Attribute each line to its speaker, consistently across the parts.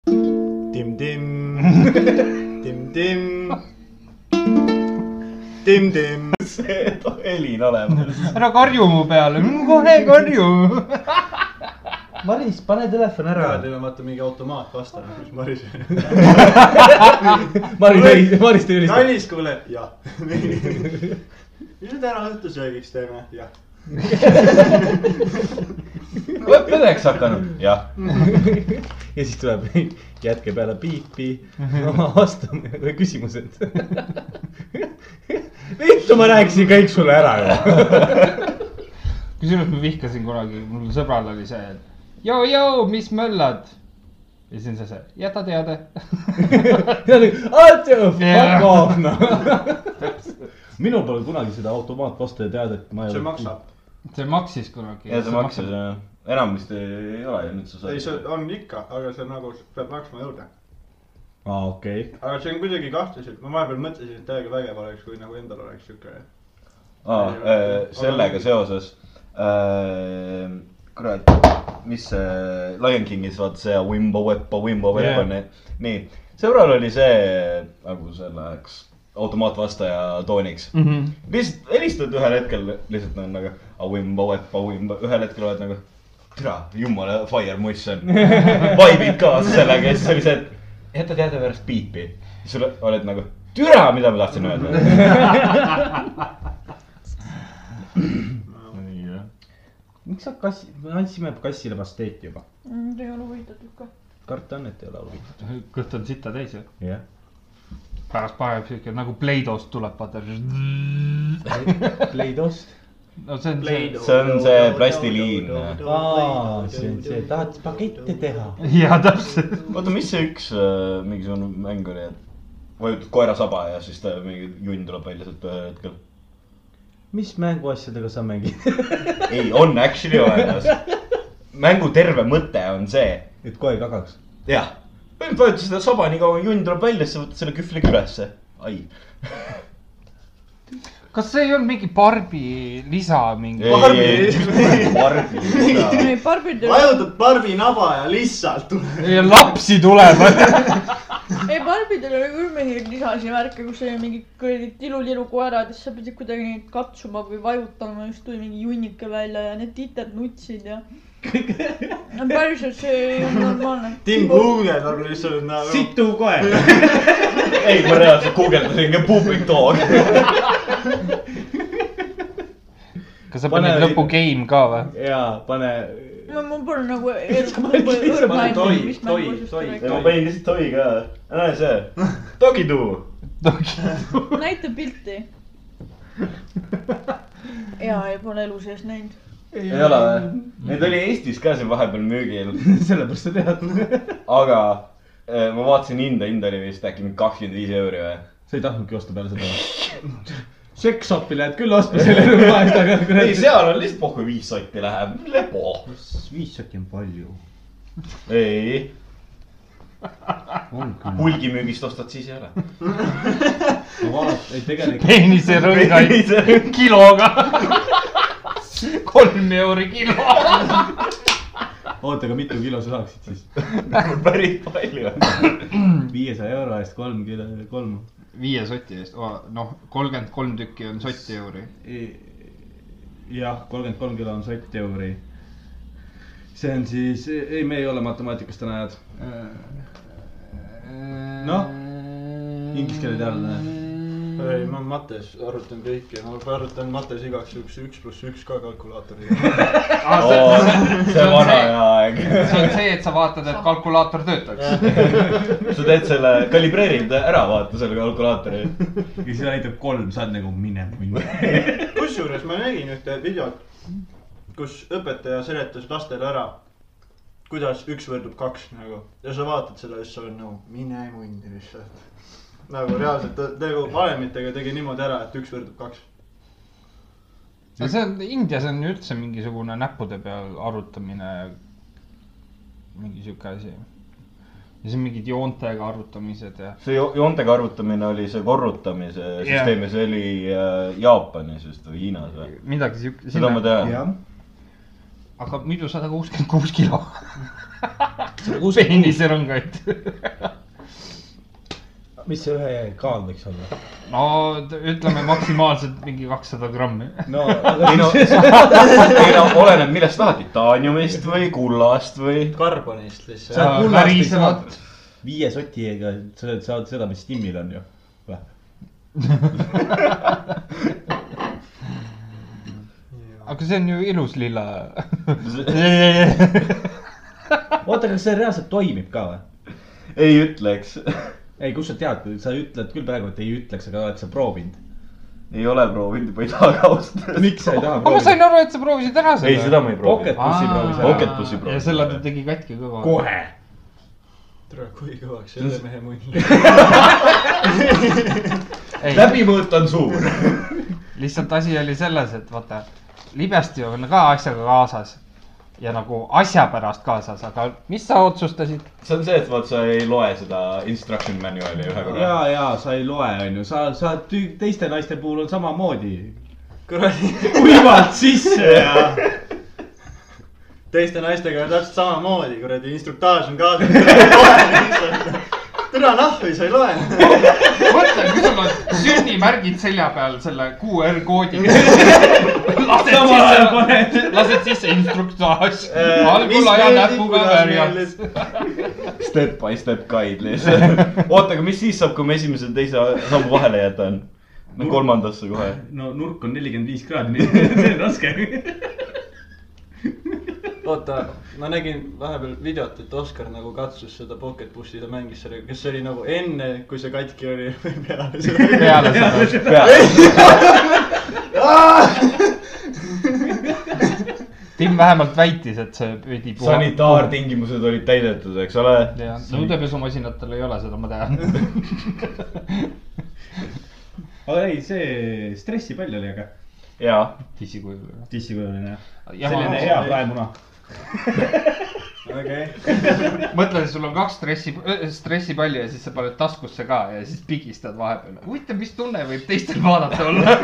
Speaker 1: dim dim dim dim dim
Speaker 2: see helin olema .
Speaker 3: ära karju mu peale , kohe karju .
Speaker 4: Maris , pane telefon ära .
Speaker 2: teil on vaata mingi automaatvastane .
Speaker 1: Maris
Speaker 4: Maris , Maris tuli lihtsalt .
Speaker 1: Kallis , kuule , jah . mis me täna õhtusöögiks teeme ? jah .
Speaker 2: oled tõdeks hakanud ? jah .
Speaker 4: ja siis tuleb jätke peale piipi , vastame või küsimused . vittu , ma rääkisin kõik sulle ära ju .
Speaker 3: kusjuures ma vihkasin kunagi , mul sõbral oli see , et joo , joo , mis möllad . ja siis on see see , jäta teada .
Speaker 4: fuck off noh .
Speaker 5: minul pole kunagi seda automaatvastaja teadet , ma ei
Speaker 1: see maksab .
Speaker 3: see maksis kunagi .
Speaker 2: ja see maksis jah . enam vist ei ole ja nüüd sa saad .
Speaker 1: ei , see on ikka , aga see nagu peab maksma juurde .
Speaker 5: aa , okei .
Speaker 1: aga see on kuidagi kahtlaselt , ma vahepeal mõtlesin , et täiega vägev oleks , kui nagu endal oleks siuke .
Speaker 2: aa äh,
Speaker 1: Ei, ,
Speaker 2: sellega
Speaker 1: aga-
Speaker 2: seoses äh, , kurat , mis see Lion Kingis vaata see Wimbo Weppo , Wimbo Weppo
Speaker 3: Jah.
Speaker 2: yeah. , nii . sõbral oli see nagu selleks automaatvastaja tooniks mm .
Speaker 3: Mhm.
Speaker 2: -hmm. lihtsalt helistad ühel hetkel lihtsalt on nagu a Wimbo Weppo , Wimbo , ühel hetkel oled nagu türa , jumala fire muss on . vaibid kaasa sellega ja siis oli see , et jäta teada pärast piipi . siis sul oled nagu türa , mida ma tahtsin öelda .
Speaker 5: nii jah . miks sa kassi , me andsime kassile pasteeti juba .
Speaker 6: Te Mm, ei ole huvitatud ka .
Speaker 5: karta on , et ei ole huvitav .
Speaker 3: kõht on sita täis ju .
Speaker 5: jah .
Speaker 3: pärast paneb siuke nagu Pleidost tuleb , vaata .
Speaker 5: Pleidost .
Speaker 3: no see on see .
Speaker 2: See on see plastiliin.
Speaker 5: aa , see on see , tahad pakette teha ?
Speaker 3: jaa , täpselt .
Speaker 2: oota , mis see üks äh, mingisugune mäng oli , et vajutad koera saba ja siis ta mingi junn tuleb välja sealt ühel hetkel .
Speaker 5: mis mänguasjadega sa mängid ?
Speaker 2: ei , on actually olemas . mängu terve mõte on see ,
Speaker 5: et kohe kagaks .
Speaker 2: jah , põhimõtteliselt vajutad seda saba , nii kaua kui junn tuleb välja , siis sa võtad selle kühvli külesse . ai ,
Speaker 3: kas see ei olnud mingi Barbi lisa mingi ?
Speaker 2: Barbi .
Speaker 6: ei , Barbil ei ole ,
Speaker 1: vajutad barbi naba ja lihtsalt tuleb .
Speaker 3: ja lapsi tuleb .
Speaker 6: ei Barbil ei ole küll mingeid lisasi värke , kus oli mingi kuradi tiluliru koerad ja siis sa pidid kuidagi neid katsuma või vajutama , just tuli mingi junnike välja ja need tited nutsid ja . no päriselt , see ei olnud normaalne .
Speaker 1: Tim Kruger nagu lihtsalt nagu .
Speaker 4: situ koer .
Speaker 2: ei , ma reaalselt guugeldasin ka Public Dog .
Speaker 3: kas sa
Speaker 5: Pane
Speaker 3: panid
Speaker 5: veidi.
Speaker 3: lõpu game ka või ?
Speaker 5: jaa , pane .
Speaker 6: no mul pole nagu .
Speaker 4: nagu toi- toi- toi-
Speaker 2: ma panin lihtsalt toi ka , näe see , Dogidoo .
Speaker 6: näita pilti . jaa , ei pole elu sees näinud .
Speaker 2: ei ole või ? Need oli Eestis ka siin vahepeal müügil
Speaker 5: sellepärast sa tead .
Speaker 2: aga eh, ma vaatasin hinda , hind oli vist äkki mingi kakskümmend viis euri või ?
Speaker 5: sa ei tahtnudki osta peale seda või ? Sexshopi lähed küll ostma selle rõõma eest , aga
Speaker 2: ei ,
Speaker 5: kuradi .
Speaker 2: seal on lihtsalt pohhu viis sotti läheb , lepo .
Speaker 5: viis sotti on palju .
Speaker 2: ei ,
Speaker 5: on küll .
Speaker 2: hulgimüügist ostad , siis ei ole .
Speaker 5: ma vaatan , ei tegelikult .
Speaker 3: peenise rõngaid kiloga . kolm euri kilo .
Speaker 5: oota , aga mitu kilo sa saaksid siis ?
Speaker 2: päris palju .
Speaker 5: viiesaja euro eest kolm kilo , kolm .
Speaker 3: viie soti eest , noh , kolmkümmend kolm tükki on sotti euri .
Speaker 5: E- jah , kolmkümmend kolm kilo on sott euri . see on siis , ei , me ei ole matemaatikast täna head . Noh, inglise keele teadlane.
Speaker 1: ei , ma mates arvutan kõike , ma arvutan mates igaks juhuks üks pluss üks ka kalkulaatoriga .
Speaker 2: Oh, see on vana hea aeg .
Speaker 3: Ah, see on see , et sa vaatad , et kalkulaator töötaks .
Speaker 2: sa teed selle , kalibreerid ära , vaata selle kalkulaatori .
Speaker 5: ja siis näitab kolm , sa oled nagu mine , mine .
Speaker 1: kusjuures ma nägin ühte videot , kus õpetaja seletas lastele ära , kuidas üks võrdub kaks nagu ja sa vaatad seda ja siis sa oled nagu mine mundi lihtsalt . nagu reaalselt ta nagu valemitega tegi niimoodi ära , et üks võrdub kaks .
Speaker 3: no see on , Indias on üldse mingisugune näppude peal arvutamine . mingi sihuke asi . ja siis mingid joontega arvutamised ja .
Speaker 2: see jo- joontega arvutamine oli see korrutamise süsteem ja see oli äh, Jaapanis vist või Hiinas või ?
Speaker 3: midagi siukest .
Speaker 2: seda ma tean .
Speaker 3: aga nagu muidu sada kuuskümmend kuus kilo .
Speaker 5: kuuskümmend kuus .
Speaker 3: peenise rõngaid .
Speaker 4: mis see ühe kaal võiks olla ?
Speaker 3: no t- ütleme maksimaalselt mingi kakssada grammi .
Speaker 4: no ,
Speaker 2: ei
Speaker 4: aga
Speaker 2: no , ei no oleneb , millest tahad , titaaniumist või kullast või .
Speaker 1: karbonist lihtsalt .
Speaker 4: Sa- kullast ei saa.
Speaker 3: värisevat ,
Speaker 4: viie sotiga sa saad seda , mis Timmil on ju .
Speaker 3: aga see on ju ilus lilla
Speaker 4: oota , kas see reaalselt toimib ka või ?
Speaker 2: ei ütleks ,
Speaker 4: ei , kust sa tead , sa ütled küll praegu , et ei ütleks , aga oled sa proovinud ?
Speaker 2: ei ole proovinud , ma ei taha ka ausalt öelda .
Speaker 4: miks sa ei taha
Speaker 3: aga ma sain
Speaker 4: proovida ?
Speaker 3: aru , et sa proovisid ära selle .
Speaker 2: ei , seda ma ei proovi .
Speaker 4: Pocket Pussi proovis
Speaker 2: Pocket
Speaker 4: ära .
Speaker 2: Pussi proovis
Speaker 3: ja selle
Speaker 2: ära.
Speaker 3: ta tegi katki kõva .
Speaker 4: kohe .
Speaker 1: tere , kui kõvaks selle mehe munn läks .
Speaker 3: ei ,
Speaker 2: läbimõõt on suur .
Speaker 3: lihtsalt asi oli selles , et vaata , libesti on ka asjaga kaasas ja nagu asja pärast kaasas , aga mis sa otsustasid ?
Speaker 2: see on see , et vaat sa ei loe seda instruction manual'i ühe korra .
Speaker 4: ja , ja sa ei loe , onju , sa , sa tü- teiste naiste puhul on samamoodi .
Speaker 1: kuradi ,
Speaker 4: kuivalt sisse ja .
Speaker 1: teiste naistega on täpselt samamoodi , kuradi instruktaaž on kaasas . türa nahvi , sa ei loe .
Speaker 3: mõtle , kui sul on sünnimärgid selja peal selle QR koodiga .
Speaker 4: samal ajal paned .
Speaker 3: lased sisse instruktaaž , algul aja näpuga värjad .
Speaker 2: Step by step guide lihtsalt . oota , aga mis siis saab , kui ma esimese ja teise sammu vahele jätan ? no kolmandasse kohe .
Speaker 5: no nurk on nelikümmend viis kraadi , nii et see on raske .
Speaker 1: oota , ma nägin vahepeal videot , et Oskar nagu katsus seda Pocket Busti , ta mängis sellega , kas see oli nagu enne , kui see katki oli või peale seda ?
Speaker 3: peale seda . Tim vähemalt väitis , et see pidi ..
Speaker 2: sanitaartingimused olid täidetud , eks ole .
Speaker 3: nõudepesumasinatel ei ole seda , ma tean .
Speaker 5: aga ei , see stressi palju oli , aga
Speaker 2: jaa .
Speaker 3: tissikujul .
Speaker 5: tissikujuline jah . selline hea noh.
Speaker 3: jah ,
Speaker 5: praemuna .
Speaker 1: okei ,
Speaker 3: mõtle , sul on kaks stressi , stressipalli ja siis sa paned taskusse ka ja siis pigistad vahepeal . huvitav , mis tunne võib teistel vaadata olla .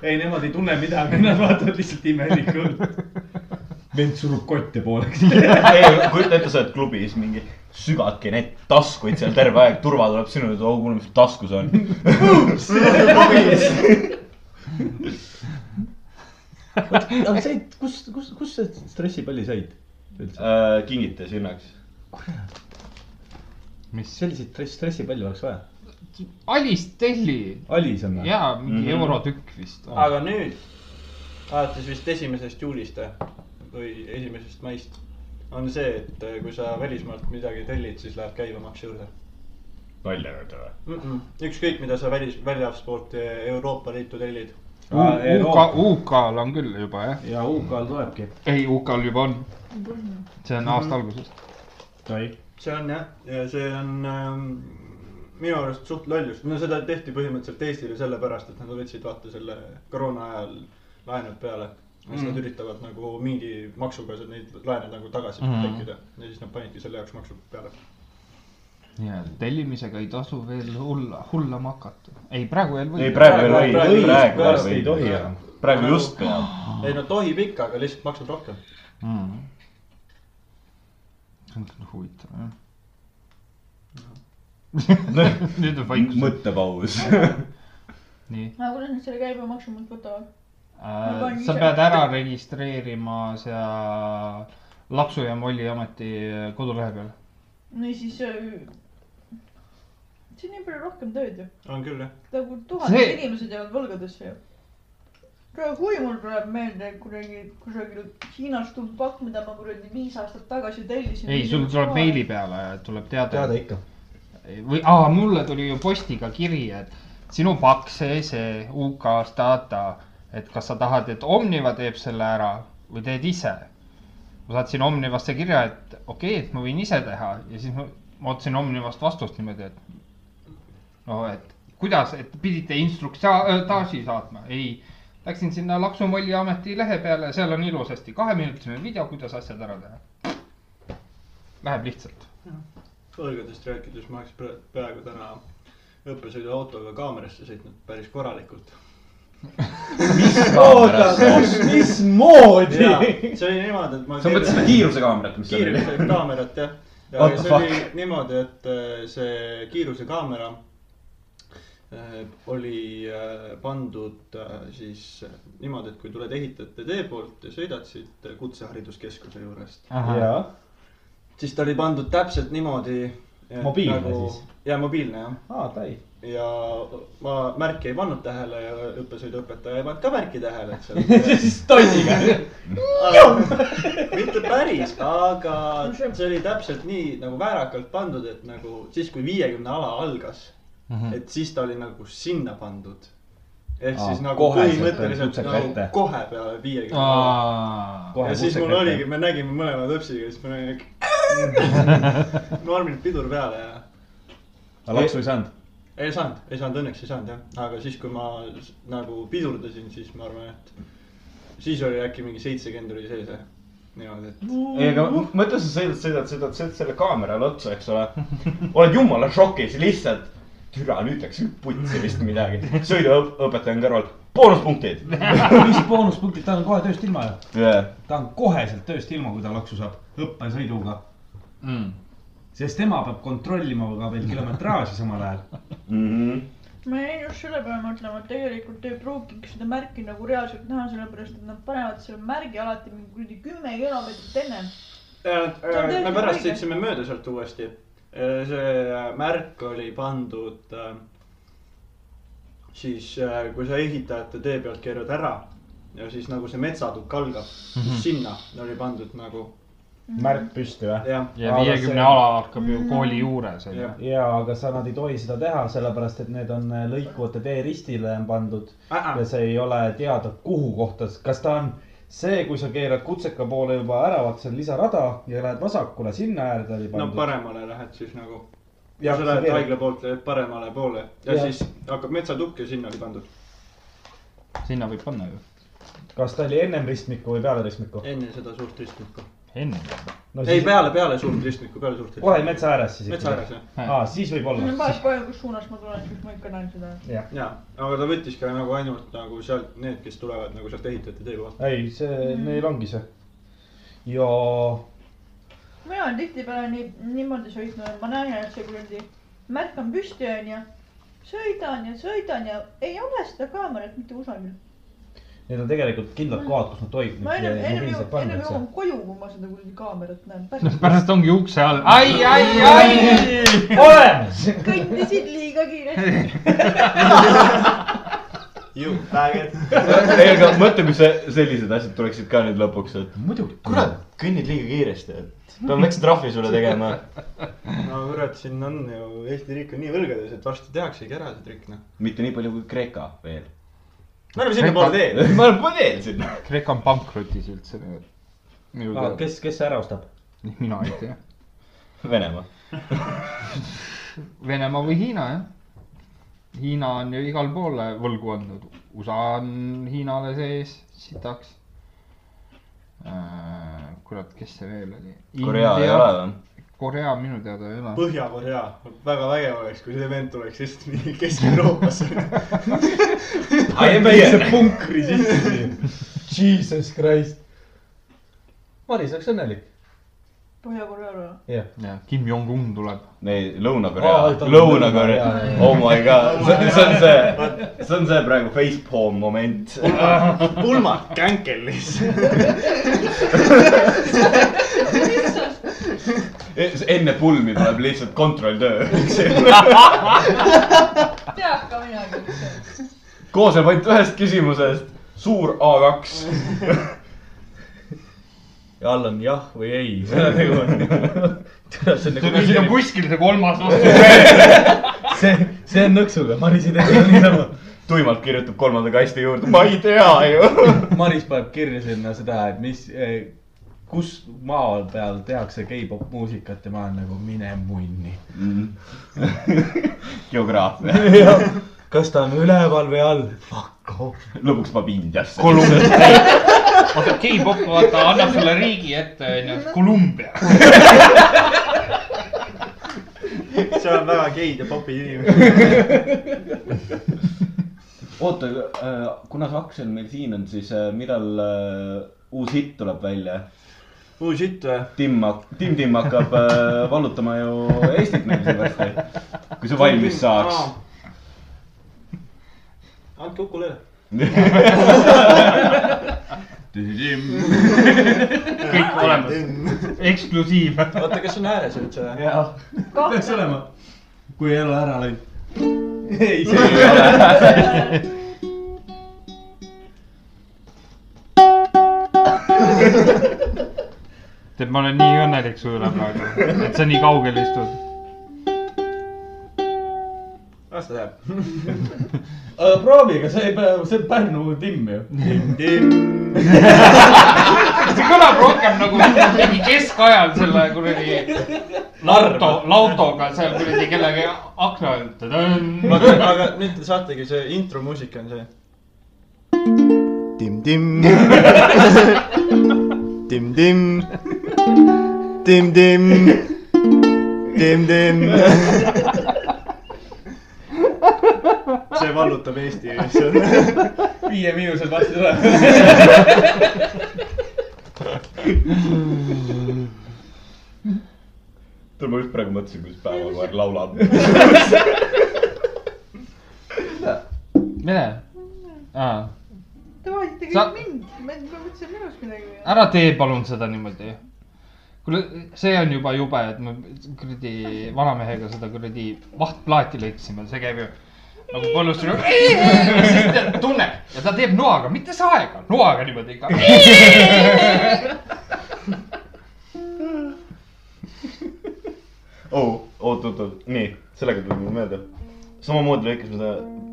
Speaker 5: ei , nemad ei tunne midagi , nad vaatavad lihtsalt imelikult . vend surub kotte pooleks .
Speaker 2: ei , kujuta ette , sa oled klubis mingi , sügadki neid taskuid seal terve aeg , turva tuleb sinu juurde , oh kuule , mis taskus on .
Speaker 4: aga said , kus , kus , kus sa stressipalli said ?
Speaker 2: kingiti Äh, sinnaks .
Speaker 3: mis ?
Speaker 4: selliseid stress , stressipalli oleks vaja .
Speaker 3: Alice Telli
Speaker 4: Alis on või ?
Speaker 3: ja mingi mm
Speaker 2: Mhm.
Speaker 3: -hmm. eurotükk vist .
Speaker 1: aga nüüd , alates vist esimesest juulist või- või esimesest maist , on see , et äh, kui sa välismaalt midagi tellid , siis läheb käibemaks juurde
Speaker 2: välja öelda või ?
Speaker 1: mm . -mm. ükskõik , mida sa välis , väljaspoolt Euroopa Liitu tellid .
Speaker 3: Ah, UK , UK-l on küll juba jah .
Speaker 5: ja UK-l tulebki .
Speaker 3: ei , UK-l juba on . see on aasta alguses .
Speaker 5: sai .
Speaker 1: see on jah , ja see on ähm, minu arust suht lollus , no seda tehti põhimõtteliselt Eestile sellepärast , et nad võtsid vaata selle koroona ajal laenud peale . ja siis nad üritavad nagu mingi maksuga seda- neid laene nagu tagasi
Speaker 3: Mhm.
Speaker 1: mm. tekkida ja siis nad panidki selle jaoks maksu peale .
Speaker 3: ja tellimisega ei tasu veel hulla , hulla makata . ei , praegu veel
Speaker 2: ei ,
Speaker 3: võib .
Speaker 2: praegu ei või ,
Speaker 1: Praegu-
Speaker 2: praegu
Speaker 1: praegu-
Speaker 2: ei
Speaker 4: pärast ei
Speaker 2: või .
Speaker 4: tohi enam .
Speaker 2: praegu just peab .
Speaker 1: ei no tohib ikka , aga lihtsalt maksab rohkem .
Speaker 3: mm. . see on küll huvitav jah . nüüd on vaikus .
Speaker 2: mõttepaus .
Speaker 3: nii
Speaker 6: aga kuidas nad selle käibemaksu mult võtavad ?
Speaker 3: äh,
Speaker 6: panin .
Speaker 3: sa
Speaker 6: ise.
Speaker 3: pead ära registreerima seal Lapsu ja Molli ameti kodulehel peal .
Speaker 6: no siis äh, . see on nii palju rohkem tööd ju ,
Speaker 1: on küll jah .
Speaker 6: nagu tuhanded
Speaker 3: See-
Speaker 6: see... inimesed jäävad võlgadesse ju . kui mul tuleb meelde kuradi kusagil Hiinast tulnud pakk , mida ma kuradi viis aastat tagasi tellisin .
Speaker 3: ei , sul tuleb meili peale , tuleb teade .
Speaker 4: teada ikka .
Speaker 3: või aa , mulle tuli ju postiga kiri , et sinu pakk see , see UK-s data , et kas sa tahad , et Omniva teeb selle ära või teed ise . ma saatsin Omnivasse kirja , et okei okay, , et ma võin ise teha ja siis ma, ma ootasin Omnivast vastust niimoodi , et no et kuidas , et pidite instruktaaži saatma , ei . Läksin sinna Laksu Molli ameti lehe peale , seal on ilusasti kaheminutiline video , kuidas asjad ära teha . Läheb lihtsalt .
Speaker 1: võlgadest rääkides ma oleks pra- peaaegu täna õppesõiduautoga kaamerasse sõitnud päris korralikult .
Speaker 4: oota , mismoodi ?
Speaker 1: see oli niimoodi , et ma .
Speaker 2: sa mõtlesid seda kiirusekaamerat , mis seal oli ?
Speaker 1: kiiruskaamerat jah , ja
Speaker 2: What the
Speaker 1: see oli niimoodi , et äh, see kiirusekaamera äh, oli äh, pandud äh, siis äh, niimoodi , et kui tuled ehitajate tee poolt ja sõidad siit äh, kutsehariduskeskuse juurest ,
Speaker 3: ahah ,
Speaker 7: jaa ,
Speaker 1: siis ta oli pandud täpselt niimoodi .
Speaker 7: Mobiilne siis? ?
Speaker 1: jaa , mobiilne jah .
Speaker 7: aa , tai .
Speaker 1: ja ma märki ei pannud tähele ja õppesõiduõpetaja ei pannud ka märki tähele , eks ole .
Speaker 7: siis tossiga .
Speaker 1: Aga- mitte päris , aga see oli täpselt nii nagu väärakalt pandud , et nagu siis , kui viiekümne ala algas , et siis ta oli nagu sinna pandud . ehk
Speaker 7: Aa,
Speaker 1: siis nagu
Speaker 7: koheselt
Speaker 1: põhimõtteliselt
Speaker 7: oli
Speaker 1: nagu
Speaker 7: kutsekätte.
Speaker 1: kohe peale viiekümne ala .
Speaker 3: aa ,
Speaker 1: ja siis mul oligi , me nägime mõlemad õpsiga , siis me olime kõik normilt pidur peale ja
Speaker 7: aga laksu ei saanud .
Speaker 1: ei saanud , ei saanud , õnneks ei saanud jah , aga siis , kui ma s- nagu pidurdasin , siis ma arvan , et siis oli äkki mingi seitsekümmend oli sees jah , niimoodi , et
Speaker 2: ei , aga mõtle , sa sõidad , sõidad , sõidad , sõidad selle kaamerale otsa , eks ole . oled jumala šokis lihtsalt . türa , nüüd läks putsi vist midagi . sõiduõpetaja on kõrval , boonuspunktid .
Speaker 8: mis boonuspunktid , ta on kohe tööst ilma ju .
Speaker 2: jah ,
Speaker 8: ta on koheselt tööst ilma , kui ta laksu saab õppesõiduga ,
Speaker 3: Mm.
Speaker 8: sest tema peab kontrollima ka veel kilometraaži samal ajal .
Speaker 2: Mhm.
Speaker 6: ma jäin just selle peale mõtlema , et tegelikult ei pruugigi seda märki nagu reaalselt näha , sellepärast et nad panevad selle märgi alati mingi kuradi kümme kilomeetrit ennem .
Speaker 1: Äh, me
Speaker 6: täiesti
Speaker 1: pärast
Speaker 6: õige.
Speaker 1: sõitsime mööda sealt uuesti . see äh, märk oli pandud äh, siis , kui sa ehitajate tee pealt keerad ära ja siis nagu see metsatukk algab mm ,
Speaker 7: Mhm.
Speaker 1: -hmm. sinna oli pandud nagu
Speaker 7: märk püsti või ?
Speaker 1: jah ,
Speaker 3: ja
Speaker 7: Aga
Speaker 3: viiekümne
Speaker 7: see-
Speaker 3: ala hakkab ju kooli juures , on ju
Speaker 1: jah .
Speaker 7: ja , aga sa , nad ei tohi seda teha , sellepärast et need on äh, lõikuvate tee ristile on pandud
Speaker 1: Äh,
Speaker 7: ja see ei ole teada , kuhu kohta , kas ta on see , kui sa keerad kutseka poole juba äravaks , see on lisarada ja lähed vasakule , sinna äärde oli
Speaker 1: no
Speaker 7: pandud .
Speaker 1: paremale lähed siis nagu .
Speaker 7: Jah,
Speaker 1: ja sa
Speaker 7: sa
Speaker 1: lähed
Speaker 7: keerad-
Speaker 1: haigla poolt , lähed paremale poole ja, ja
Speaker 7: Jah.
Speaker 1: siis hakkab metsatukk ja sinna oli pandud
Speaker 3: sinna võib panna ju .
Speaker 7: kas ta oli ennem ristmikku või peale ristmikku ?
Speaker 1: enne seda suurt ristmikku .
Speaker 3: enne .
Speaker 7: no
Speaker 1: ei ,
Speaker 7: siis
Speaker 1: peale , peale suurt ristmikku , peale suurt
Speaker 7: kohe
Speaker 1: ristmikku .
Speaker 7: metsa ääres siis .
Speaker 1: metsa ääres jah .
Speaker 3: Ah.
Speaker 7: aa , siis võib
Speaker 6: see on
Speaker 7: olla .
Speaker 6: päris palju , kus suunas ma tulen , siis ma ikka näen seda .
Speaker 1: jaa , aga ta võttis ka nagu ainult nagu sealt need , kes tulevad nagu sealt ehitajate tee kohalt .
Speaker 7: ei , see , neil ongi see . ja
Speaker 6: mina olen tihtipeale nii , niimoodi sõitnud , et ma näen , et see kuradi märk on püsti , onju . sõidan ja sõidan ja ei ole seda kaamerat mitte kusagil .
Speaker 7: need on tegelikult kindlad kohad , kus nad tohib .
Speaker 6: ma ennem , ennem jõuan , ennem jõuan koju , kui ma seda kuradi kaamerat näen .
Speaker 3: pärast ongi ukse all , ai , ai , ai .
Speaker 7: olemas .
Speaker 6: kõndisid liiga kiiresti .
Speaker 1: ju , vägev .
Speaker 2: ei , aga mõtle , kui see , sellised asjad tuleksid ka nüüd lõpuks , et muidugi , kurat , kõnnid liiga kiiresti , et peame väikse trahvi sulle tegema .
Speaker 1: no kurat , siin on ju , Eesti riik on nii võlgades , et varsti tehaksegi ära see trikk noh .
Speaker 2: mitte nii palju kui Kreeka veel .
Speaker 1: me oleme sinnapoole teel .
Speaker 2: ma olen veel sinna .
Speaker 3: Kreeka on pankrotis üldse . minu teada ,
Speaker 7: kes , kes ära ostab ?
Speaker 3: mina ei tea .
Speaker 2: Venemaa .
Speaker 3: Venemaa või Hiina , jah . Hiina on ju igale poole võlgu andnud , USA on Hiinale sees sitaks . kurat , kes see veel oli ?
Speaker 2: Korea ei ole . või ?
Speaker 3: Korea minu teada ei ole .
Speaker 1: Põhja-Korea , väga vägev oleks , kui see vend tuleks just nii Kesk-Euroopasse .
Speaker 7: punkri sisse siin . Jesus Christ . Maris oleks õnnelik .
Speaker 6: Põhja-Korea ära .
Speaker 7: jah .
Speaker 3: jah , Kim Jong-un tuleb .
Speaker 2: ei ,
Speaker 7: Aa,
Speaker 2: Lõuna-Korea
Speaker 7: ta , on
Speaker 2: Lõuna-Korea
Speaker 7: Lõuna-Korea, , jah.
Speaker 2: oh my god , see see on see , see on see praegu facepalm moment .
Speaker 1: pulmad känkel lihtsalt .
Speaker 2: E, enne pulmi tuleb lihtsalt kontrolltöö , eks ju .
Speaker 6: tead ka mina kõik .
Speaker 2: koosneb ainult ühest küsimusest , suur A2 .
Speaker 7: ja all on jah või ei . nagu see on nagu
Speaker 3: siin on kuskil see kolmas vastus .
Speaker 7: see , see on nõksuga , Maris ei tee seda niisama .
Speaker 2: tuimalt kirjutab kolmanda kasti juurde , ma ei tea ju .
Speaker 8: Maris paneb kirja sinna seda , et mis , kus maa peal tehakse gei-pop muusikat ja ma olen nagu mine munni .
Speaker 2: geograafia ,
Speaker 7: kas ta on üleval või all ? Fuck off .
Speaker 2: lõpuks paneb Indiasse .
Speaker 3: oota , K-pop , vaata , annab sulle riigi ette , onju , Kolumbia .
Speaker 1: see on väga geid ja popi inimene .
Speaker 2: oota , äh, kuna see aktsia meil siin on , siis äh, millal äh, uus hitt tuleb välja ?
Speaker 1: oh shit või ?
Speaker 2: Tim , Tim Tim hakkab äh, vallutama ju Eestit meil siin varsti . kui see valmis saaks .
Speaker 1: andke ukulele .
Speaker 3: kõik olemas , eksklusiiv .
Speaker 1: oota , kas on ääres üldse eh? või ?
Speaker 5: peaks olema , kui ei ole ära läinud .
Speaker 4: ei , see ei ole .
Speaker 3: tead , ma olen nii õnnelik su üle praegu , et sa nii kaugel istud .
Speaker 1: las ta läheb .
Speaker 4: Äh, proovi , aga see , see on Pärnu timm ju .
Speaker 3: see kõlab rohkem nagu mingi keskajal selle kuradi lauto , lautoga seal kuradi kellegi akna all .
Speaker 1: vaata , aga nüüd te saategi see intromuusika on see . Tim-tim . Tim-tim . Tim-tim . Tim-tim . see vallutab Eesti , eks ole .
Speaker 4: viie miinusel varsti tuleb .
Speaker 2: tead , ma just praegu mõtlesin , kuidas päevakoer laulab .
Speaker 3: mine .
Speaker 6: Te vaatasite kõik
Speaker 3: Sa-
Speaker 6: Sa... mind , ma ei- ma mõtlesin , et minust midagi .
Speaker 3: ära tee palun seda niimoodi . kuule , see on juba jube , et me kuradi vanamehega seda kuradi vahtplaati lõikasime , see käib ju nagu põllust . siis tead, tunneb ja ta teeb noaga , mitte saega , noaga niimoodi ikka .
Speaker 2: oh, . oot , oot , oot , nii , sellega tuli mul meelde . samamoodi lõikasime seda ,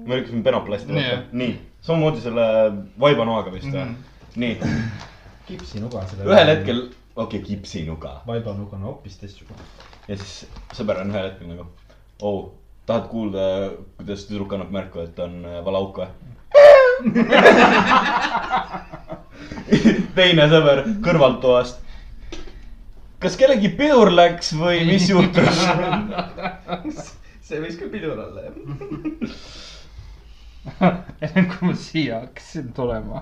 Speaker 2: me lõikasime penoplasti
Speaker 3: Nii.
Speaker 2: vaata , nii , samamoodi selle vaibanoaga vist või
Speaker 3: Mhm.
Speaker 2: mm. ? nii ,
Speaker 4: kipsinuga selle .
Speaker 2: ühel . hetkel , okei okay, , kipsinuga
Speaker 4: vaibanuga on hoopis teistsugune .
Speaker 2: ja siis sõber on ühel hetkel nagu , oh , tahad kuulda , kuidas tüdruk annab märku , et on äh, valauk või ? teine sõber kõrvalt toast . kas kellegi pidur läks või mis juhtus ?
Speaker 4: see võis ka pidur olla jah .
Speaker 3: ennem kui ma siia hakkasin tulema .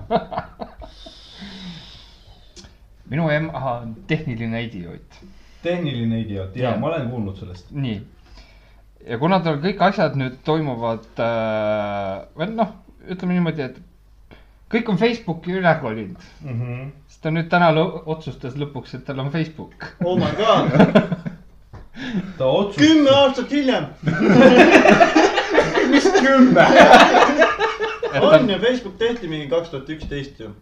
Speaker 3: minu ema on tehniline idioot ,
Speaker 4: tehniline idioot ja
Speaker 3: Jah.
Speaker 4: ma olen kuulnud sellest .
Speaker 3: nii . ja kuna tal kõik asjad nüüd toimuvad äh, , või noh , ütleme niimoodi , et kõik on Facebooki üle kolinud ,
Speaker 4: Mhm.
Speaker 3: siis ta nüüd täna lõ- otsustas lõpuks , et tal on Facebook .
Speaker 1: oh my god ,
Speaker 4: ta otsustas .
Speaker 1: kümme aastat hiljem on ju , Facebook tehti mingi kaks tuhat üksteist ju .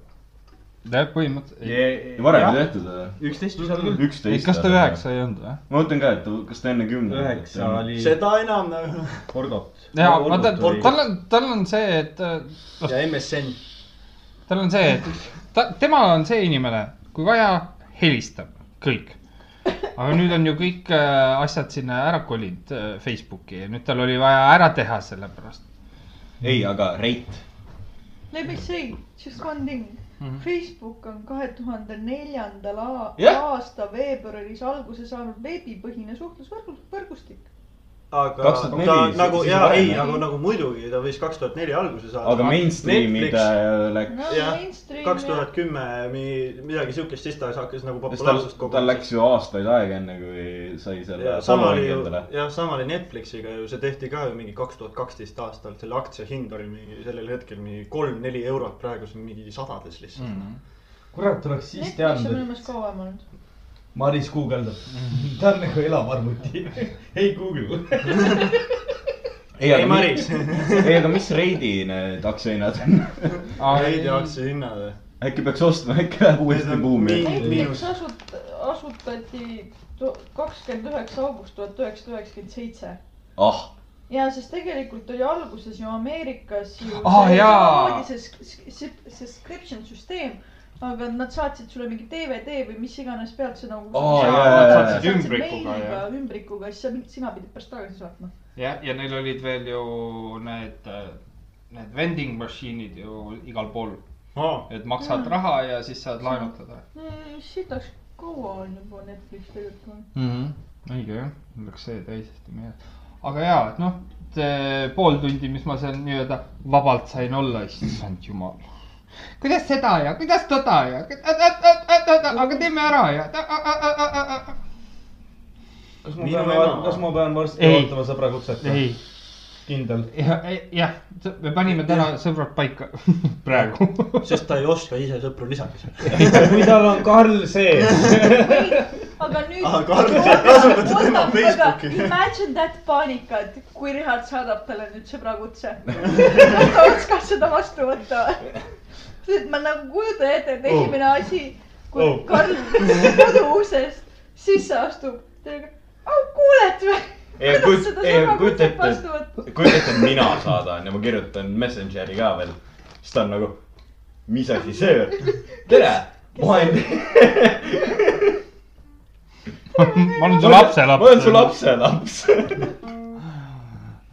Speaker 3: jah , põhimõtteliselt .
Speaker 2: varem ei tehtud või ?
Speaker 1: üksteist
Speaker 2: üksteist .
Speaker 3: kas ta üheksa ei olnud või ?
Speaker 2: ma mõtlen ka , et kas ta enne kümne .
Speaker 4: üheksa . oli
Speaker 1: seda enam nagu .
Speaker 4: Orgot .
Speaker 3: ja ma tean , tal on , tal on see , et äh, noh ,
Speaker 1: ja MSN .
Speaker 3: tal on see , et ta , tema on see inimene , kui vaja , helistab , kõik . aga nüüd on ju kõik äh, asjad sinna ära kolinud äh, Facebooki ja nüüd tal oli vaja ära teha sellepärast .
Speaker 2: ei , aga Reit .
Speaker 6: Let me say just one thing mm . -hmm. Facebook on kahe tuhande neljandal
Speaker 2: Jah.
Speaker 6: aasta veebruaris alguse saanud veebipõhine suhtlusvõrgustik .
Speaker 1: aga
Speaker 2: 2004
Speaker 1: ta
Speaker 2: siis-
Speaker 1: nagu
Speaker 2: siis
Speaker 1: ja
Speaker 2: varem.
Speaker 1: ei , aga nagu muidugi ta võis kaks tuhat neli alguse saada .
Speaker 2: aga mainstream'id
Speaker 1: Ah, Netflix
Speaker 2: äh, läks ,
Speaker 6: no
Speaker 1: Jah,
Speaker 6: mainstream
Speaker 1: kaks tuhat kümme midagi siukest , siis ta hakkas nagu
Speaker 2: sest tal
Speaker 1: populaarsust ,
Speaker 2: tal läks . ju aastaid aega , enne kui sai selle
Speaker 1: sama oli
Speaker 2: following'i
Speaker 1: ju
Speaker 2: endale .,
Speaker 1: jah , sama oli Netflixiga ju , see tehti ka ju mingi kaks tuhat kaksteist aastal , selle aktsia hind oli mingi sellel hetkel mingi kolm-neli eurot , praegu see on mingi sadades lihtsalt mm. .
Speaker 4: kurat , oleks siis
Speaker 6: Netflix on minu
Speaker 4: teadnud ,
Speaker 6: meelest kauem olnud .
Speaker 4: et Maris guugeldab . ta on nagu elav arvuti . ei Google .
Speaker 2: ei ,
Speaker 1: ei ,
Speaker 2: aga mis ,
Speaker 1: Maris ,
Speaker 2: ei , aga mis Reidi need aktsiahinnad on ?
Speaker 1: veidi aktsia hinnad või ?
Speaker 2: äkki peaks ostma , äkki läheb uuesti buumi .
Speaker 1: miinus
Speaker 6: Netflix asut- , asutati kakskümmend üheksa august tuhat üheksasada üheksakümmend seitse
Speaker 2: ah ,
Speaker 6: ja sest tegelikult oli alguses ju Ameerikas ju
Speaker 3: Ah,
Speaker 6: see
Speaker 3: jaa.
Speaker 6: samamoodi see sk- sk- subscription süsteem , aga nad saatsid sulle mingi DVD või mis iganes pealt sa nagu
Speaker 2: Aa, Ah,
Speaker 6: saatsid-
Speaker 2: jaa, jaa, jaa.
Speaker 6: saatsid
Speaker 3: Ümbrikuga,
Speaker 6: meiliga,
Speaker 3: jah.
Speaker 6: ümbrikuga , siis sa- sina pidid pärast tagasi saatma .
Speaker 3: ja , ja neil olid veel ju need , need vending machine'id ju igal pool ,
Speaker 1: oh, .
Speaker 3: et maksad raha ja siis saad laenutada
Speaker 6: sitaks kaua on juba Netflix tegelikult .
Speaker 3: mm . -hmm. õige jah , mul läks see täiesti meelde . aga ja , et noh , see pool tundi , mis ma seal nii-öelda vabalt sain olla , issand jumal . kuidas seda ja kuidas toda ja , aga teeme ära ja .
Speaker 4: kas ma
Speaker 1: Minu
Speaker 4: pean
Speaker 1: ema- ,
Speaker 4: kas ma pean varsti
Speaker 3: Ei.
Speaker 4: ootama sõbra kutset ?
Speaker 3: ei ,
Speaker 4: kindel .
Speaker 3: jah , me panime täna sõbrad paika , praegu .
Speaker 1: sest ta ei oska ise sõpru lisaks .
Speaker 4: kui tal on Karl sees ,
Speaker 6: aga nüüd .
Speaker 1: Ah, Karl saab kasutada tema Facebooki.
Speaker 6: Imagine that paanika , et kui Richard saadab talle nüüd sõbrakutse . kas ta oskab seda vastu võtta või ? sest ma nagu kujutan ette , et esimene asi , kui
Speaker 4: Oh.
Speaker 6: Karl kodu uksest sisse astub , ta ütleb , au kuuled või ?
Speaker 2: Ei, kujut-
Speaker 6: kuidas seda
Speaker 2: ei, kujuta ette,
Speaker 6: sõbrakutset
Speaker 2: et-
Speaker 6: vastu võtta ?
Speaker 2: kujuta ette , mina saadan ja ma kirjutan Messengeri ka veel . siis ta on nagu , mis asi see on ? tere , ma olen ,
Speaker 3: ma olen su lapselaps .
Speaker 2: ma olen su . lapselaps .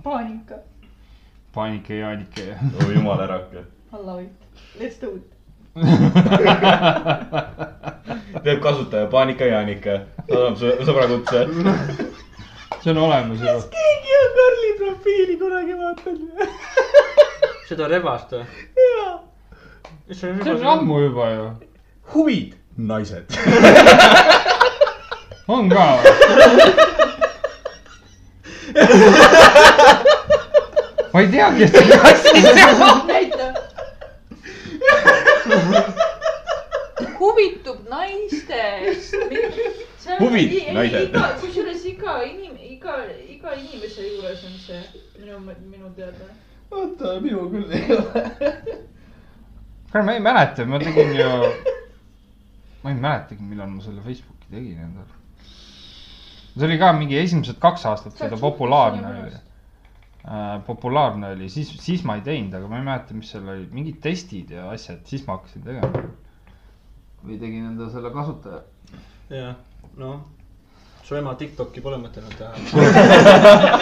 Speaker 6: paanika .
Speaker 3: paanike Jaanike .
Speaker 2: oh jumala rakke .
Speaker 6: Allavi , let's do it .
Speaker 2: teeb kasutaja Paanika Jaanika , saadab su sõbrakutse .
Speaker 3: see on olemas juba .
Speaker 6: keegi on Karli profiili kunagi vaadanud .
Speaker 1: seda rebast või ? jaa .
Speaker 3: see on ammu juba ju .
Speaker 2: huvid , naised .
Speaker 3: on ka . ma ei teagi , et see asi seal on .
Speaker 6: näita . huvitub naistest .
Speaker 2: Huvid naised.
Speaker 6: kusjuures iga inim- , iga , iga inimese juures on see minu , minu teada .
Speaker 5: oota , minu küll ei ole .
Speaker 3: kuule , ma ei mäleta , ma tegin ju , ma ei mäletagi , millal ma selle Facebooki tegin endale . see oli ka mingi esimesed kaks aastat , kui ta populaarne oli . populaarne oli , siis , siis ma ei teinud , aga ma ei mäleta , mis seal oli , mingid testid ja asjad , siis ma hakkasin tegema . või tegin endale selle kasutaja .
Speaker 1: jah , noh , su ema Tiktoki pole mõtelnud teha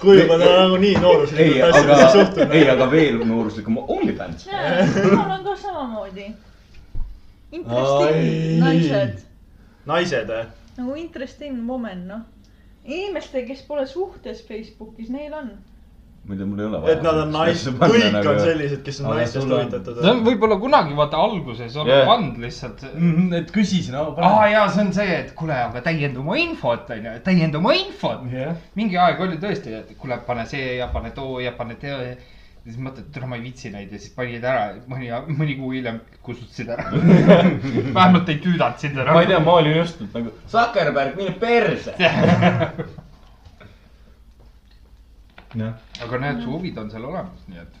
Speaker 1: kui juba ta nagunii
Speaker 2: ei ,
Speaker 1: nooruslikult
Speaker 2: aga
Speaker 1: asjadesse , suhtub
Speaker 2: ei ,. aga veel nooruslikum OnlyFans .
Speaker 6: mul on ka samamoodi . Interesting naised ,
Speaker 1: naised eh? või ?
Speaker 6: nagu interesting woman , noh . inimestel , kes pole suhtes Facebookis , neil on .
Speaker 2: muide , mul ei ole vaja . nagu-
Speaker 1: et nad on naised , kõik on . sellised , kes on
Speaker 5: Aga
Speaker 1: naistest
Speaker 5: sul on-
Speaker 1: huvitatud . eh.
Speaker 3: see on võib-olla kunagi vaata alguses on
Speaker 2: Jah.
Speaker 3: yeah. pannud lihtsalt
Speaker 7: Mm.
Speaker 5: et küsisin , aga
Speaker 3: aa . jaa , see on see , et kuule , aga täienda oma infot , onju , täienda oma infot .
Speaker 5: jah ,
Speaker 3: mingi aeg oli tõesti , et kuule , pane see ja pane too ja pane teo ja ja siis mõtled , et noh , ma ei viitsi neid ja siis panid ära , mõni , mõni kuu hiljem kustutasid ära . vähemalt ei tüüdanud sind ära .
Speaker 2: ma ei tea , ma olin just et nagu Zuckerberg , mine perse .
Speaker 5: jah .
Speaker 3: aga näed , su huvid on seal olemas , nii et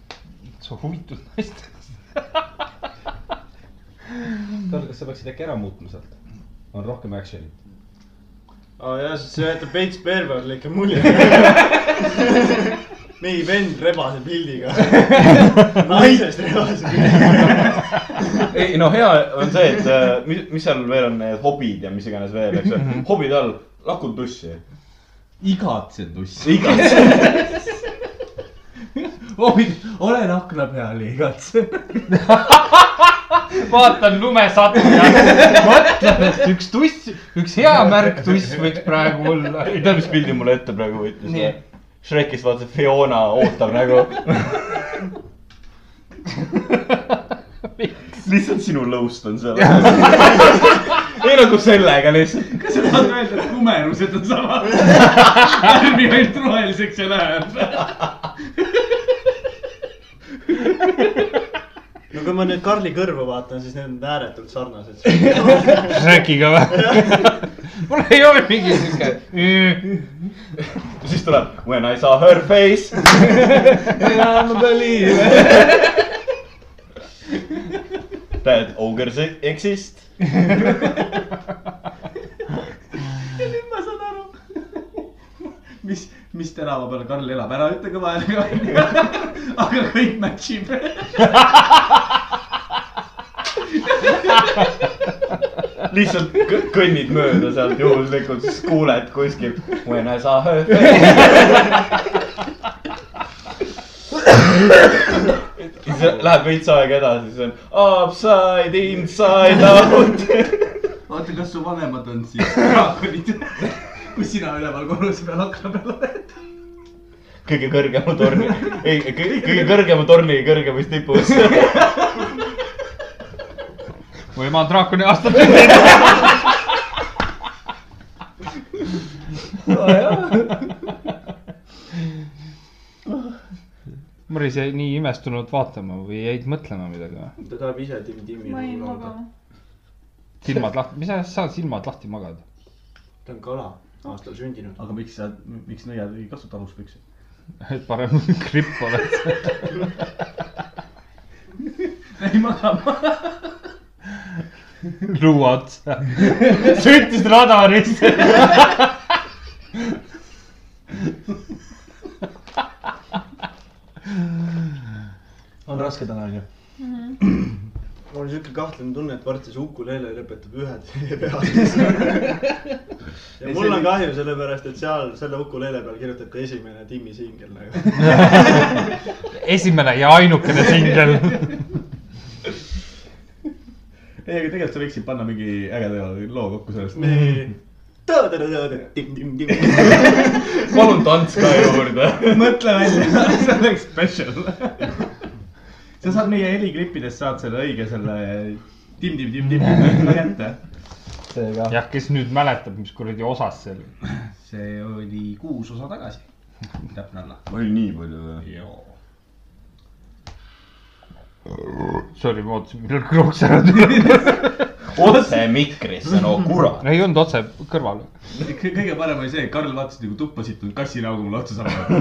Speaker 3: sa huvitud naistest .
Speaker 4: Karl , kas sa peaksid äkki ära muutma sealt ? on rohkem action'it .
Speaker 1: aa jaa , sest see jätab veits perversele ikka mulje . mingi vend rebase pildiga . naisest rebase pildiga .
Speaker 2: ei no hea on see , et äh, mis , mis seal veel on need hobid ja mis iganes veel , eks
Speaker 5: Mhm.
Speaker 2: ju . hobid all , lakun tussi .
Speaker 5: igatsen tussi .
Speaker 2: igas ,
Speaker 5: oi , olen akna peal ja igatsen .
Speaker 3: vaatan lumesadu ja mõtlen , et üks tuss , üks hea märk tuss võiks praegu olla .
Speaker 2: ei tea , mis pildi mulle ette praegu
Speaker 3: Nii.
Speaker 2: võttis . Shrekis vaata , Fiona ootab nagu lihtsalt sinu lõust on seal . ei nagu sellega lihtsalt .
Speaker 5: kas sa tahad öelda , et kumerused on sama ? värvi ainult roheliseks ja läheb .
Speaker 1: no kui ma nüüd Karli kõrva vaatan , siis need on ääretult sarnased .
Speaker 3: Shrekiga või ? mul ei ole mingi siuke .
Speaker 2: siis tuleb When I saw her face . That ogres e- exist .
Speaker 5: nüüd ma saan aru , mis , mis tänava peal Karl elab , ära ütle kõva häälega . aga kõik match ib .
Speaker 2: lihtsalt kõ- kõnnid mööda sealt juhuslikult , siis kuuled kuskil When I saw her face . siis läheb veits aega edasi , siis on upside , inside out .
Speaker 5: oota , kas su vanemad on siis draakonid ? kui sina üleval korruse peal akna peal oled .
Speaker 2: kõige kõrgema torni , ei , kõige kõrgema torni kõrgemas tipus .
Speaker 3: või ma olen draakoni aastatünnil . Maris jäi nii imestunult vaatama või jäid mõtlema midagi või ?
Speaker 1: ta tahab ise nagu Tim-Timi
Speaker 6: ma jäin . magama .
Speaker 3: silmad lahti , mis sa saad silmad lahti magada ?
Speaker 1: ta on kala , aastal sündinud .
Speaker 5: aga miks sa , miks nõiad ei kasuta aluspükse ?
Speaker 3: et parem gripp oleks .
Speaker 5: ei magama .
Speaker 3: luu otsa .
Speaker 2: süttis radarisse .
Speaker 4: on raske täna onju .
Speaker 6: Mhm.
Speaker 1: mul on siuke kahtlane tunne , et varsti see ukulele lõpetab ühe tee peale . ja mul on kahju , sellepärast et seal selle ukulele peal kirjutab ka esimene Timmi singel nagu .
Speaker 3: esimene ja ainukene singel .
Speaker 5: ei , aga tegelikult sa võiksid panna mingi ägeda loo kokku sellest .
Speaker 1: Tim-Tim-Tim .
Speaker 2: palun tants ka juurde .
Speaker 5: mõtle välja , see oleks special . sa saad meie heliklippidest saad selle õige selle tim-tim-tim-tim kätte .
Speaker 4: seega .
Speaker 3: jah , kes nüüd mäletab , mis kuradi osas see oli ?
Speaker 5: see oli kuus osa tagasi . täpne alla .
Speaker 2: oli nii palju või ?
Speaker 3: Sorry , ma ootasin , millal krooks ära tuleb .
Speaker 2: otse mikrisse , no kurat .
Speaker 3: ei olnud otse kõrval .
Speaker 5: kõige parem oli see , et Karl vaatas nagu tuppa situnud kassi näoga mulle otsa saama .
Speaker 3: ma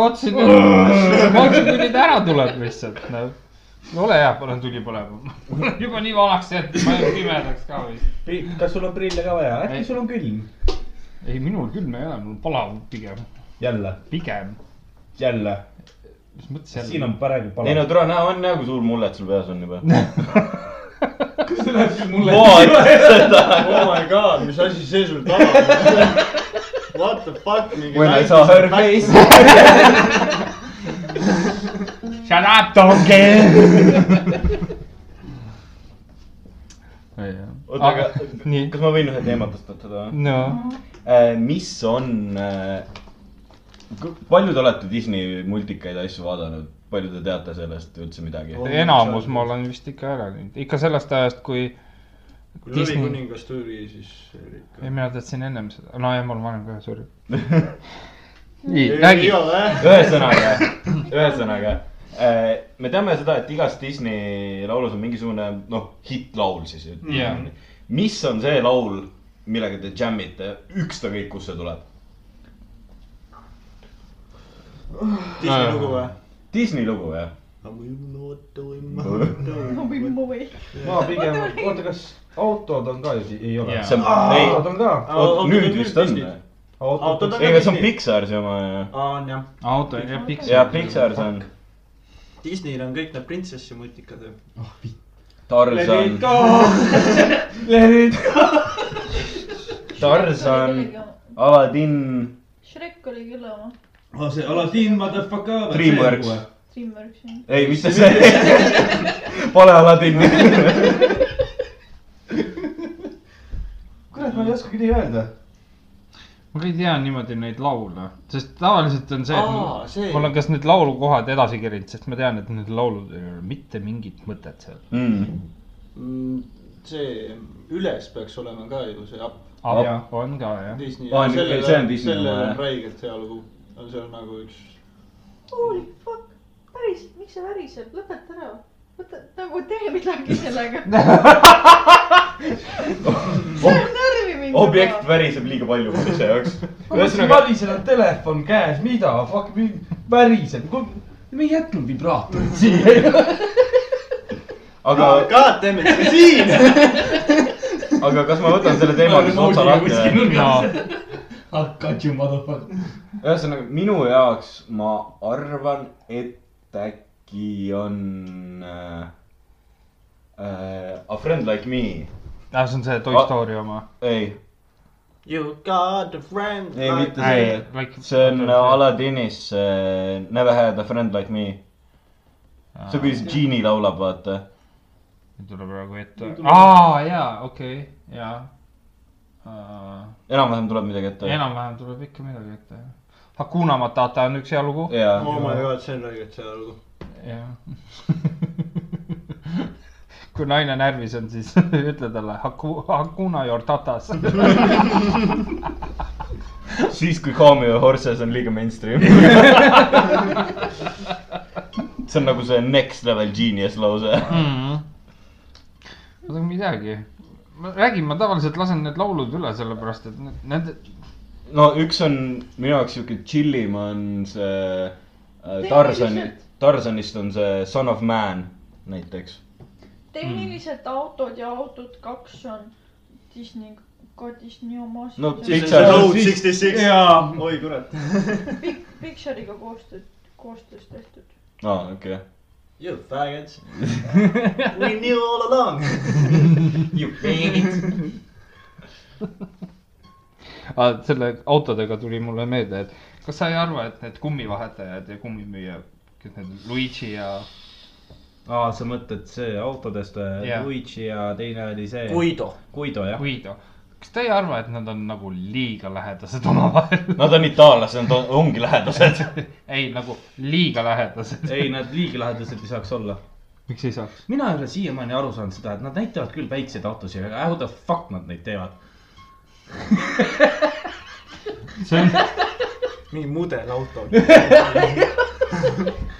Speaker 3: ootasin , ma ootasin , kui nüüd ära tuleb lihtsalt , noh . ole hea , panen tuli põlema . juba nii vanaks jäänud , ma jään pimedaks ka vist .
Speaker 4: kas sul on prille ka vaja , äkki
Speaker 3: Ei.
Speaker 4: sul on külm ?
Speaker 3: ei , minul külm ei ole , mul palav pigem ,
Speaker 4: jälle ,
Speaker 3: pigem .
Speaker 4: jälle ,
Speaker 3: mis mõttes
Speaker 4: siin
Speaker 3: jälle ?
Speaker 4: on praegu
Speaker 2: ei no
Speaker 4: palav .
Speaker 2: tule , näe , on näha , kui suur mullet sul peas on juba .
Speaker 5: see läheb küll mulle .
Speaker 2: vaata seda .
Speaker 1: Oh my god , mis asi see sul taga on ? What the fuck , mingi .
Speaker 2: When I saw her face .
Speaker 3: Shut up , donkey .
Speaker 2: oota , aga
Speaker 3: nii ,
Speaker 2: kas ma võin ühe teema tõstatada või ?
Speaker 3: no
Speaker 2: mis on äh, , palju te olete Disney multikaid asju vaadanud , palju te teate sellest üldse midagi
Speaker 1: Oh. ?
Speaker 3: enamus ma olen vist ikka ära läinud , ikka sellest ajast , kui ,
Speaker 1: kui Lõvi
Speaker 3: Disney-
Speaker 1: kuningas tuli , siis oli
Speaker 3: ei
Speaker 1: ikka .
Speaker 3: mina tahtsin ennem seda , no ja ma olen vanem ka , sorry . nii , räägi
Speaker 1: ei . ole jah .
Speaker 2: ühesõnaga , ühesõnaga äh, , me teame seda , et igas Disney laulus on mingisugune noh , hittlaul siis ütleme
Speaker 3: Jaa.
Speaker 2: nii. mis on see laul , millega te džämmite , ükskõik kust see tuleb ? Ah.
Speaker 1: Disney lugu või ?
Speaker 2: Disney lugu jah ?
Speaker 6: ma võin , ma võin .
Speaker 4: ma pigem , oota , kas autod on ka ju si- , ei ole
Speaker 3: Jaa. ?
Speaker 2: see on , ei ,
Speaker 4: autod on ka .
Speaker 1: Autod on
Speaker 2: nüüd
Speaker 1: nüüd
Speaker 2: vist on .
Speaker 1: Disney.
Speaker 2: ei ,
Speaker 1: Autod
Speaker 4: autod
Speaker 1: on-
Speaker 4: on .
Speaker 2: aga see on Pixar'i oma ju .
Speaker 1: on jah .
Speaker 3: auto ja Pixar .
Speaker 2: ja Pixar see on .
Speaker 1: Disneyl on kõik need printsessi mutikad ju .
Speaker 2: Tarzan , Tarzan , Aladdin ,
Speaker 6: Shrek oli küll oma ,
Speaker 5: see Aladdin , motherfucker .
Speaker 2: Dreamworks. .
Speaker 6: Dreamworks jah .
Speaker 2: ei , mitte see , pole Aladdin .
Speaker 4: kurat , ma ei oskagi nii öelda .
Speaker 3: ma ka ei tea niimoodi neid laule , sest tavaliselt on see , et
Speaker 1: Aa, see.
Speaker 3: mul- mul on kas need laulukohad edasi kerinud , sest ma tean , et nendel lauludel ei ole mitte mingit mõtet seal .
Speaker 2: Mm.
Speaker 1: Mm, see üles peaks olema ka ju see up .
Speaker 2: Ah,
Speaker 3: on ka jah .
Speaker 1: Disney
Speaker 2: Aa, . nüüd- see on Disney
Speaker 1: sellel
Speaker 2: oma,
Speaker 1: on
Speaker 2: jah.
Speaker 1: räigelt hea lugu . aga see on nagu üks .
Speaker 6: Holy fuck , päris , miks see väriseb , lõpeta ära . võta , nagu tee midagi sellega . see on närvi mind .
Speaker 2: objekt . väriseb liiga palju mu ise jaoks . ühesõnaga ,
Speaker 4: värisel on telefon käes , mida , fuck , väriseb . me ei jätnud vibraatorit siia .
Speaker 2: aga ,
Speaker 1: God damn it , see on siin .
Speaker 2: aga kas ma võtan selle teema siis otsa lahti või ?
Speaker 5: Hakkachi motherfucker .
Speaker 2: ühesõnaga , minu jaoks ma arvan , et äkki on äh, äh, A friend like me .
Speaker 3: aa , see on see Toy
Speaker 2: Ah.
Speaker 3: Story oma .
Speaker 2: ei ,
Speaker 1: You got a friend .
Speaker 2: ei mitte see , see on Aladinis äh, Never had a friend like me . see on , kuidas Genie laulab , vaata .
Speaker 3: ei tule praegu ette . aa , jaa , okei , jaa .
Speaker 2: enam-vähem tuleb midagi ette .
Speaker 3: enam-vähem tuleb ikka midagi ette . Hakuna Matata on üks hea lugu .
Speaker 2: jaa .
Speaker 1: oh my god , see on õigelt see lugu .
Speaker 3: jah . kui naine närvis on , siis ütle talle haku- , hakuna your tatas .
Speaker 2: siis , kui Calm Your Horses on liiga mainstream . see on nagu see next level genius lause .
Speaker 3: oota , midagi . ma räägin , ma tavaliselt lasen need laulud üle , sellepärast et need- need ,
Speaker 2: no üks on minu jaoks sihuke chillim on see äh, Tarzani , Tarzanist on see Son of Man näiteks .
Speaker 6: tehniliselt autod ja autod kaks on Disney , ka Disney omas
Speaker 2: No
Speaker 1: siis
Speaker 2: Pixar-
Speaker 1: on see Road sixty six .
Speaker 5: jaa ,
Speaker 1: oi kurat .
Speaker 6: Pik- , Pixariga koostööd , koostöös tehtud .
Speaker 2: aa , okei .
Speaker 1: You faggots . We knew all along . You faggots .
Speaker 3: Ah, selle autodega tuli mulle meelde , et kas sa ei arva , et need kummivahetajad ja kummimüüjad , kes need Luigi ja
Speaker 4: aa , sa mõtled see autodest
Speaker 3: Jah.
Speaker 4: yeah. , Luigi ja teine oli see .
Speaker 1: Guido .
Speaker 4: Guido jah .
Speaker 3: Guido , kas te ei arva , et nad on nagu liiga lähedased omavahel ?
Speaker 2: Nad on itaallased , nad on- ongi lähedased .
Speaker 3: ei , nagu liiga lähedased .
Speaker 4: ei , nad liiga lähedased ei saaks olla .
Speaker 3: miks ei saaks ?
Speaker 4: mina ei ole siiamaani aru saanud seda , et nad näitavad küll väikseid autosid , aga how the fuck nad neid teevad .
Speaker 3: see on ,
Speaker 1: mingi mudelauto .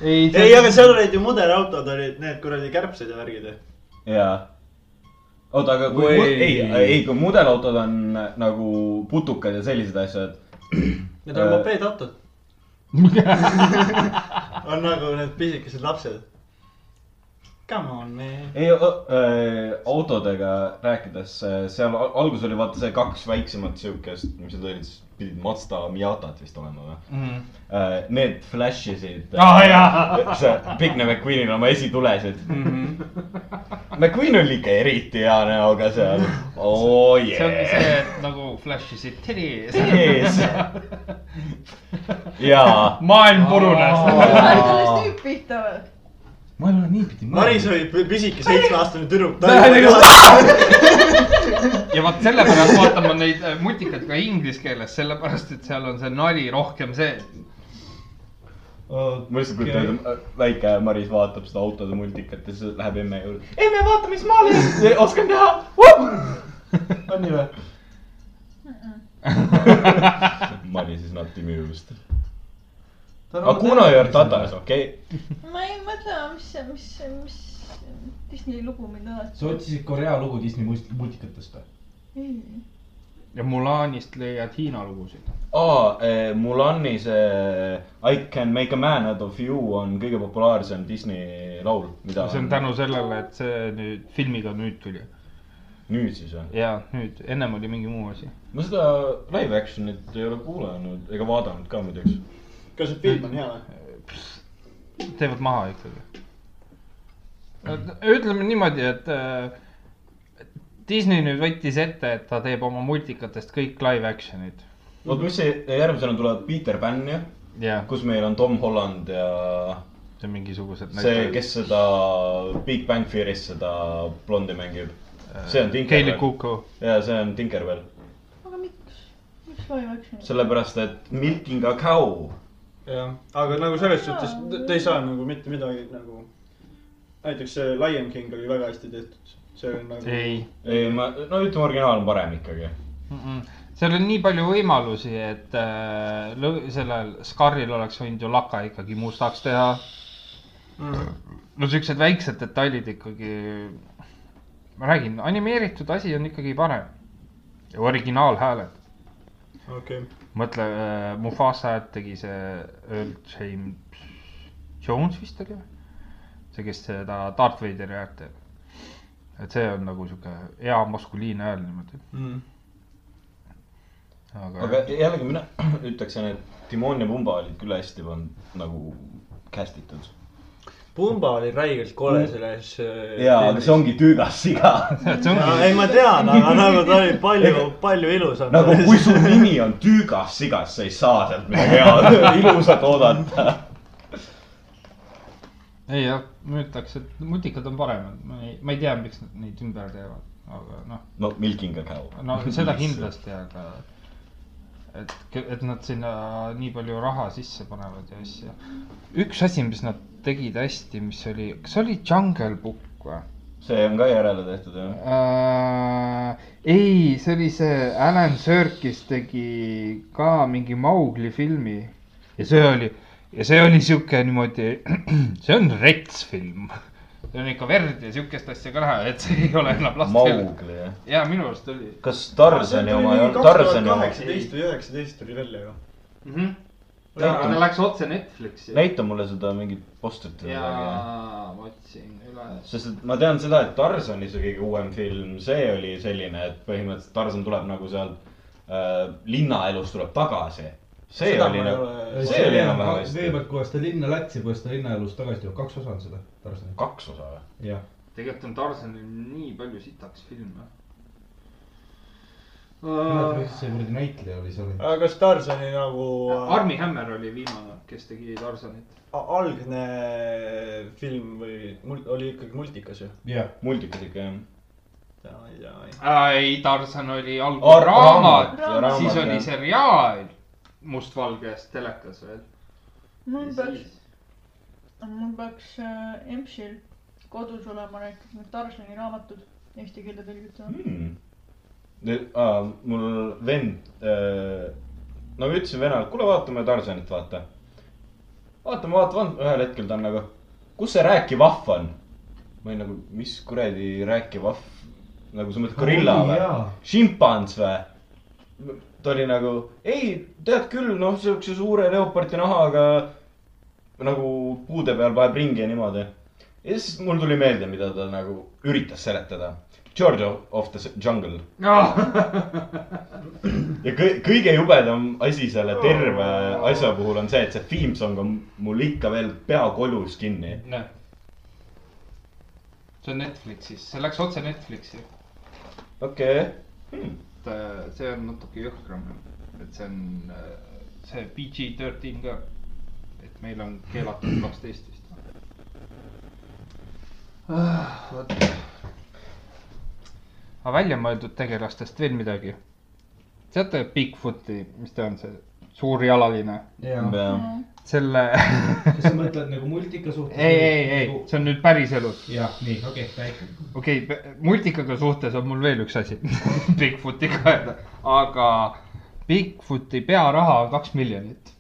Speaker 3: ei ,
Speaker 1: ei , aga seal olid ju mudelautod olid need kuradi kärbsed ja värgid .
Speaker 2: jaa . oota , aga kui ,
Speaker 4: Oi.
Speaker 2: ei , ei , kui mudelautod on nagu putukad ja sellised asjad .
Speaker 1: Need on
Speaker 2: Äh.
Speaker 1: mopeedautod . on nagu need pisikesed lapsed . Come on , man .
Speaker 2: ei , autodega rääkides , seal al- alguses oli vaata see kaks väiksemat siukest , mis need olid , siis pidid Mazda Miatat vist olema või ?
Speaker 3: mm. .
Speaker 2: Äh, Need flash isid
Speaker 3: Ah, jaa. .
Speaker 2: see Pigne McQueenil oma esitulesid mm . -hmm. McQueen oli ikka eriti hea näoga seal . Oh, oo
Speaker 3: see ongi
Speaker 2: jee .
Speaker 3: see , et nagu Flash is it titties .
Speaker 2: ees . jaa .
Speaker 3: maailm purunes .
Speaker 6: ärge alles nüüd pihta või ?
Speaker 4: ma ei ole niipidi
Speaker 1: Maris oli pi- pisike seitsmeaastane tüdruk .
Speaker 3: ja vot sellepärast vaatan ma neid äh, mutikaid ka inglise keeles , sellepärast et seal on see nali rohkem sees .
Speaker 2: ma lihtsalt kujutan ette , väike Maris vaatab seda autode multikat ja siis läheb emme juurde .
Speaker 4: emme , vaata , mis ma olen , oskan teha .
Speaker 2: on nii või ? Maris is not amused . Akuna ja Tatas , okei okay. .
Speaker 6: ma ei mõtle , mis , mis , mis Disney lugu mind alati .
Speaker 4: sa otsisid Korea lugu Disney must- multikatest või ?
Speaker 3: ja Mulanist leiad Hiina lugusid .
Speaker 2: aa , Mulani see eh, I can make a man out of you on kõige populaarsem Disney laul , mida .
Speaker 3: see on tänu sellele , et see nüüd filmiga nüüd tuli .
Speaker 2: nüüd siis või ?
Speaker 3: ja nüüd , ennem oli mingi muu asi .
Speaker 2: ma seda live action'it ei ole kuulanud ega vaadanud ka muideks .
Speaker 1: kas see film on hea või ?
Speaker 3: teevad maha ikkagi . ütleme niimoodi , et äh, Disney nüüd võttis ette , et ta teeb oma multikatest kõik live action'id .
Speaker 2: oota , mis see järgmisena tuleb Peter Pan jah ,
Speaker 3: jah ,
Speaker 2: kus meil on Tom Holland ja
Speaker 3: see on mingisugused .
Speaker 2: see , kes seda Big Bang Theory's seda blondi mängib . see on
Speaker 3: Keili
Speaker 2: Tinkerbell .
Speaker 3: Kuku .
Speaker 2: ja see on Tinkerbell ,
Speaker 6: aga miks , miks live action'i ?
Speaker 2: sellepärast et milking a cow
Speaker 1: jah , aga nagu selles suhtes te- te ei saa nagu mitte midagi nagu . näiteks see Lion King oli väga hästi tehtud , see on nagu .
Speaker 3: ei .
Speaker 2: ei , ma , no ütleme , originaal on parem ikkagi .
Speaker 3: seal on nii palju võimalusi , et äh, lõ- sellel Scaril oleks võinud ju laka ikkagi mustaks teha .
Speaker 1: Mm,
Speaker 3: no siuksed väiksed detailid ikkagi . ma räägin , animeeritud asi on ikkagi parem . originaalhääled ,
Speaker 1: okei ,
Speaker 3: mõtle äh, , Mufasa häält tegi see Earl James Jones vist oli või ? see , kes seda Darth Vaderi häält teeb . et see on nagu sihuke hea maskuliinne hääl niimoodi .
Speaker 1: Mm.
Speaker 2: aga jällegi mina ütleksin , et Timon ja Pumba olid küll hästi pannud nagu cast itud .
Speaker 1: Pumba oli räigelt kole selles .
Speaker 2: jaa , aga see . ongi tüügas siga .
Speaker 3: et see ongi
Speaker 1: ei , ma tean , aga nagu ta oli palju , palju ilusam .
Speaker 2: nagu kui su nimi on tüügas siga , siis sa ei saa sealt midagi head , ilusat oodata .
Speaker 3: ei jah , ma ütleks , et mutikad on paremad , ma ei , ma ei tea , miks nad neid ümber teevad , aga noh ,
Speaker 2: no milking a cow .
Speaker 3: no seda kindlasti , aga et , et nad sinna nii palju raha sisse panevad ja asju . üks asi , mis nad tegid hästi , mis oli , kas see oli Jungle Book või
Speaker 2: see on ka järele tehtud jah .
Speaker 3: äh, ? ei , see oli see Alan Serkis tegi ka mingi Maugli filmi ja see oli , ja see oli sihuke niimoodi , see on rets film . see on ikka verd ja sihukest asja ka näha , et see ei ole enam lastele .
Speaker 2: Maugli jah .
Speaker 3: ja minu arust oli
Speaker 2: kas Tarzani oma ei olnud , Tarzani oma .
Speaker 1: kaheksateist või üheksateist tuli välja ju .
Speaker 3: mm . -hmm.
Speaker 2: Näita-
Speaker 3: ta läks otse Netflixi .
Speaker 2: näita mulle seda mingit postrit või
Speaker 3: ja
Speaker 2: midagi .
Speaker 3: ma otsin üles .
Speaker 2: sest et ma tean seda , et Tarzani see kõige uuem film , see oli selline , et põhimõtteliselt Tarzan tuleb nagu sealt äh, linnaelust tuleb tagasi . see
Speaker 1: Seda
Speaker 2: oli
Speaker 1: ma ei
Speaker 2: nagu
Speaker 1: ole- ,
Speaker 2: see oli enam-vähem hästi
Speaker 7: kõigepealt , kuidas ta linna lätsi , kuidas ta linnaelust tagasi tuleb , kaks osa on seda Tarzanit .
Speaker 2: kaks osa või ?
Speaker 7: jah ,
Speaker 3: tegelikult on Tarzanil nii palju sitaks filme . Äh,
Speaker 7: mis see kuradi näitleja oli seal ?
Speaker 1: aga kas Tarzani nagu äh,
Speaker 3: Armi Hämmer oli viimane , kes tegi Tarzanit .
Speaker 1: a- algne film või mul- oli ikkagi multikas ju ?
Speaker 7: jah ,
Speaker 2: multikas ikka jah .
Speaker 1: ja , ja , ja .
Speaker 3: ei , Tarzan oli algul
Speaker 2: Ar-
Speaker 3: raamat,
Speaker 6: raamat,
Speaker 3: raamat , siis oli
Speaker 2: jah.
Speaker 3: seriaal mustvalges telekas veel .
Speaker 6: mul peaks , mul peaks äh, EMS-il kodus olema näiteks need Tarzani raamatud eesti keelde tõlgitud .
Speaker 2: hmm. . Ah, mul vend äh, , nagu ütlesin vennale , kuule , vaatame Tarzanit , vaata . vaatame , vaatame , ühel hetkel ta on nagu , kus see rääkiv ahv on ? ma olin nagu , mis kuradi rääkiv ahv , nagu sa mõtled gorilla
Speaker 7: Oi,
Speaker 2: või
Speaker 7: jaa. ,
Speaker 2: šimpans või ? ta oli nagu , ei , tead küll , noh , siukse suure leopardi nahaga nagu puude peal vaheb ringi ja niimoodi . ja siis mul tuli meelde , mida ta nagu üritas seletada . George of- of the jungle
Speaker 3: Noh.
Speaker 2: ja kõi- kõige jubedam asi selle terve asja puhul on see , et see theme song on mul ikka veel pea kolus kinni .
Speaker 3: noh . see on Netflixis , see läks otse Netflixi ,
Speaker 2: okei okay. hmm. .
Speaker 3: et äh, see on natuke jõhkram , et see on äh, see PG thirteen ka . et meil on keelatud kaksteist vist . Ah, vot . aga väljamõeldud tegelastest veel midagi ? teate Bigfooti , mis ta on , see suur jalaline ,
Speaker 7: jah .
Speaker 3: selle
Speaker 7: kas sa mõtled nagu multika suhtes ?
Speaker 3: ei , ei , ei , see on nüüd päriselus .
Speaker 7: jah , nii , okei okay, , räägi .
Speaker 3: okei okay, , multikaga suhtes on mul veel üks asi Bigfootiga öelda , aga Bigfooti pearaha on kaks miljonit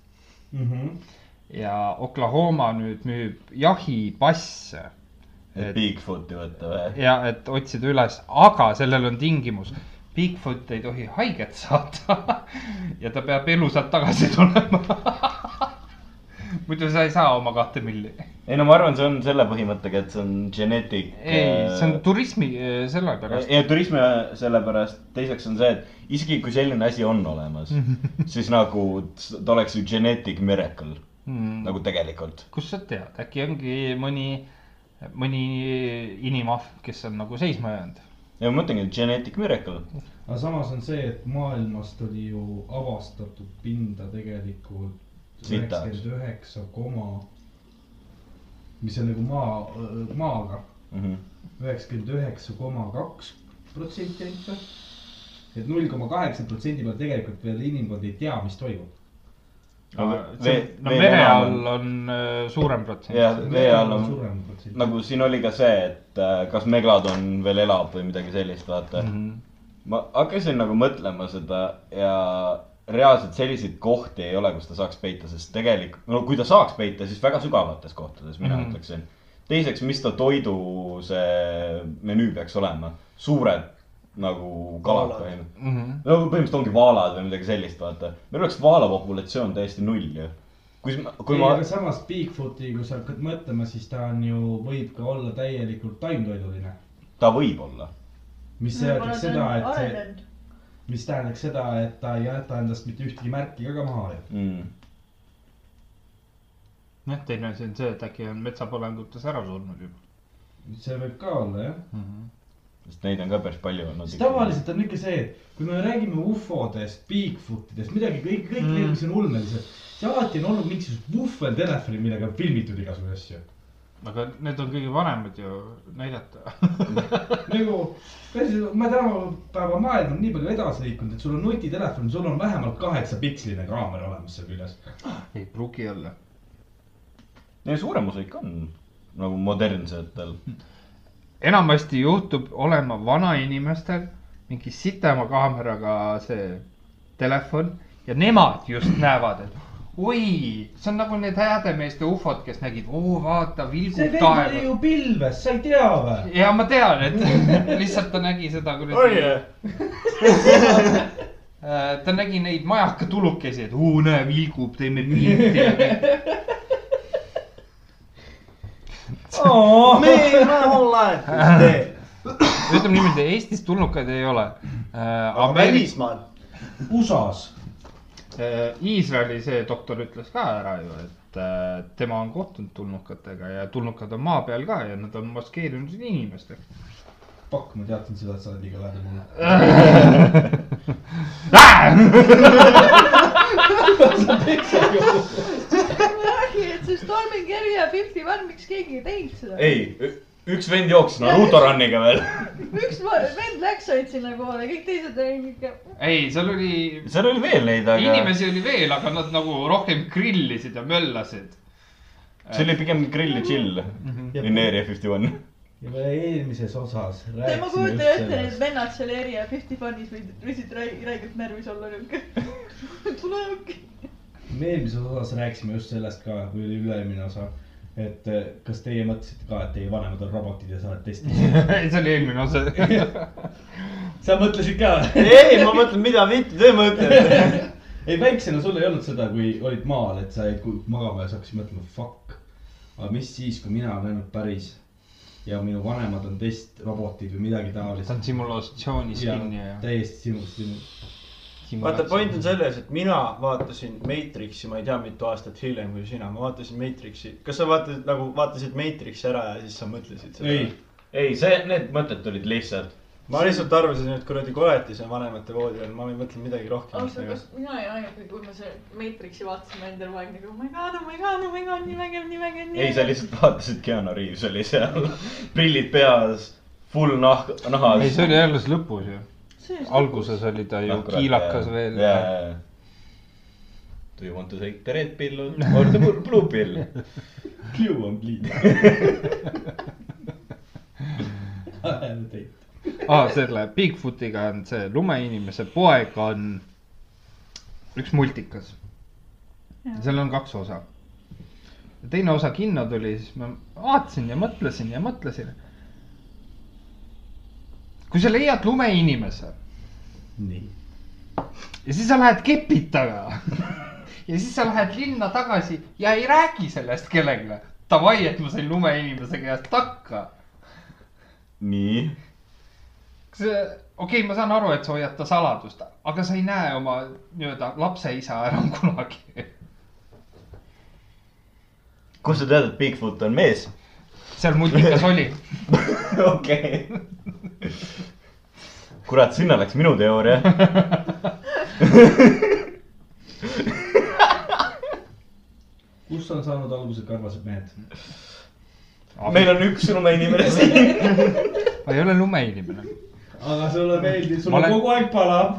Speaker 3: ja Oklahoma nüüd müüb jahipasse
Speaker 2: et Bigfooti võtta või ?
Speaker 3: ja et otsida üles , aga sellel on tingimus . Bigfoot ei tohi haiget saada ja ta peab elusalt tagasi tulema . muidu sa ei saa oma kahte milli .
Speaker 2: ei no ma arvan , see on selle põhimõttega , et see on genetic .
Speaker 3: ei , see on turismi , selle pärast .
Speaker 2: ja turism sellepärast , teiseks on see , et isegi kui selline asi on olemas , siis nagu s- ta oleks ju genetic miracle
Speaker 3: Hmm.
Speaker 2: nagu tegelikult .
Speaker 3: kust sa tead , äkki ongi mõni , mõni inimahv , kes on nagu seisma jäänud .
Speaker 2: ja ma mõtlengi , et genetic miracle .
Speaker 7: aga samas on see , et maailmast oli ju avastatud pinda tegelikult
Speaker 2: Sitaks.
Speaker 7: üheksakümmend üheksa koma , mis on nagu maa , maaga
Speaker 2: Mm -hmm.
Speaker 7: üheksakümmend üheksa koma kaks protsenti ainult või ? et null koma kaheksa protsendi peal tegelikult veel inimkond ei tea , mis toimub .
Speaker 3: no mere all on äh, suurem
Speaker 2: jah
Speaker 3: protsent .,
Speaker 2: vee all on
Speaker 7: suurem protsent .
Speaker 2: nagu siin oli ka see , et äh, kas Megalodon veel elab või midagi sellist , vaata mm .
Speaker 3: Mhm.
Speaker 2: -hmm. ma hakkasin nagu mõtlema seda ja reaalselt selliseid kohti ei ole , kus ta saaks peita , sest tegelikult , no kui ta saaks peita , siis väga sügavates kohtades , mina mm
Speaker 3: Mhm.
Speaker 2: -hmm. ütleksin . teiseks , mis ta toidu see menüü peaks olema , suured nagu kalad
Speaker 1: Vaalad.
Speaker 2: põhimõtteliselt .
Speaker 3: Mhm.
Speaker 2: no põhimõtteliselt ongi vaalad või midagi sellist , vaata . meil oleks vaalapopulatsioon täiesti null ju . kui , kui
Speaker 7: ei ,
Speaker 2: ma
Speaker 7: aga , samas Bigfooti , kui sa hakkad mõtlema , siis ta on ju , võib ka olla täielikult taimtoiduline .
Speaker 2: ta võib olla .
Speaker 7: mis tähendaks seda , et see , mis tähendaks seda , et ta ei jäta endast mitte ühtegi märki ka, ka maha ju .
Speaker 2: Mm.
Speaker 3: noh , teine asi on see , et äkki on metsapõlengutes ära surnud juba
Speaker 7: see võib ka olla jah .
Speaker 3: mm . -hmm.
Speaker 2: sest neid on ka päris palju olnud
Speaker 7: siis . tavaliselt on ikka see , et kui me räägime ufodest , Bigfootidest , midagi kõik , kõik mm. need , mis on ulmelised , siis alati on olnud mingisugused vuhvel telefoni , millega on filmitud igasuguseid asju .
Speaker 3: aga need on kõige vanemad ju näidata .
Speaker 7: nagu , me tänapäeva maailm on nii palju edasi liikunud , et sul on nutitelefon , sul on vähemalt kaheksa piksline kaamera olemas seal küljes .
Speaker 3: ei pruugi olla .
Speaker 2: ja suurem osa ikka on nagu modernsetel .
Speaker 3: enamasti juhtub olema vanainimestel mingi sitema kaameraga see telefon ja nemad just näevad , et oi , see on nagu need häädemeeste ufod , kes nägid , oo vaata
Speaker 4: see
Speaker 3: vilgub
Speaker 4: vend oli
Speaker 3: taevas .
Speaker 4: ju pilves , sa ei tea või ?
Speaker 3: ja ma tean , et lihtsalt ta nägi seda
Speaker 4: Oh,
Speaker 1: oi
Speaker 3: kuradi ,. Äh, ta nägi neid majakatulukesi , et oo näe vilgub , teeme pilti ja kõik .
Speaker 1: me ei ole online .
Speaker 3: ütleme niimoodi , Eestist tulnukaid ei ole . Äh,
Speaker 1: aga
Speaker 3: Ameerikas ,
Speaker 1: välismaal ?
Speaker 4: USA-s .
Speaker 3: Äh, Iisraeli see doktor ütles ka ära ju , et äh, tema on kohtunud tulnukatega ja tulnukad on maa peal ka ja nad on maskeerinud inimesteks .
Speaker 7: pakk , ma teadsin seda , et sa oled liiga lähedal mulle .
Speaker 6: räägi , et see Stormy Kerri ja Fifty One , miks keegi ei teinud seda ?
Speaker 2: ei , üks vend jooksis Naruto run'iga veel .
Speaker 6: üks va- vend läks , olid sinna kohale , kõik teised olid ikka .
Speaker 3: ei , seal oli ,
Speaker 2: seal oli veel neid , aga
Speaker 3: inimesi oli veel , aga nad nagu rohkem grillisid ja möllasid .
Speaker 2: see oli pigem grill ja chill .
Speaker 3: Mhm.
Speaker 2: In Area Fifty One .
Speaker 4: juba eelmises osas
Speaker 6: ma
Speaker 4: rääkisime
Speaker 6: kujutan
Speaker 4: just
Speaker 6: ette , need
Speaker 4: sellest .
Speaker 6: vennad seal Eri ja Fifty One'is võid , võisid rai- , räigelt närvis olla niuke . tule õhk .
Speaker 4: me eelmises osas rääkisime just sellest ka , kui oli üle-eelmine osa . et eh, kas teie mõtlesite ka , et teie vanemad on robotid ja sa oled testis ?
Speaker 3: see oli eelmine osa .
Speaker 4: sa mõtlesid ka ?
Speaker 1: ei , ma mõtlen , mida vitt te mõtlete .
Speaker 4: ei , väiksena sul ei olnud seda , kui olid maal , et sa jäid ku- magama ja sa hakkasid mõtlema , fuck . aga mis siis , kui mina olen ainult päris ja minu vanemad on testrobotid või midagi
Speaker 3: ta on
Speaker 4: taolist .
Speaker 3: simulatsioonis
Speaker 4: ja
Speaker 3: kinni ja .
Speaker 4: täiesti sinust , sinust .
Speaker 1: vaata , point on selles , et mina vaatasin Matrixi , ma ei tea , mitu aastat hiljem kui sina , ma vaatasin Matrixi . kas sa vaatasid nagu , vaatasid Matrixi ära ja siis sa mõtlesid
Speaker 4: ei
Speaker 1: seda ?,
Speaker 2: ei , see , need mõtted tulid lihtsalt .
Speaker 1: ma lihtsalt arvasin , et kuradi koletis on vanemate voodi all , ma ei mõtle midagi
Speaker 6: ausalt , kas
Speaker 1: rohkemat .
Speaker 6: mina olin ainuke , kui me selle Matrixi vaatasime endal vaid nagu oh my god , oh my god , oh my god , nii vägev , nii vägev , nii
Speaker 2: ei , sa lihtsalt vaatasid , Keanu Reaves oli seal , prillid peas , full nahk , nahas .
Speaker 3: ei , see oli alles lõpus ju .
Speaker 6: See-
Speaker 3: alguses oli ta ju kiilakas veel .
Speaker 2: yeah. . Do you want to take the red pill or the blue- blue pill ?
Speaker 4: Blue on bleed .
Speaker 3: ah, . selle Bigfootiga on see lumeinimese poeg on üks multikas . seal on kaks osa . teine osa kinno tuli , siis ma vaatasin ja mõtlesin ja mõtlesin . kui sa leiad lumeinimese
Speaker 4: nii .
Speaker 3: ja siis sa lähed kepid taga ja siis sa lähed linna tagasi ja ei räägi sellest kellelegi . Davai , et ma sain lumeinimese käest takka
Speaker 2: nii .
Speaker 3: kas , okei okay, , ma saan aru , et sa hoiad ta saladust , aga sa ei näe oma nii-öelda lapse isa enam kunagi .
Speaker 2: kust sa tead , et Bigfoot on mees ?
Speaker 3: seal multikas oli .
Speaker 2: okei . kurat , sinna läks minu teooria .
Speaker 4: kust on saanud alguse karvased mehed ?
Speaker 2: meil on üks lumeinimene siin .
Speaker 3: ma ei ole lumeinimene .
Speaker 4: aga sulle meeldib , sul
Speaker 3: Ma
Speaker 4: on
Speaker 3: olen-
Speaker 4: kogu aeg palav ,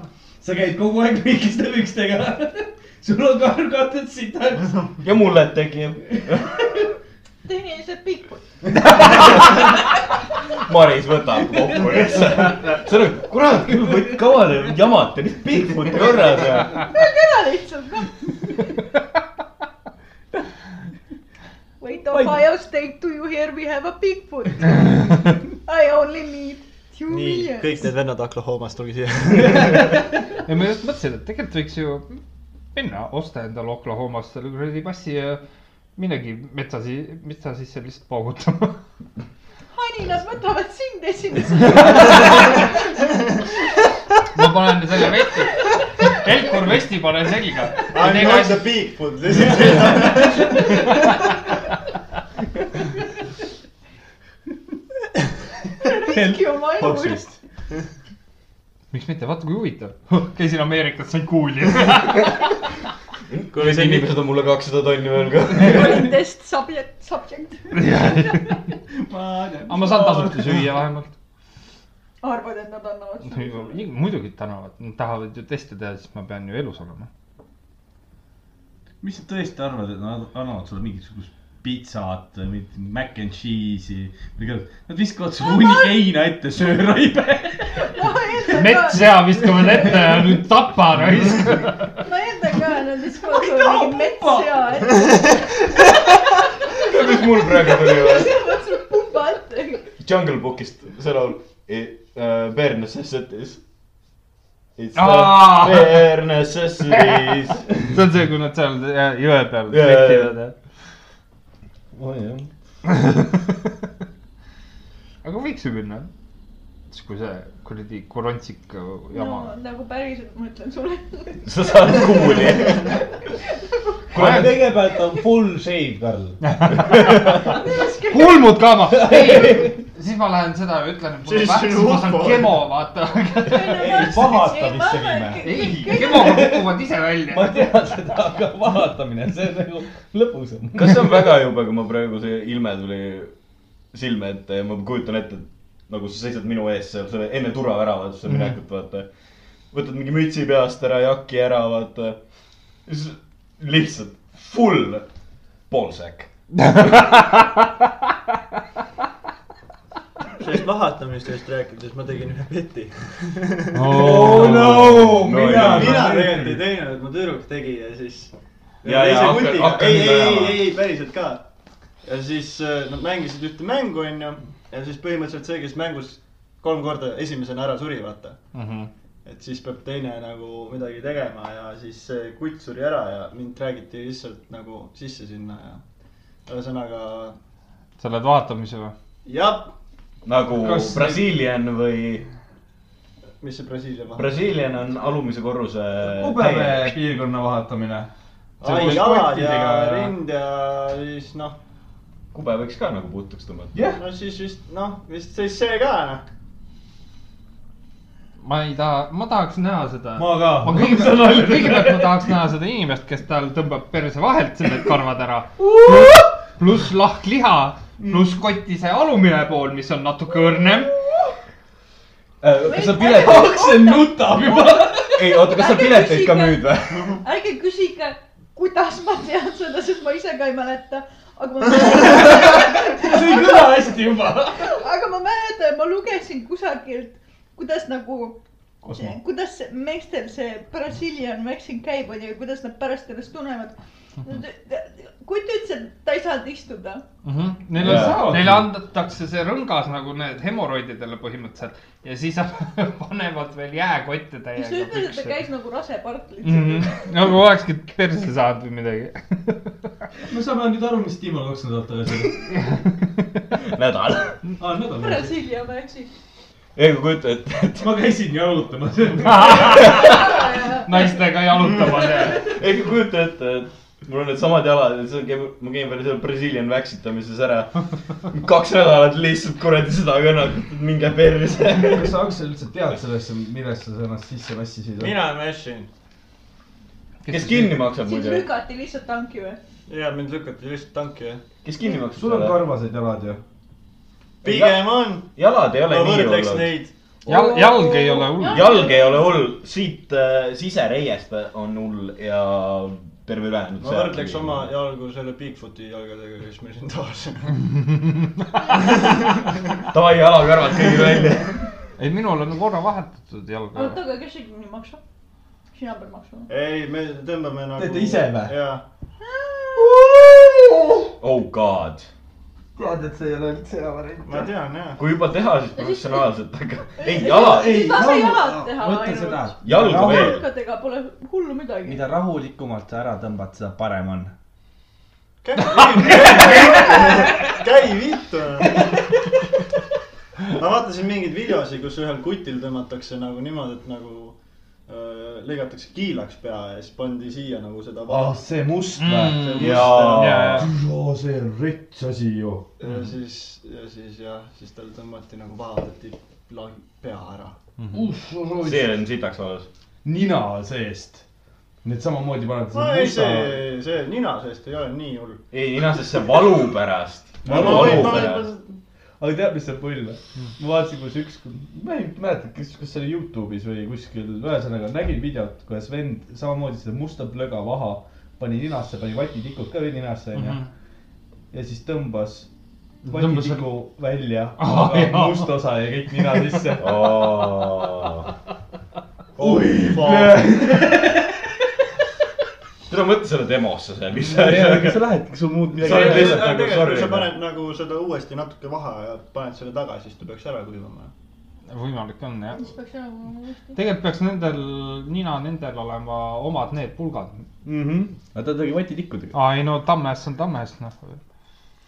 Speaker 4: sa käid kogu aeg mingite pükstega . sul on karv katet sitaks .
Speaker 2: ja mullet tegi .
Speaker 6: tehniliselt Bigfoot .
Speaker 2: Maris võtab kokku lihtsalt . see on , kurat küll , võid kaua te jamate , mis Bigfooti korras ja .
Speaker 6: Öelge ära lihtsalt , noh . Wait , oh, Ohio State , do you hear me have a Bigfoot ? I only need two
Speaker 1: nii , kõik
Speaker 6: millions .
Speaker 1: need vennad Oklahomast , tulge siia .
Speaker 3: ja ma just mõtlesin , et tegelikult võiks ju minna , osta endale Oklahomast selle kuradi passi ja minnagi metsa , metsa sisse lihtsalt paugutama .
Speaker 6: Honey , nad võtavad sind esimesena .
Speaker 3: ma panen selle vesti , Helkur vesti panen selga .
Speaker 1: I am the Bigfoot , lihtsalt .
Speaker 6: riski oma elu eest .
Speaker 3: miks mitte , vaata kui huvitav . käisin Ameerikas , sain kuulda .
Speaker 2: need inimesed on mulle kakssada tonni veel ka .
Speaker 6: Test subject , subject .
Speaker 5: aga
Speaker 3: aga ma saan tasuta süüa vähemalt .
Speaker 6: arvad , et nad annavad sulle ?
Speaker 3: muidugi tänavad , nad tahavad ju teste teha , siis ma pean ju elus olema .
Speaker 5: mis sa tõesti arvad , et nad annavad sulle mingisugust pitsat või mingit mac and cheese'i või kõik , nad viskavad sulle hunnikeina ette , söö raibe .
Speaker 3: metssea viskame ette ja nüüd tapa raisk .
Speaker 6: ma eeldan ka , et nad viskavad sulle mingi metssea ette ,
Speaker 2: mis mul praegu tuli veel ?
Speaker 6: viskavad sulle pumba ette .
Speaker 2: Jungle Bookist see laul . Bare necessities . It's not
Speaker 3: Aa!
Speaker 2: bare necessities .
Speaker 3: see on see , kui nad seal jõe peal
Speaker 2: Jaa,
Speaker 3: lehtivad
Speaker 2: jaa.
Speaker 3: ja .
Speaker 4: oi Oh, jah .
Speaker 3: aga võiks ju minna . siis kui see kuradi korontsik jama
Speaker 6: no . nagu päriselt ma ütlen sulle .
Speaker 2: sa saad kuuli .
Speaker 4: kuule , kõigepealt on full shave , Karl .
Speaker 3: kulmud ka ma , ei , siis ma lähen seda ja ütlen , et mul on
Speaker 1: Siis
Speaker 3: vähk ,
Speaker 1: on
Speaker 3: siis ma saan
Speaker 1: ufo.
Speaker 3: kemo , vaata .
Speaker 4: pahatamisse viime.
Speaker 3: ei , kemoga kukuvad ise
Speaker 4: ma
Speaker 3: välja .
Speaker 4: tean seda , aga vahatamine , see on nagu lõbusam .
Speaker 2: kas see on väga jube , kui ma praegu see ilme tuli silme ette ja ma kujutan ette , et nagu sa seisad minu ees seal selle enne Tura väravasse
Speaker 7: Mhm.
Speaker 2: mm -hmm. minekut , vaata . võtad mingi mütsi peast ära , jaki ära , vaata . siis lihtsalt full poolsäkk .
Speaker 1: sellest vahatamistest rääkides ma tegin ühe peti .
Speaker 4: oh no,
Speaker 2: No
Speaker 4: mina
Speaker 2: ei,
Speaker 1: mina tegelikult ei teinud , et mu tüdruk tegi ja siis .
Speaker 2: Ja- ja hakka- hakka
Speaker 1: ei , ei ,
Speaker 2: nüüd
Speaker 1: ei
Speaker 2: ajama. ,
Speaker 1: ei , päriselt ka . ja siis äh, nad mängisid ühte mängu , onju . ja siis põhimõtteliselt see , kes mängus kolm korda esimesena ära suri , vaata .
Speaker 3: Mhm.
Speaker 1: et siis peab teine nagu midagi tegema ja siis see kutt suri ära ja mind räägiti lihtsalt nagu sisse sinna ja . ühesõnaga ,
Speaker 3: sa oled vaatamise või ?
Speaker 1: jah ,
Speaker 2: nagu
Speaker 7: Kas-
Speaker 2: Brasiilian või ,
Speaker 1: mis see Brasiilia vahe .
Speaker 2: Brasiilian on alumise korruse .
Speaker 7: kubeme piirkonna vahetamine .
Speaker 1: ai , jalad ja rind ja siis noh
Speaker 2: kube võiks ka nagu puhtaks tõmmata .
Speaker 7: jah ,
Speaker 1: no siis vist noh , vist siis see ka noh .
Speaker 3: ma ei taha , ma tahaks näha seda .
Speaker 4: ma ka .
Speaker 3: ma kõigepealt , kõigepealt ma tahaks näha seda inimest , kes tal tõmbab perse vahelt selle karvad ära . pluss lahkliha , pluss koti see alumine pool , mis on natuke õrnem .
Speaker 7: Äh,
Speaker 2: kas sa pileteid ,
Speaker 4: see nutab juba .
Speaker 2: ei oota , kas sa pileteid ka müüd või ?
Speaker 6: ärge küsige , kuidas ma tean seda , sest ma ise ka ei mäleta , aga ma mäletan ,
Speaker 4: see ei kõla hästi juba .
Speaker 6: aga ma mäletan , ma lugesin kusagilt , kuidas nagu , kuidas see- meestel see Brasiilian waxing käib , onju , ja kuidas nad pärast ennast tunnevad . kui ta ütles , et ta ei saanud istuda ,
Speaker 3: Neil
Speaker 2: Jaa.
Speaker 3: on , Mhm. neile antakse see rõngas nagu need hemoroididele põhimõtteliselt ja siis panevad veel jääkotte
Speaker 6: siis ta
Speaker 3: täiega
Speaker 6: ütles , et ta
Speaker 3: pükse .
Speaker 6: käis nagu rase part lihtsalt mm .
Speaker 3: Mm
Speaker 6: -hmm.
Speaker 3: -hmm. nagu olekski perse saanud või midagi .
Speaker 7: me saame nüüd aru , mis Timo kaks nädalat tagasi oli .
Speaker 2: nädal .
Speaker 7: aa , nädal tagasi .
Speaker 6: Brasiilia waxing .
Speaker 2: ei , ma kujutan ette , et
Speaker 7: ma käisin jalutamas .
Speaker 3: naistega jalutamas ja .
Speaker 2: ei , ma kujutan ette , et mul on needsamad jalad ja siis käib , ma käin veel seal Brasiilian väksitamises ära . kaks nädalat lihtsalt kuradi seda kõnakut , et minge perse .
Speaker 7: kas sa , Aksel , üldse tead sellesse , millesse sa ennast sisse vassisid ?
Speaker 1: mina mässin
Speaker 2: kes kinni maksab
Speaker 6: siis
Speaker 2: muidu ?
Speaker 6: lükati lihtsalt tanki või ?
Speaker 1: ja mind lükati lihtsalt tanki ja .
Speaker 2: kes kinni maksab
Speaker 7: sul on
Speaker 2: selle ?
Speaker 7: karvased jalad ju .
Speaker 1: pigem on ,
Speaker 2: jalad ei ole
Speaker 1: ma
Speaker 2: nii
Speaker 1: võrdleks
Speaker 2: hullud .
Speaker 1: neid .
Speaker 3: Jal- , jalg ei ole hull .
Speaker 2: jalg ei ole hull , siit äh, sisereiest on hull ja terve ülejäänud .
Speaker 1: ma võrdleks oma . jalgu selle Bigfooti jalgadega , kes meil siin taas on .
Speaker 2: davai , jalakarvad kõigil välja .
Speaker 3: ei , minul on korra vahetatud
Speaker 6: oota ,
Speaker 3: jalga .
Speaker 6: aga kes see kinni maksab ? sina pead maksma .
Speaker 1: ei , me tõmbame nagu .
Speaker 4: Teete ise või?
Speaker 1: jaa .
Speaker 2: oh god ,
Speaker 5: tead , et see ei ole üldse hea variant .
Speaker 1: ma tean jaa .
Speaker 2: kui juba teha , siis professionaalselt , aga ei jalad ,
Speaker 6: Ei, lase jalad teha
Speaker 4: mõtle
Speaker 6: ainult.
Speaker 4: seda ,
Speaker 2: jalgu veel .
Speaker 6: jalgadega pole hullu midagi .
Speaker 4: mida rahulikumalt sa ära tõmbad , seda parem on .
Speaker 1: käi vittu . ma vaatasin mingeid videosid , kus ühel kutil tõmmatakse nagu niimoodi , et nagu öö, lõigatakse kiilaks pea ja siis pandi siia nagu seda
Speaker 7: aa ,
Speaker 1: vahet .
Speaker 7: Ah,
Speaker 2: Ah.
Speaker 7: see must või ?
Speaker 3: Mm.
Speaker 2: jaa .
Speaker 3: ja ,
Speaker 7: oo , see on rets asi ju .
Speaker 2: Mm.
Speaker 1: ja siis , ja siis jah , siis tal tõmmati nagu vahetati la- pea ära .
Speaker 7: ussoroos .
Speaker 2: see on sitaks valus .
Speaker 7: nina seest . Need samamoodi panevad
Speaker 1: no ei ,
Speaker 7: musta ,
Speaker 1: see , see nina seest ei ole nii hull .
Speaker 2: ei , mina , sest see valu pärast .
Speaker 1: ma , ma olin , ma olin ,
Speaker 5: aga tead , mis saab pull või ?
Speaker 3: Hmm.
Speaker 5: ma vaatasin , kus üks , ma ei mäleta , kes , kas see oli Youtube'is või kuskil , ühesõnaga nägin videot , kuidas vend samamoodi seda musta plöga vaha pani ninasse , pani vatitikud ka veel ninasse onju mm . -hmm. ja siis tõmbas
Speaker 3: Mhm. Tõmbas
Speaker 5: vatitiku välja
Speaker 3: Aa,
Speaker 5: aga
Speaker 3: jaa.
Speaker 5: must osa ja kõik nina sisse .
Speaker 1: oi ,
Speaker 2: tule mõtle selle demosse , see , mis sa .
Speaker 5: kas sa lähed , kas sul muud
Speaker 2: Sa oled lihtsalt nagu
Speaker 5: midagi ?
Speaker 1: kui sa
Speaker 2: sorry .
Speaker 1: paned nagu seda uuesti natuke vaha ja paned selle tagasi , siis ta peaks ära kuivama .
Speaker 3: võimalik on jah .
Speaker 6: mis peaks olema ?
Speaker 3: tegelikult peaks nendel , nina nendel olema omad need pulgad .
Speaker 1: Mhm.
Speaker 5: aga ta tegi vatitikkudega .
Speaker 3: aa , ei no Tammes on Tammes , noh .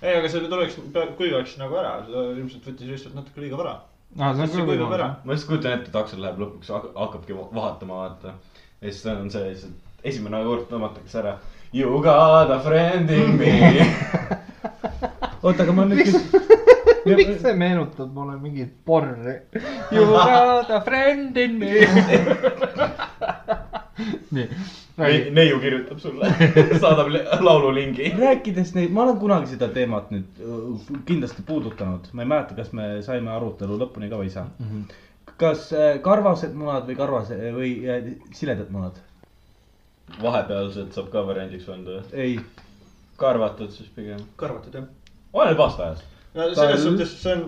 Speaker 1: ei , aga see tuleks , kuivaks nagu ära , seda ilmselt võttis lihtsalt natuke liiga vara .
Speaker 3: aa , see on
Speaker 1: see
Speaker 3: küll
Speaker 1: kuivab ära
Speaker 3: võimalik ..
Speaker 2: ma just kujutan ette , et Aksel läheb lõpuks , hakkabki va- vahatama , vaata . ja siis tal on see lihtsalt esimene kord tõmmatakse ära . You got a friend in me .
Speaker 5: oota , aga ma nüüd küsin .
Speaker 3: miks see meenutab mulle mingit porri ? You got a friend in me . nii , räägi .
Speaker 2: neiu kirjutab sulle , saadab li- laululingi .
Speaker 5: rääkides neid , ma olen kunagi seda teemat nüüd öö, kindlasti puudutanud , ma ei mäleta , kas me saime arutelu lõpuni ka või ei saanud mm . -hmm. kas äh, karvased munad või karvase või äh, siledad munad ?
Speaker 2: vahepealselt saab ka variandiks panna .
Speaker 5: ei ,
Speaker 2: karvatud siis pigem .
Speaker 1: kõrvatud jah .
Speaker 2: oleneb aastaajast .
Speaker 1: selles suhtes see on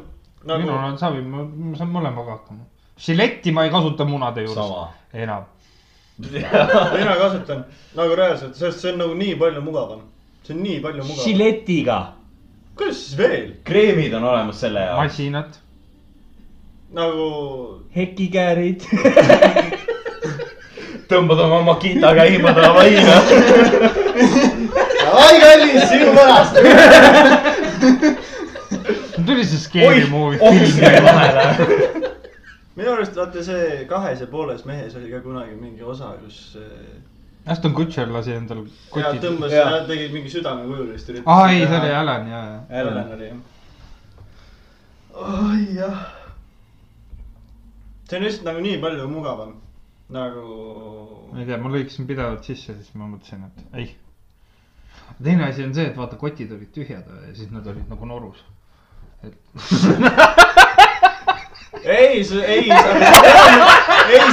Speaker 3: minul
Speaker 1: nagu ,
Speaker 3: on savi , ma ma saan mõlemaga hakkama . žiletti ma ei kasuta munade
Speaker 2: Sama.
Speaker 3: juures enam .
Speaker 1: mina kasutan nagu reaalselt , sest see on nagu nii palju mugavam . see on nii palju mugavam .
Speaker 5: žiletiga .
Speaker 1: kuidas siis veel
Speaker 2: kreemid on olemas selle jaoks .
Speaker 3: masinad ,
Speaker 1: nagu
Speaker 5: hekikäärid .
Speaker 2: tõmbad oma Makita käima taha vaina .
Speaker 1: ai kallis , sinu pärast .
Speaker 3: tuli see Scary
Speaker 2: oih , oks
Speaker 3: Movie .
Speaker 2: jäi vahele .
Speaker 1: minu arust vaata see kahes ja pooles mehes oli ka kunagi mingi osa , kus äh,
Speaker 3: Aston Kutšer lasi endal
Speaker 1: ja
Speaker 3: kotid .
Speaker 1: tõmbas
Speaker 5: Jaa.
Speaker 1: ja tegid mingi südamekujulist .
Speaker 3: aa , ei , see oli Alan , jaa , jaa .
Speaker 1: Ellen oli jah . oi jah . see on lihtsalt nagu nii palju mugavam nagu .
Speaker 3: ma ei tea , ma lõikasin pidevalt sisse , siis ma mõtlesin , et ei . teine asi on see , et vaata , kotid olid tühjad ja siis nad olid nagu norus .
Speaker 1: ei , see , ei , see ei ,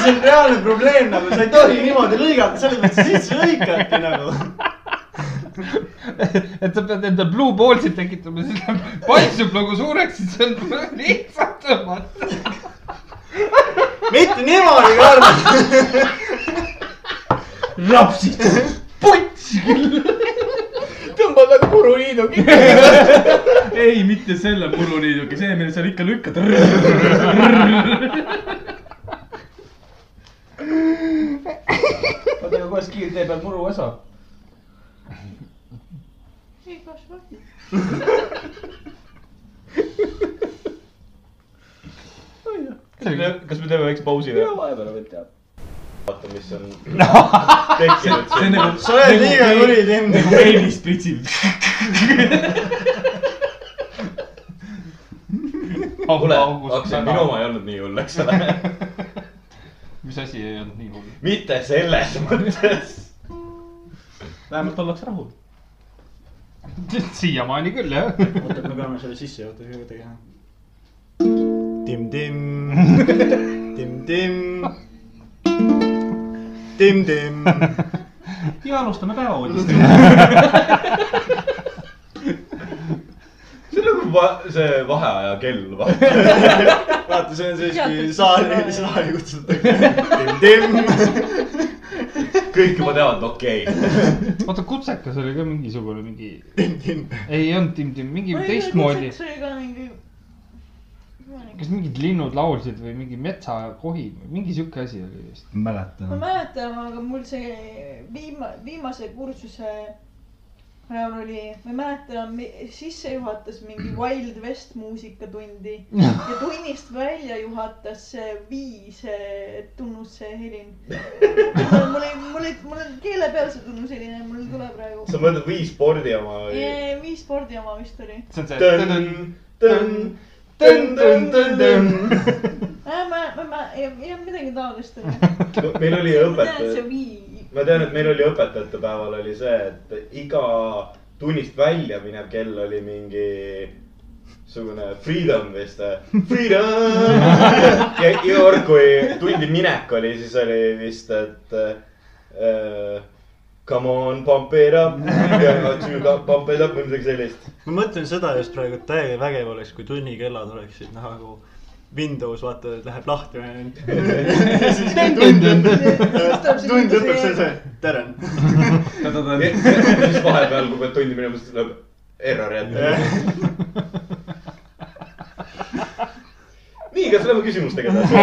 Speaker 1: see on reaalne probleem nagu , sa ei tohi niimoodi lõigata , selles mõttes sisse lõikati nagu .
Speaker 3: et sa pead enda blue balls'i tekitama , siis ta paisub nagu suureks , siis on lihtsalt tõmmata .
Speaker 1: mitte niimoodi , Karl .
Speaker 5: rapsid .
Speaker 2: tõmbad nagu puruliidu kinni .
Speaker 7: ei , mitte selle puruniiduga , see , mille sa ikka lükkad .
Speaker 5: oota , aga kuidas kiirtee peal muru osa ?
Speaker 6: ei kasva .
Speaker 2: kas me teeme väikse pausi või ?
Speaker 5: vahepeal võib teha .
Speaker 2: vaata , mis on tekkinud
Speaker 7: see on
Speaker 2: siin .
Speaker 7: nagu ,
Speaker 1: sa oled liiga kuri teinud .
Speaker 7: nagu peenis pritsib .
Speaker 2: kuule , Aksel , minu . oma ei olnud nii hull , eks ole .
Speaker 3: mis asi ei olnud nii hull ?
Speaker 2: mitte selles mõttes .
Speaker 5: vähemalt ollakse rahul .
Speaker 3: siiamaani küll , jah .
Speaker 1: oota , me peame selle sissejuhatuse ka tegema . Tim-Tim , Tim-Tim , Tim-Tim .
Speaker 5: ja alustame päevauudistega .
Speaker 2: see on nagu va see vaheaja kell , vaata .
Speaker 1: vaata , see on siis , kui
Speaker 6: Teatakse
Speaker 1: saali ,
Speaker 6: seda.
Speaker 1: saali kutsutakse . Tim-Tim .
Speaker 2: kõik juba teavad , okei okay. .
Speaker 3: oota , kutsekas oli ka mingisugune mingi ,
Speaker 1: Tim-Tim .
Speaker 3: ei ei olnud Tim Tim , mingi teistmoodi .
Speaker 6: see oli ka mingi .
Speaker 3: kas mingid linnud laulsid või mingi metsakohin või mingi sihuke asi oli vist .
Speaker 6: ma
Speaker 5: mäletan .
Speaker 6: mäletan , aga mul see viima- , viimase kursuse ajal oli , ma ei mäleta , sisse juhatas mingi Wild West muusikatundi ja tunnist välja juhatas see viis eh, tunnus see helin . mul oli , mul oli , mul on keele peal see tunnus helin , mul ei tule praegu .
Speaker 2: sa mõtled Wii spordi oma või ?
Speaker 6: viis spordi oma vist oli .
Speaker 3: see on
Speaker 2: tõnn , tõnn , tõnn , tõnn , tõnn , tõnn .
Speaker 6: Äh, ma , ma , ma , jah , midagi taolist oli .
Speaker 2: meil oli
Speaker 6: ma tean , et
Speaker 2: õpetaja
Speaker 6: see , vii ,
Speaker 2: ma tean , et meil oli õpetajate päeval oli see , et iga tunnist välja minev kell oli mingi sugune freedom vist , freedom . ja iga kord , kui tundi minek oli , siis oli vist , et äh, come on , pump it up , pump it up või midagi sellist .
Speaker 1: ma mõtlen seda just praegu , et täiega vägev oleks , kui tunnikellad oleksid nagu Windows , vaata , läheb lahti või ainult . tund lõpeb see , see , tere .
Speaker 2: siis vahepeal , kui pead tundi minema , siis tuleb error jätta . nii , kas läheme küsimustega edasi ?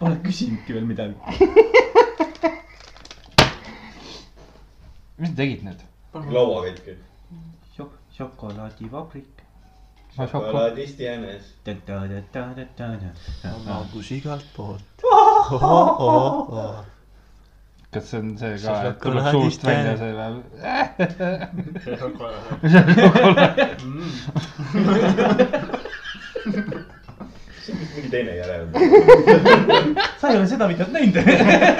Speaker 5: Pole küsinudki veel midagi .
Speaker 3: mis sa tegid nüüd ?
Speaker 2: laua katki .
Speaker 4: šokolaadivabrik .
Speaker 3: ma šokk- ,
Speaker 2: šokolaadist jänes .
Speaker 1: magus igalt poolt .
Speaker 3: kas see on see ka
Speaker 1: Sa ,
Speaker 3: et tuleb suust
Speaker 1: šokolaadist
Speaker 3: välja
Speaker 1: jäänud.
Speaker 3: see või ?
Speaker 2: see on vist mingi teine järelevalve .
Speaker 5: sa ei ole seda videot näinud .
Speaker 3: Eh,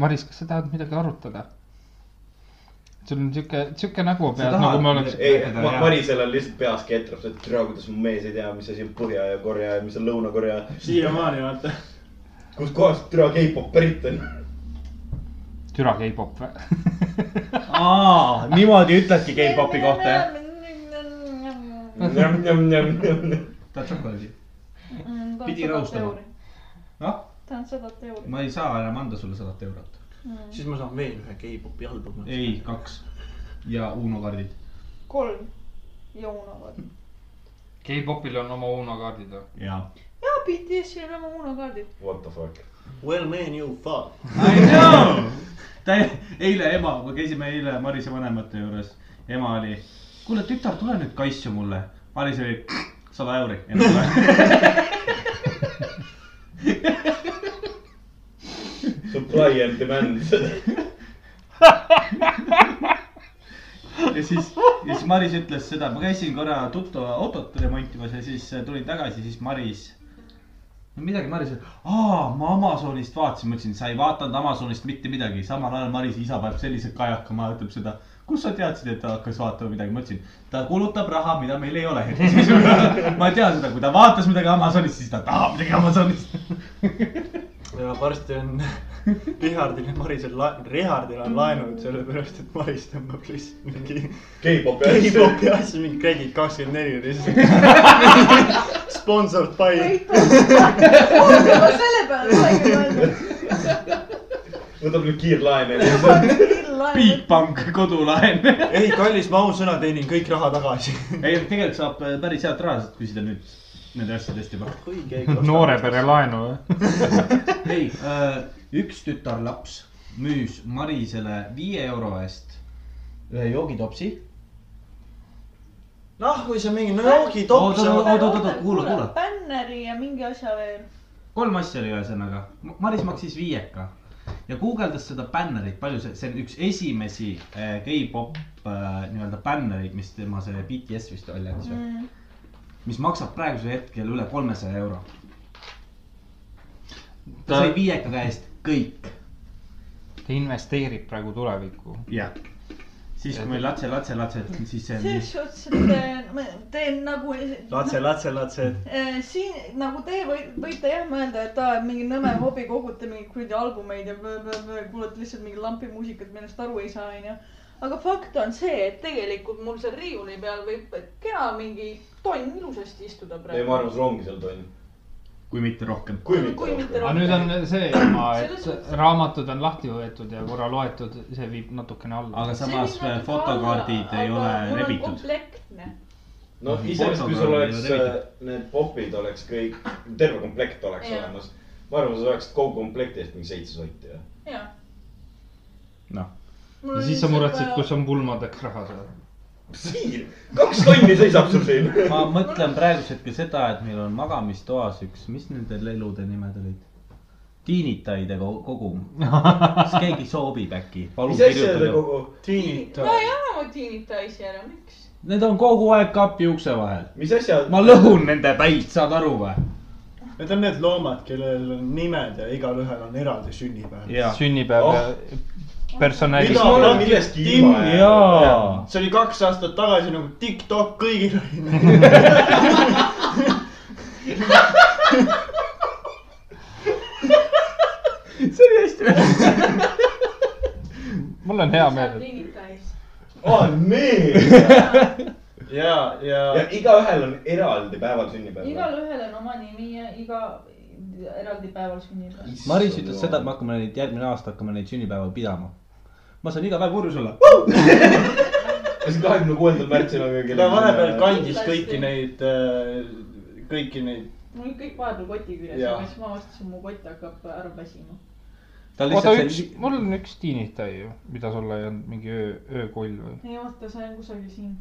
Speaker 3: Maris , kas sa tahad midagi arutada ? sul on sihuke , sihuke nägu peas ,
Speaker 5: tahad-
Speaker 3: nagu me oleks .
Speaker 2: ei , Marisel on lihtsalt peas ketrab , et tere , kuidas mu mees ei tea , mis asi on Põhja ja Korea ja mis on Lõuna-Korea .
Speaker 1: siiamaani vaata .
Speaker 2: kust kohast tere K-pop pärit on ?
Speaker 3: türa K-pop või ?
Speaker 4: aa , niimoodi ütledki K-popi kohta , jah ?.
Speaker 7: tahad šokolaadi ?
Speaker 6: pidi
Speaker 7: rahustama. . noh ,
Speaker 6: tahan sadat euri .
Speaker 7: ma ei saa enam anda sulle sadat eurot .
Speaker 1: siis ma saan veel ühe K-popi albumi .
Speaker 7: ei , kaks ja Uno kaardid .
Speaker 6: kolm ja Uno kaardid .
Speaker 3: K-popil on oma Uno kaardid või ?
Speaker 7: ja .
Speaker 6: jaa , BTS-il on oma Uno kaardid .
Speaker 2: What the fuck ?
Speaker 1: Well man you fuck .
Speaker 7: I know . ta , eile ema , me käisime eile Marise vanemate juures , ema oli , kuule tütar , tule nüüd kaissu mulle . Maris oli sada euri .
Speaker 2: Supply and demand .
Speaker 7: ja siis , ja siis Maris ütles seda , ma käisin korra tuttava autot remontimas ja siis äh, tulin tagasi , siis Maris . no midagi , Maris , aa , ma Amazonist vaatasin , ma ütlesin , sa ei vaadanud Amazonist mitte midagi , samal ajal Marisi isa paneb sellise kajaka maha , ütleb seda . kus sa teadsid , et ta hakkas vaatama midagi , ma ütlesin , ta kulutab raha , mida meil ei ole hetkel seisuga . ma tean seda , kui ta vaatas midagi Amazonist , siis ta tahab midagi Amazonist .
Speaker 1: ja varsti on Richardil ja Marisel , Richardil on laenud , sellepärast et Maris tõmbab lihtsalt mingi
Speaker 2: K-popi asju .
Speaker 1: K-popi asju , mingi kredit kakskümmend neli lihtsalt . Sponsored by .
Speaker 6: ma selle peale olegi mõelnud .
Speaker 2: võtab nüüd kiirlaene .
Speaker 7: Bigbank kodulaen .
Speaker 1: ei , kallis , ma ausõna teenin kõik raha tagasi .
Speaker 7: ei , tegelikult saab äh, päris head raha sealt küsida nüüd nende asjadest juba
Speaker 3: noore pere laenu või ?
Speaker 7: ei , äh, üks tütarlaps müüs Marisele viie euro eest ühe joogitopsi .
Speaker 1: noh , kui see mingi noogi tops
Speaker 7: Oota,
Speaker 1: on .
Speaker 7: oota, oota, oota, kuula, kuula.
Speaker 6: bänneri ja mingi asja veel .
Speaker 7: kolm asja oli ühesõnaga , Maris maksis viieka ja guugeldas seda bännerit , palju see , see on üks esimesi äh, K-pop äh, nii-öelda bännereid , mis tema see BTS vist välja andis
Speaker 6: Mm.
Speaker 7: või , mis maksab praegusel hetkel üle kolmesaja euro . ta
Speaker 3: ta
Speaker 7: sai viieka käest kõik .
Speaker 3: ta investeerib praegu tulevikku .
Speaker 7: jah , siis kui meil latse , latse , latse , siis see on nii
Speaker 6: selles suhtes , et äh, ma teen nagu .
Speaker 1: latse , latse , latse .
Speaker 6: Eh, siin nagu te või, võite jah mõelda , et aa , et mingi nõme hobi kogute mingeid kuradi albumeid ja blõ- blõ- blõ- kuulate lihtsalt mingi lampi muusikat , millest aru ei saa , onju . aga fakt on see , et tegelikult mul seal riiuli peal võib kena mingi tonn ilusasti istuda
Speaker 2: ei , ma
Speaker 6: praegu .
Speaker 2: arvan , see ongi seal tonn .
Speaker 7: kui mitte rohkem .
Speaker 2: kui
Speaker 6: Kui mitte
Speaker 2: mitte .
Speaker 3: aga nüüd on see teema ,
Speaker 6: Selles
Speaker 3: et
Speaker 6: mõttes-
Speaker 3: raamatud on lahti võetud ja korra loetud , see viib natukene alla .
Speaker 7: aga samas äh, fotokaardid ei ole rebitud .
Speaker 6: komplektne .
Speaker 2: noh , iseenesest , kui sul
Speaker 7: Portugal
Speaker 2: oleks
Speaker 7: ei ole
Speaker 2: äh, need popid oleks kõik , terve komplekt oleks
Speaker 6: Jah.
Speaker 2: olemas . ma arvan , sa saaksid kogu komplekti eest mingi seitse sotti , jah .
Speaker 6: jah .
Speaker 7: Noh. .
Speaker 3: ja siis sa muretsed , kus on pulmadeks raha seal .
Speaker 2: siin , kaks tonni seisab sul siin .
Speaker 7: ma mõtlen praegusel hetkel seda , et meil on magamistoas üks , mis nende lelude nimed olid ? tiinitaide ko- kogum . kas keegi soovib äkki ? palun
Speaker 2: mis asja nagu- te
Speaker 7: kirjutage .
Speaker 2: kogu ,
Speaker 1: tiinid .
Speaker 6: ma ei anna oma tiinitaisi ära , miks ?
Speaker 7: nagu- Need on kogu aeg kapi ukse vahel .
Speaker 2: mis asja ,
Speaker 7: ma lõhun nende päid , saad aru või ?
Speaker 1: Need on need loomad , kellel on nimed ja igalühel on eraldi sünnipäev .
Speaker 7: jaa .
Speaker 3: sünnipäev
Speaker 2: Oh.
Speaker 3: oh. personali
Speaker 1: Mida? .
Speaker 2: olen millestki ilma jäänud .
Speaker 7: jaa .
Speaker 1: see oli kaks aastat tagasi nagu TikTok kõigil oli .
Speaker 7: see oli hästi vähe .
Speaker 3: mul on hea meel .
Speaker 2: on nii .
Speaker 1: ja , ja
Speaker 2: Oh, ja igaühel on eraldi päeval sünnipäev .
Speaker 6: igalühel on oma nimi ja iga eraldi päeval sünnib .
Speaker 7: Maris ütles seda , et me hakkame neid järgmine aasta hakkame neid sünnipäeva pidama . ma saan iga päev purjus olla .
Speaker 2: kas kahekümne kuuendal märtsil on kõigil ?
Speaker 1: ta
Speaker 3: äh,
Speaker 1: vahepeal kandis kõiki neid ,
Speaker 7: äh,
Speaker 1: kõiki neid .
Speaker 6: mul kõik vahepeal koti küljes ,
Speaker 1: Jaa.
Speaker 6: aga siis ma avastasin , mu kott hakkab ära väsima .
Speaker 7: tal
Speaker 3: oota ,
Speaker 7: lihtsalt
Speaker 3: üks
Speaker 7: see ,
Speaker 3: mul on üks tiinitai ju , mida sul ei olnud , mingi öö , öökoll või ?
Speaker 6: ei oota , see on kusagil siin .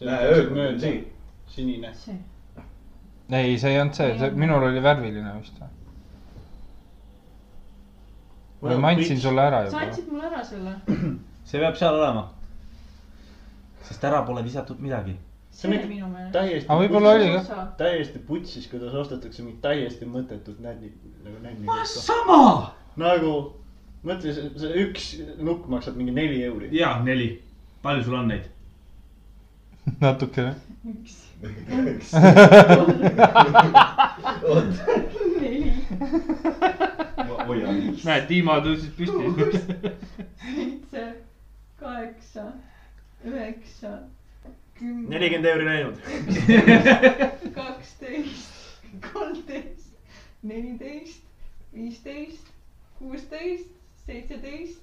Speaker 2: näe ,
Speaker 1: nagu
Speaker 2: öökull on siin .
Speaker 1: sinine .
Speaker 6: see .
Speaker 3: ei , see ei olnud see , see , minul oli värviline vist või ? või ma andsin sulle ära
Speaker 6: sa
Speaker 3: juba ?
Speaker 6: andsid mulle ära selle .
Speaker 7: see peab seal olema . sest ära pole visatud midagi .
Speaker 6: see oli minu meelest .
Speaker 1: täiesti .
Speaker 3: aga Ah, võib-olla oli ka .
Speaker 1: täiesti putsis , kuidas ostetakse mingit täiesti mõttetut nänni , nagu nänni .
Speaker 7: sama .
Speaker 1: nagu , mõtle , see see üks nukk maksab mingi neli euri .
Speaker 7: jaa , neli . palju sul on neid ?
Speaker 3: natukene .
Speaker 6: üks ,
Speaker 2: oot ,
Speaker 6: neli ,
Speaker 2: ma hoian .
Speaker 9: näed , Dima tõusis püsti .
Speaker 6: seitse , kaheksa , üheksa , kümme ,
Speaker 1: nelikümmend euri läinud .
Speaker 6: kaksteist , kolmteist , neliteist , viisteist , kuusteist , seitseteist ,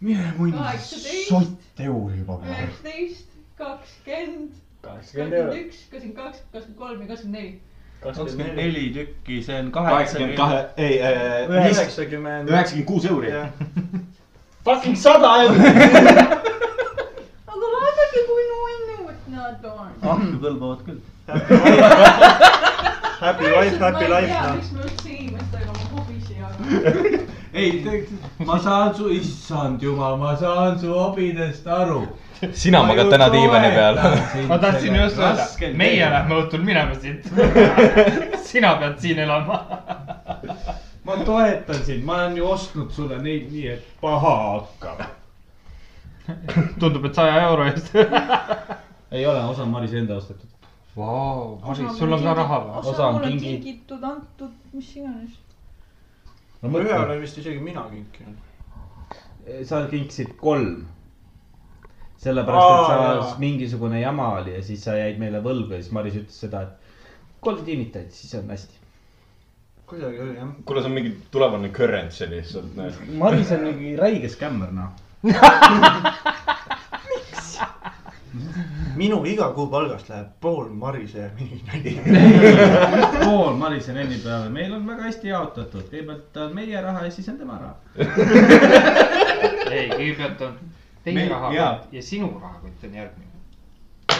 Speaker 7: mine
Speaker 6: Kaheksateist.
Speaker 7: sott euri juba .
Speaker 6: üheksateist , kakskümmend ,
Speaker 1: kakskümmend
Speaker 6: kakskümmend
Speaker 1: eurot ,
Speaker 6: üks , kakskümmend kaks , kakskümmend kolm ja kakskümmend neli .
Speaker 7: kakskümmend . neli tükki , see on
Speaker 2: kaheksakümmend
Speaker 7: kaheksakümmend
Speaker 2: kahe , ei , äh,
Speaker 1: üheksakümmend .
Speaker 2: üheksakümmend kuus euri .
Speaker 1: Fucking sada eurot .
Speaker 6: aga vaadake , kui nunnud nad on .
Speaker 7: andmed võlbavad küll .
Speaker 1: Happy wife , happy life
Speaker 6: noh .
Speaker 1: noh .
Speaker 6: miks ma üldse inimestega oma hobis ei jaga .
Speaker 7: ei , ma saan su , issand jumal , ma saan su hobidest aru .
Speaker 2: sina magad täna diivani peal .
Speaker 3: ma tahtsin just öelda , meie . lähme õhtul minema siit . sina pead siin elama .
Speaker 7: ma toetan sind , ma olen ju ostnud sulle neid nii , et paha hakkab .
Speaker 3: tundub , et saja euro eest .
Speaker 7: ei ole , osa on Marise enda ostetud .
Speaker 3: Vau , Maris , sul on ka raha või ?
Speaker 7: Osa
Speaker 10: osa
Speaker 7: on
Speaker 10: mul on
Speaker 7: kingi-
Speaker 10: kingitud , antud , mis iganes .
Speaker 7: no
Speaker 1: ühe
Speaker 7: mõtle ,
Speaker 1: olen vist isegi mina kinkinud .
Speaker 7: eh, sa kinksid kolm . sellepärast , et
Speaker 1: Aa,
Speaker 7: sa
Speaker 1: jaa. ,
Speaker 7: mingisugune jama oli ja siis sa jäid meile võlgu ja siis Maris ütles seda , et kolm tiimitajat , siis on hästi .
Speaker 1: kuidagi oli jah .
Speaker 2: kuule , see on mingi tulevane currency lihtsalt , näed .
Speaker 7: Maris on mingi räige skämmer , noh .
Speaker 1: minu iga kuu palgast läheb pool Marise ja mingi nali .
Speaker 7: pool Marise venni peale , meil on väga hästi jaotatud , kõigepealt on meie raha ja siis on tema raha .
Speaker 3: ei , kõigepealt on
Speaker 7: Me-
Speaker 3: teie
Speaker 7: jaa.
Speaker 3: rahakott ja sinu rahakott on järgmine .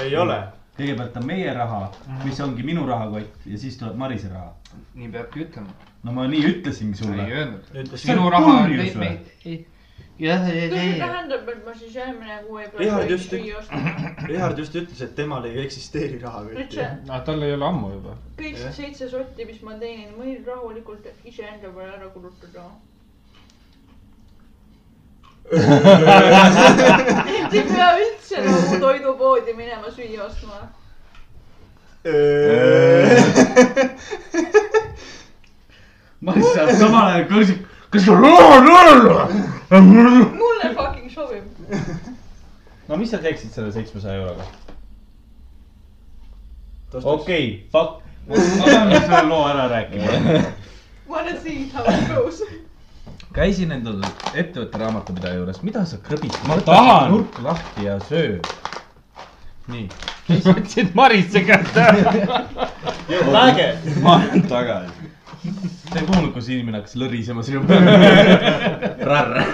Speaker 1: ei ole .
Speaker 7: kõigepealt on meie raha , mis ongi minu rahakott ja siis tuleb Marise raha .
Speaker 3: nii peabki ütlema ,
Speaker 7: no ma nii ütlesingi
Speaker 3: ei
Speaker 7: sulle .
Speaker 3: öelnud .
Speaker 1: ütles
Speaker 7: See on
Speaker 3: sinu raha on
Speaker 7: kurjus või?
Speaker 3: teine . jah , ei ,
Speaker 6: kas see
Speaker 3: ei ,
Speaker 6: tähendab , et ma siis järgmine kuu ei
Speaker 1: Jaa,
Speaker 6: pea
Speaker 1: just.
Speaker 6: kõiki ostma ?
Speaker 1: Richard just ütles , et temal ei eksisteeri rahakotti
Speaker 6: üldse .
Speaker 3: ei . tal ei ole ammu juba .
Speaker 6: kõik
Speaker 1: Jah.
Speaker 6: see seitse sotti , mis ma teenin , võin rahulikult iseenda peale ära kulutada . et ei pea üldse nagu toidupoodi minema süüa ostma .
Speaker 7: Maris saab samal ajal kõrsi , kas sul raha on ära ?
Speaker 6: mulle fucking sobib .
Speaker 7: no mis sa teeksid selle seitsmesaja euroga ? okei , fuck . ma pean nüüd selle loo ära rääkima .
Speaker 6: Wanna see how it goes .
Speaker 7: käisin endal ettevõtte raamatupidaja juures , mida sa krõbid ? ma
Speaker 3: tahan.
Speaker 7: nurk lahti ja söö . nii
Speaker 3: võtsid Marise käest ära .
Speaker 1: äge .
Speaker 7: ma olen tagasi . sa ei kuulnud , kus inimene hakkas lõrisema sinu peale ?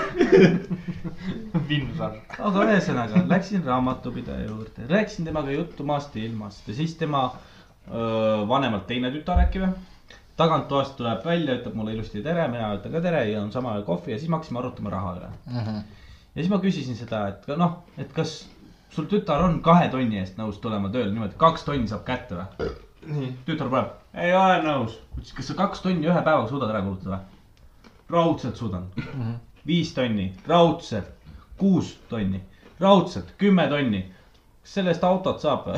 Speaker 3: Vinnar .
Speaker 7: aga ühesõnaga läksin raamatupidaja juurde , rääkisin temaga juttu maast ja ilmast ja siis tema öö, vanemalt teine tütar äkki või ? taganttoast tuleb välja , ütleb mulle ilusti tere , mina ütlen ka tere , joon samal ajal kohvi ja siis me hakkasime arutama raha üle . ja siis ma küsisin seda , et ka noh , et kas sul tütar on kahe tonni eest nõus tulema tööle , niimoodi kaks tonni saab kätte või ?
Speaker 1: nii ,
Speaker 11: tütar paneb , ei ole nõus . ütles , kas sa kaks tonni ühe päevaga suudad ära kulutada ? raudselt suudan mm . -hmm. viis tonni , raudselt , kuus tonni , raudselt kümme tonni . kas selle eest autot saab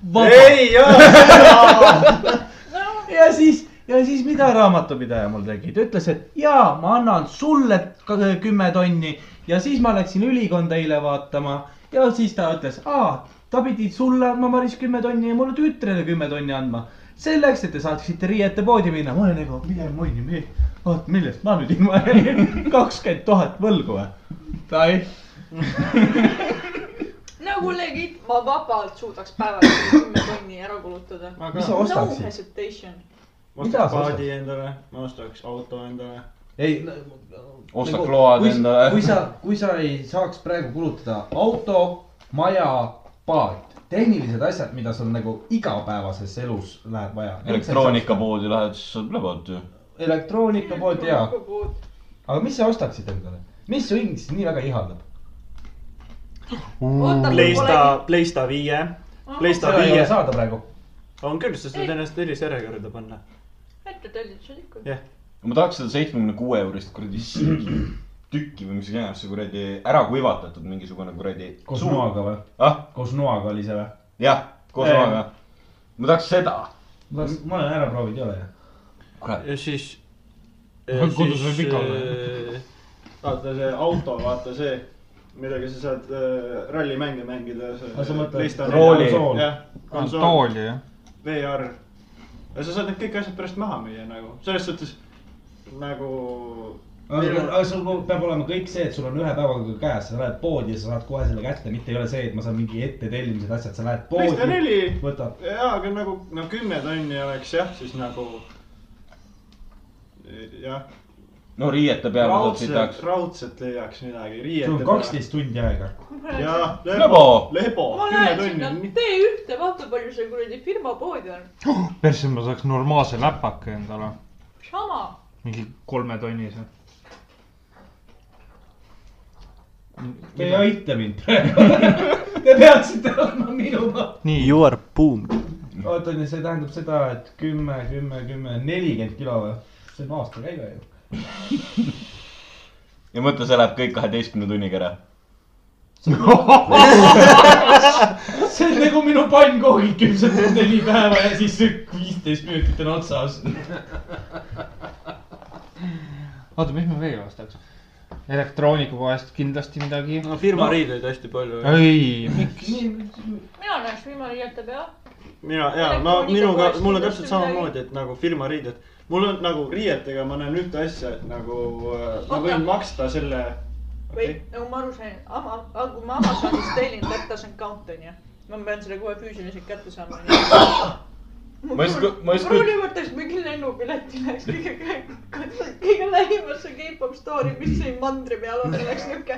Speaker 11: või ?
Speaker 1: ei ole ,
Speaker 11: ja siis , ja siis mida raamatupidaja mul tegi , ta ütles , et jaa , ma annan sulle ka kümme tonni ja siis ma läksin ülikonda eile vaatama ja siis ta ütles , aa , ta pidi sulle andma , Maris , kümme tonni ja mulle tütrele kümme tonni andma . selleks , et te saaksite riietepoodi minna , ma olen nagu , mine monni , me , oot , millest ma nüüd ilma jäin , kakskümmend tuhat võlgu või ? ta ei ,
Speaker 6: nagu legit , ma vabalt suudaks päevas kümme tonni ära kulutada .
Speaker 7: mis sa
Speaker 6: no
Speaker 7: ostaksid ?
Speaker 6: hesitation .
Speaker 1: ma
Speaker 7: Mida sa
Speaker 1: ostaks
Speaker 7: ostad?
Speaker 1: paadi endale , ma ostaks auto endale .
Speaker 7: ei ,
Speaker 2: osta kload endale
Speaker 7: Nagu- kui . sa , kui sa ei saaks praegu kulutada auto , maja , paat , tehnilised asjad , mida sul nagu igapäevases elus läheb vaja .
Speaker 2: elektroonikapoodi lähed , siis saad lebalt ju .
Speaker 7: elektroonikapood ja , aga mis sa ostaksid endale , mis su hing siis nii väga ihaldab ?
Speaker 1: Playsta , Playsta viie , Playsta
Speaker 7: seda ei
Speaker 1: viie
Speaker 7: ole saada praegu .
Speaker 1: on küll , sa saad ennast eelisjärjekorda panna .
Speaker 6: ette tellitud ikka .
Speaker 2: ma tahaks seda seitsmekümne kuue eurist kuradi sildi tükki või mis iganes , see kuradi ära kuivatatud mingisugune kuradi .
Speaker 7: koos noaga või ?
Speaker 2: ah ,
Speaker 7: koos noaga oli see või ?
Speaker 2: jah , koos
Speaker 7: Ei.
Speaker 2: omaga . ma tahaks seda .
Speaker 7: ma ma olen ära proovinud , ei ole ju .
Speaker 2: kurat ,
Speaker 1: ja siis . äh,
Speaker 3: Kodus võib ikka olla. .
Speaker 1: vaata see auto , vaata see , millega sa saad äh, rallimänge mängida .
Speaker 7: Ah, sa mõtled Ah,
Speaker 2: rooli.
Speaker 1: jah , konsool ,
Speaker 3: kontooli jah .
Speaker 1: VR . ja sa saad need kõik asjad pärast maha müüa nagu , selles suhtes nagu .
Speaker 7: aga sul peab olema kõik see , et sul on ühe päevaga käes , sa lähed poodi ja sa saad kohe selle kätte , mitte ei ole see , et ma saan mingi ette tellimised asjad , sa lähed
Speaker 1: Playsta
Speaker 7: poodi ,
Speaker 1: neli
Speaker 7: võtad .
Speaker 1: jaa , aga nagu no kümme tonni oleks jah , siis nagu jah ,
Speaker 2: no riiete peale saad siit
Speaker 1: raudselt
Speaker 2: ajaks ,.
Speaker 1: raudselt leiaks midagi ,
Speaker 7: sul on
Speaker 1: riiete .
Speaker 7: kaksteist tundi aega .
Speaker 1: jaa ,
Speaker 2: Lebo.
Speaker 1: lebo , lebo ,
Speaker 6: ma
Speaker 1: kümme
Speaker 6: lähen sinna
Speaker 1: tonni .
Speaker 6: T1-te , vaata palju seal kuradi firma poodi on .
Speaker 3: persse ma saaks normaalse läpaka endale ,
Speaker 6: sama .
Speaker 3: mingi kolmetonnise .
Speaker 7: Te ei aita mind praegu . Te peaksite olema minuga .
Speaker 3: nii ,
Speaker 1: You are boomed .
Speaker 7: oota , see tähendab seda , et kümme , kümme , kümme , nelikümmend kilo või ? see on aasta käive ju .
Speaker 2: ja mõtle , see läheb kõik kaheteistkümne tunniga ära .
Speaker 7: see on nagu minu pannkoogid küpsetud neli päeva ja siis viisteist minutit on otsas .
Speaker 3: oota , mis ma veel ostaks ? elektroonikapoest kindlasti midagi .
Speaker 1: no firma riideid hästi palju .
Speaker 3: ei , miks ?
Speaker 6: mina läheks viimane jätta peale .
Speaker 1: mina jaa , ma minuga , mul on täpselt samamoodi , et nagu firma riided . mul on nagu riietega ma näen ühte asja , et nagu äh, ma võin
Speaker 6: Oota.
Speaker 1: maksta selle .
Speaker 6: või nagu ma aru sain , kui ma Amazonis tellin , that doesn't count onju . ma pean selle kohe füüsiliselt kätte saama .
Speaker 2: Ma just kõ- ma just kõ-
Speaker 6: proovi võtaks mingi lennupileti , läheks kõige , kõige lähimasse K-pop store'i , mis siin mandri peal on , oleks niuke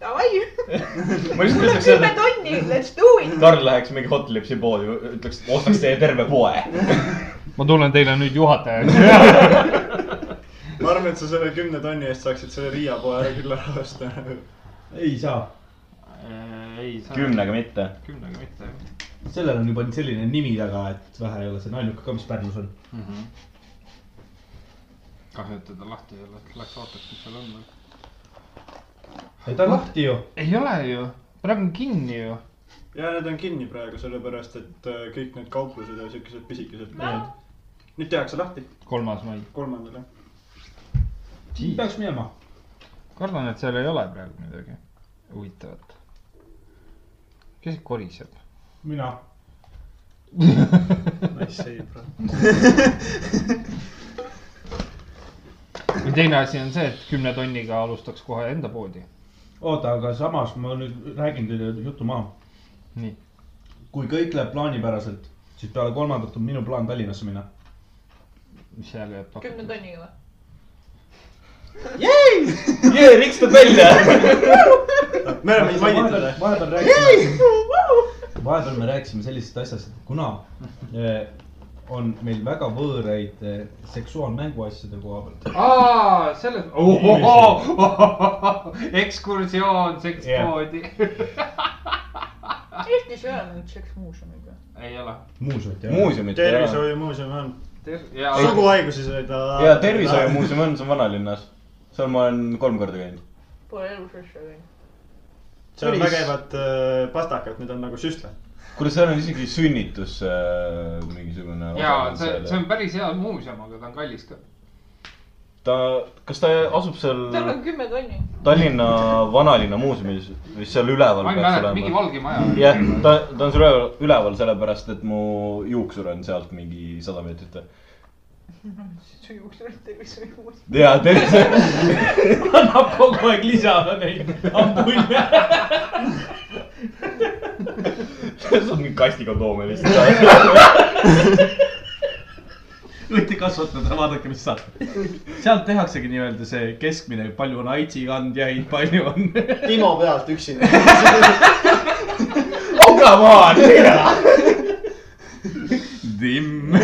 Speaker 6: davai ,
Speaker 2: ma just ütleks
Speaker 6: kümme
Speaker 2: seda ,
Speaker 6: tonni , let's do
Speaker 2: et
Speaker 6: it .
Speaker 2: Karl läheks mingi Hot Lipsi poodi , ütleks , ostaks teie terve poe .
Speaker 3: ma tulen teile nüüd juhatajaks .
Speaker 1: ma arvan , et sa selle kümne tonni eest saaksid selle Riia poe ära küll ära osta .
Speaker 7: ei saa ,
Speaker 3: Äh, ei , sa
Speaker 2: kümnega mitte .
Speaker 3: kümnega mitte .
Speaker 7: sellel on juba selline nimi taga , et vähe ei ole , see on ainuke ka , mis Pärnus on .
Speaker 3: Mhm. kahju , et teda lahti ei ole , läks vaataks , mis seal on veel .
Speaker 7: ei ta on lahti ju .
Speaker 3: ei ole ju , praegu on kinni ju .
Speaker 1: ja need on kinni praegu sellepärast , et äh, kõik need kauplused ja siukesed pisikesed poed . nüüd tehakse lahti ,
Speaker 3: kolmas mai .
Speaker 1: kolmandale .
Speaker 7: peaks minema .
Speaker 3: kardan , et seal ei ole praegu midagi huvitavat . kes koriseb ?
Speaker 7: mina .
Speaker 1: Nice save , bro .
Speaker 3: või teine asi on see , et kümne tonniga alustaks kohe enda poodi .
Speaker 7: oota , aga samas ma nüüd räägin teile jutu maha .
Speaker 3: Nii. .
Speaker 7: kui kõik läheb plaanipäraselt , siis peale kolmandat on minu plaan Tallinnasse minna .
Speaker 3: mis seal jääb
Speaker 6: kümne
Speaker 3: pakkuma ?
Speaker 6: tonniga või ?
Speaker 2: jee , rikstud välja .
Speaker 1: me oleme
Speaker 7: Vahepeal-
Speaker 1: mainitud või ?
Speaker 7: vahepeal rääkisime , vahepeal me rääkisime sellisest asjast , et kuna eh, on meil väga võõraid eh, seksuaalmänguasjade koha pealt .
Speaker 3: aa , selles , ohohoo , ekskursioon sekspoodi .
Speaker 6: Eestis ei ole mingit seksmuuseumit või ?
Speaker 3: ei ole .
Speaker 5: muuseumit ei ole .
Speaker 2: muuseumit ei ole .
Speaker 1: tervishoiumuuseum on .
Speaker 3: ja
Speaker 1: suguhaigusi sai ta .
Speaker 2: ja tervishoiumuuseum on , see on vanalinnas . seal ma olen kolm korda käinud .
Speaker 12: Pole elus asja teinud .
Speaker 1: seal on vägevad äh, pastakad , need on nagu süstlad .
Speaker 2: kuule , seal on isegi sünnitus äh, mingisugune .
Speaker 3: ja see , see on päris hea muuseum , aga ta on kallis ka .
Speaker 2: ta , kas ta asub seal
Speaker 12: tal on kümme tonni .
Speaker 2: Tallinna vanalinna muuseumis või seal üleval
Speaker 3: ma ei
Speaker 2: peaks
Speaker 3: mäleta , mingi
Speaker 2: olema ?
Speaker 3: valge maja .
Speaker 2: jah , ta , ta on seal üleval, üleval sellepärast , et mu juuksur on sealt mingi sada meetrit .
Speaker 12: su juuksed on tervishoiumuuseum .
Speaker 2: ja tervise ,
Speaker 5: annab kogu aeg lisada neid ampulle .
Speaker 2: see on mingi kastikondoome lihtsalt .
Speaker 7: võite kasvatada , vaadake , mis saab . sealt tehaksegi nii-öelda see keskmine , palju on AIDSi kandjaid , palju on .
Speaker 1: Timo pealt üksinda .
Speaker 2: oh come on , tere .
Speaker 7: Dimm .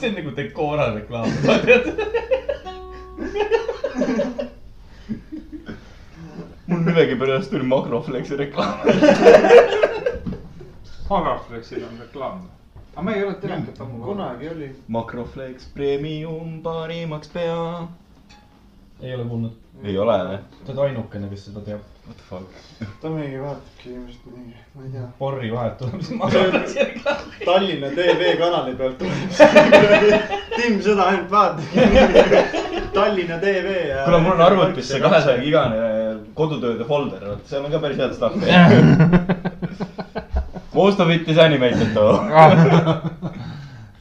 Speaker 5: see on nagu Decora reklaam , sa tead .
Speaker 2: mul millegipärast tuli makrofleksi reklaam .
Speaker 3: Agroflexil on reklaam . aga ma ei ole telekat ammu kunagi .
Speaker 1: kunagi oli .
Speaker 2: makrofleks premium parimaks pea .
Speaker 5: ei ole kuulnud .
Speaker 2: ei ole või ?
Speaker 5: sa oled ainukene , kes seda teab .
Speaker 2: What the fuck ?
Speaker 1: Tomigi vaatabki ilmselt nii , ma ei tea .
Speaker 5: Borri vahelt tuleb see makrofleksi reklaam .
Speaker 1: Tallinna TV kanali pealt tuleb Tim seda ainult vaatab . Tallinna TV ja .
Speaker 2: kuule , mul on arvutis see kahesaja gigane kodutööde folder , vot seal on ka päris head stuff'i . Most of it is animated though .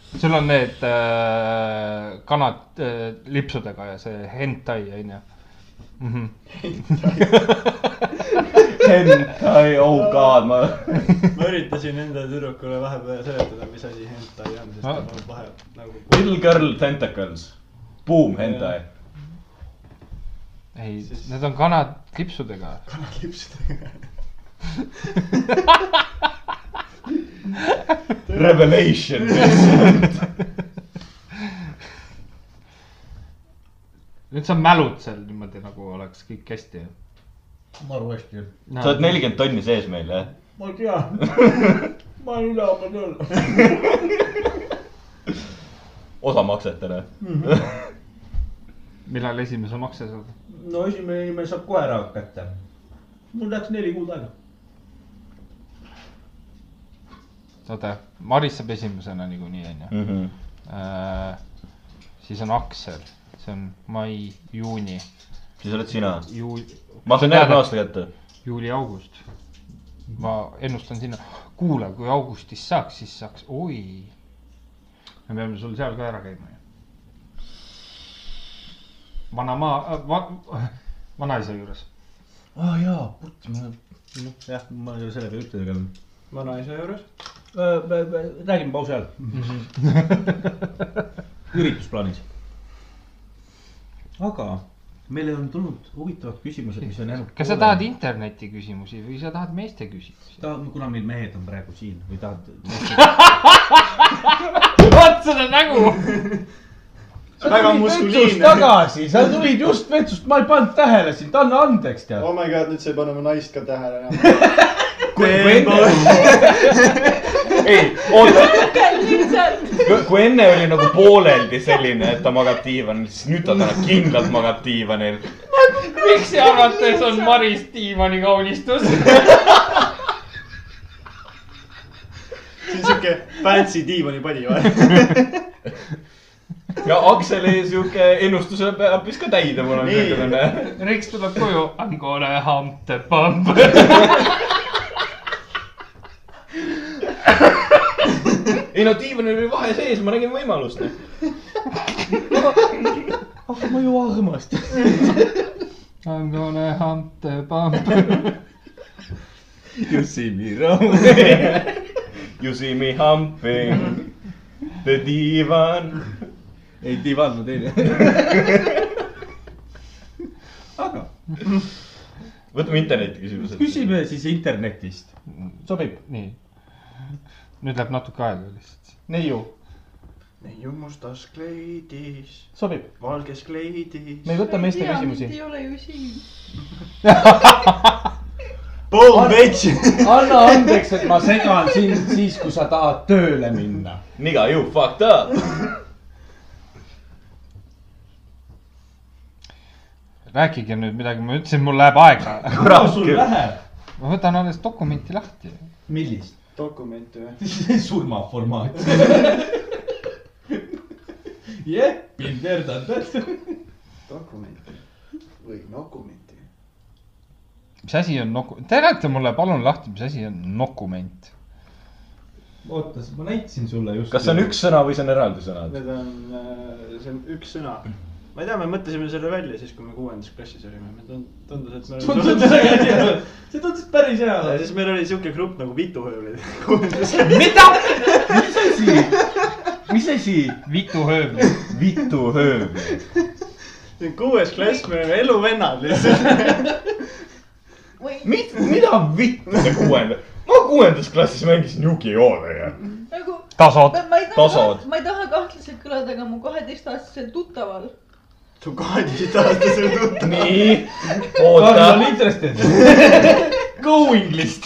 Speaker 3: sul on need äh, kanad äh, lipsudega ja see hentai onju mm . -hmm.
Speaker 2: Hentai , oh god , ma .
Speaker 1: ma üritasin enda tüdrukule vahepeal seletada , mis asi hentai on , sest ta
Speaker 3: Ah.
Speaker 1: on vahe nagu .
Speaker 2: Little girl tentacles . Boom , hentai .
Speaker 3: ei siis... , need on kanad lipsudega .
Speaker 1: kanakipsudega .
Speaker 2: Revelation .
Speaker 3: nüüd sa mälud seal niimoodi nagu oleks kõik hästi .
Speaker 5: maru hästi .
Speaker 2: sa oled . nelikümmend tonni sees meil , jah ?
Speaker 5: ma tean . ma olen üleval küll .
Speaker 2: osamaksetena .
Speaker 3: millal esimese makse saad ?
Speaker 5: no esimene inimene saab kohe ära hakata . mul läks neli kuud aega .
Speaker 3: oota , äh, Maris saab esimesena niikuinii onju
Speaker 2: Mhm.
Speaker 3: äh, . siis on Aksel , see on mai , juuni ,
Speaker 2: siis oled sina .
Speaker 3: juuli ,
Speaker 2: ma sain järgmine aasta kätte .
Speaker 3: juuli , august . ma ennustan sinna , kuule , kui augustis saaks , siis saaks , oi . me peame sul seal ka ära käima ju . vana maa äh, , va, vanaisa juures .
Speaker 7: aa jaa , putz , ma , noh , jah , ma ei ole selle peale üldse tegelenud .
Speaker 1: vanaisa juures . Mhm.
Speaker 7: räägime pausi ajal . üritusplaanis . aga meile on tulnud huvitavad küsimused , mis on jäänud .
Speaker 3: kas sa tahad ? interneti küsimusi või sa tahad meeste küsimusi ?
Speaker 7: tahad , kuna meil mehed on praegu siin või tahad ?
Speaker 3: vaat seda nägu .
Speaker 1: väga muskuliinne .
Speaker 5: tagasi , sa tulid just vetsust , ma ei pannud tähele sind , anna andeks tead .
Speaker 1: Oh my god , nüüd sai panema naist ka tähele enam .
Speaker 2: ei , oota ,
Speaker 12: lihtsalt .
Speaker 2: kui enne oli nagu pooleldi selline , et ta magab diivanil , siis nüüd ta täna kindlalt magab diivanil .
Speaker 3: miks see arvates on Maris Tiimani kaunistus ?
Speaker 1: see on siuke fancy diivanipadi või ?
Speaker 2: ja Akseli sihuke ennustus hakkis ka täide , mul on
Speaker 1: Nii.
Speaker 2: niisugune .
Speaker 3: Riks tuleb koju , I m gonna hump the pump .
Speaker 2: ei no diivanil oli vahe sees , ma nägin võimalust .
Speaker 7: aga ma ju armastan .
Speaker 3: I m gonna hump the pump .
Speaker 2: You see me roam . You see me humping the divan .
Speaker 7: ei , divan ma teen . aga
Speaker 2: võtame interneti küsimused .
Speaker 7: küsime siis internetist . sobib ?
Speaker 3: nii . nüüd läheb natuke aega lihtsalt .
Speaker 7: neiu ,
Speaker 1: neiu mustas kleidis ,
Speaker 7: sobib ,
Speaker 1: valges kleidis .
Speaker 7: me ei võta meeste
Speaker 12: ei
Speaker 7: küsimusi .
Speaker 12: ole ju siin .
Speaker 1: Boom , bitch .
Speaker 4: anna andeks , et ma segan sind siis , kui sa tahad tööle minna .
Speaker 2: Nigga , you fucked up .
Speaker 3: rääkige nüüd midagi , ma ütlesin , mul läheb aega .
Speaker 2: kurat
Speaker 5: sul
Speaker 2: küll .
Speaker 5: läheb ?
Speaker 3: ma võtan alles dokumenti lahti .
Speaker 5: millist ?
Speaker 1: dokumenti või ?
Speaker 5: surmaformaat . jah , mind verdan täpselt .
Speaker 1: dokumenti või dokumenti .
Speaker 3: mis asi on doku- , te räägite mulle palun lahti , mis asi on dokument ?
Speaker 5: oota , ma näitasin sulle just .
Speaker 2: kas see on üks sõna või see on eraldi sõnad ?
Speaker 1: Need on , see on üks sõna . ma ei tea , me mõtlesime selle välja siis , kui me kuuendas klassis olime , me tund- , tundus , et me
Speaker 5: tundus
Speaker 1: olime .
Speaker 5: väga hea , see tundus päris hea .
Speaker 1: ja siis meil oli siuke grupp nagu Vitu oli kuuendas .
Speaker 2: mis asi ?
Speaker 3: vituhöövli .
Speaker 2: vitu höövli .
Speaker 1: kuues klass , me olime eluvennad lihtsalt .
Speaker 12: või
Speaker 2: Mit- , mida vittu te kuuenda- , ma kuuendas klassis mängisin Yugi-Oh tega .
Speaker 12: nagu
Speaker 3: tasod .
Speaker 12: ma, ma ei taha
Speaker 2: Tasod. ,
Speaker 12: ma ei taha kahtlaselt kõlada , aga mu kaheteistaastasel tuttaval
Speaker 1: su kaheteistaastasel tuttav .
Speaker 2: nii ,
Speaker 5: Karl
Speaker 2: oota
Speaker 5: on . interested .
Speaker 2: Go English'ist .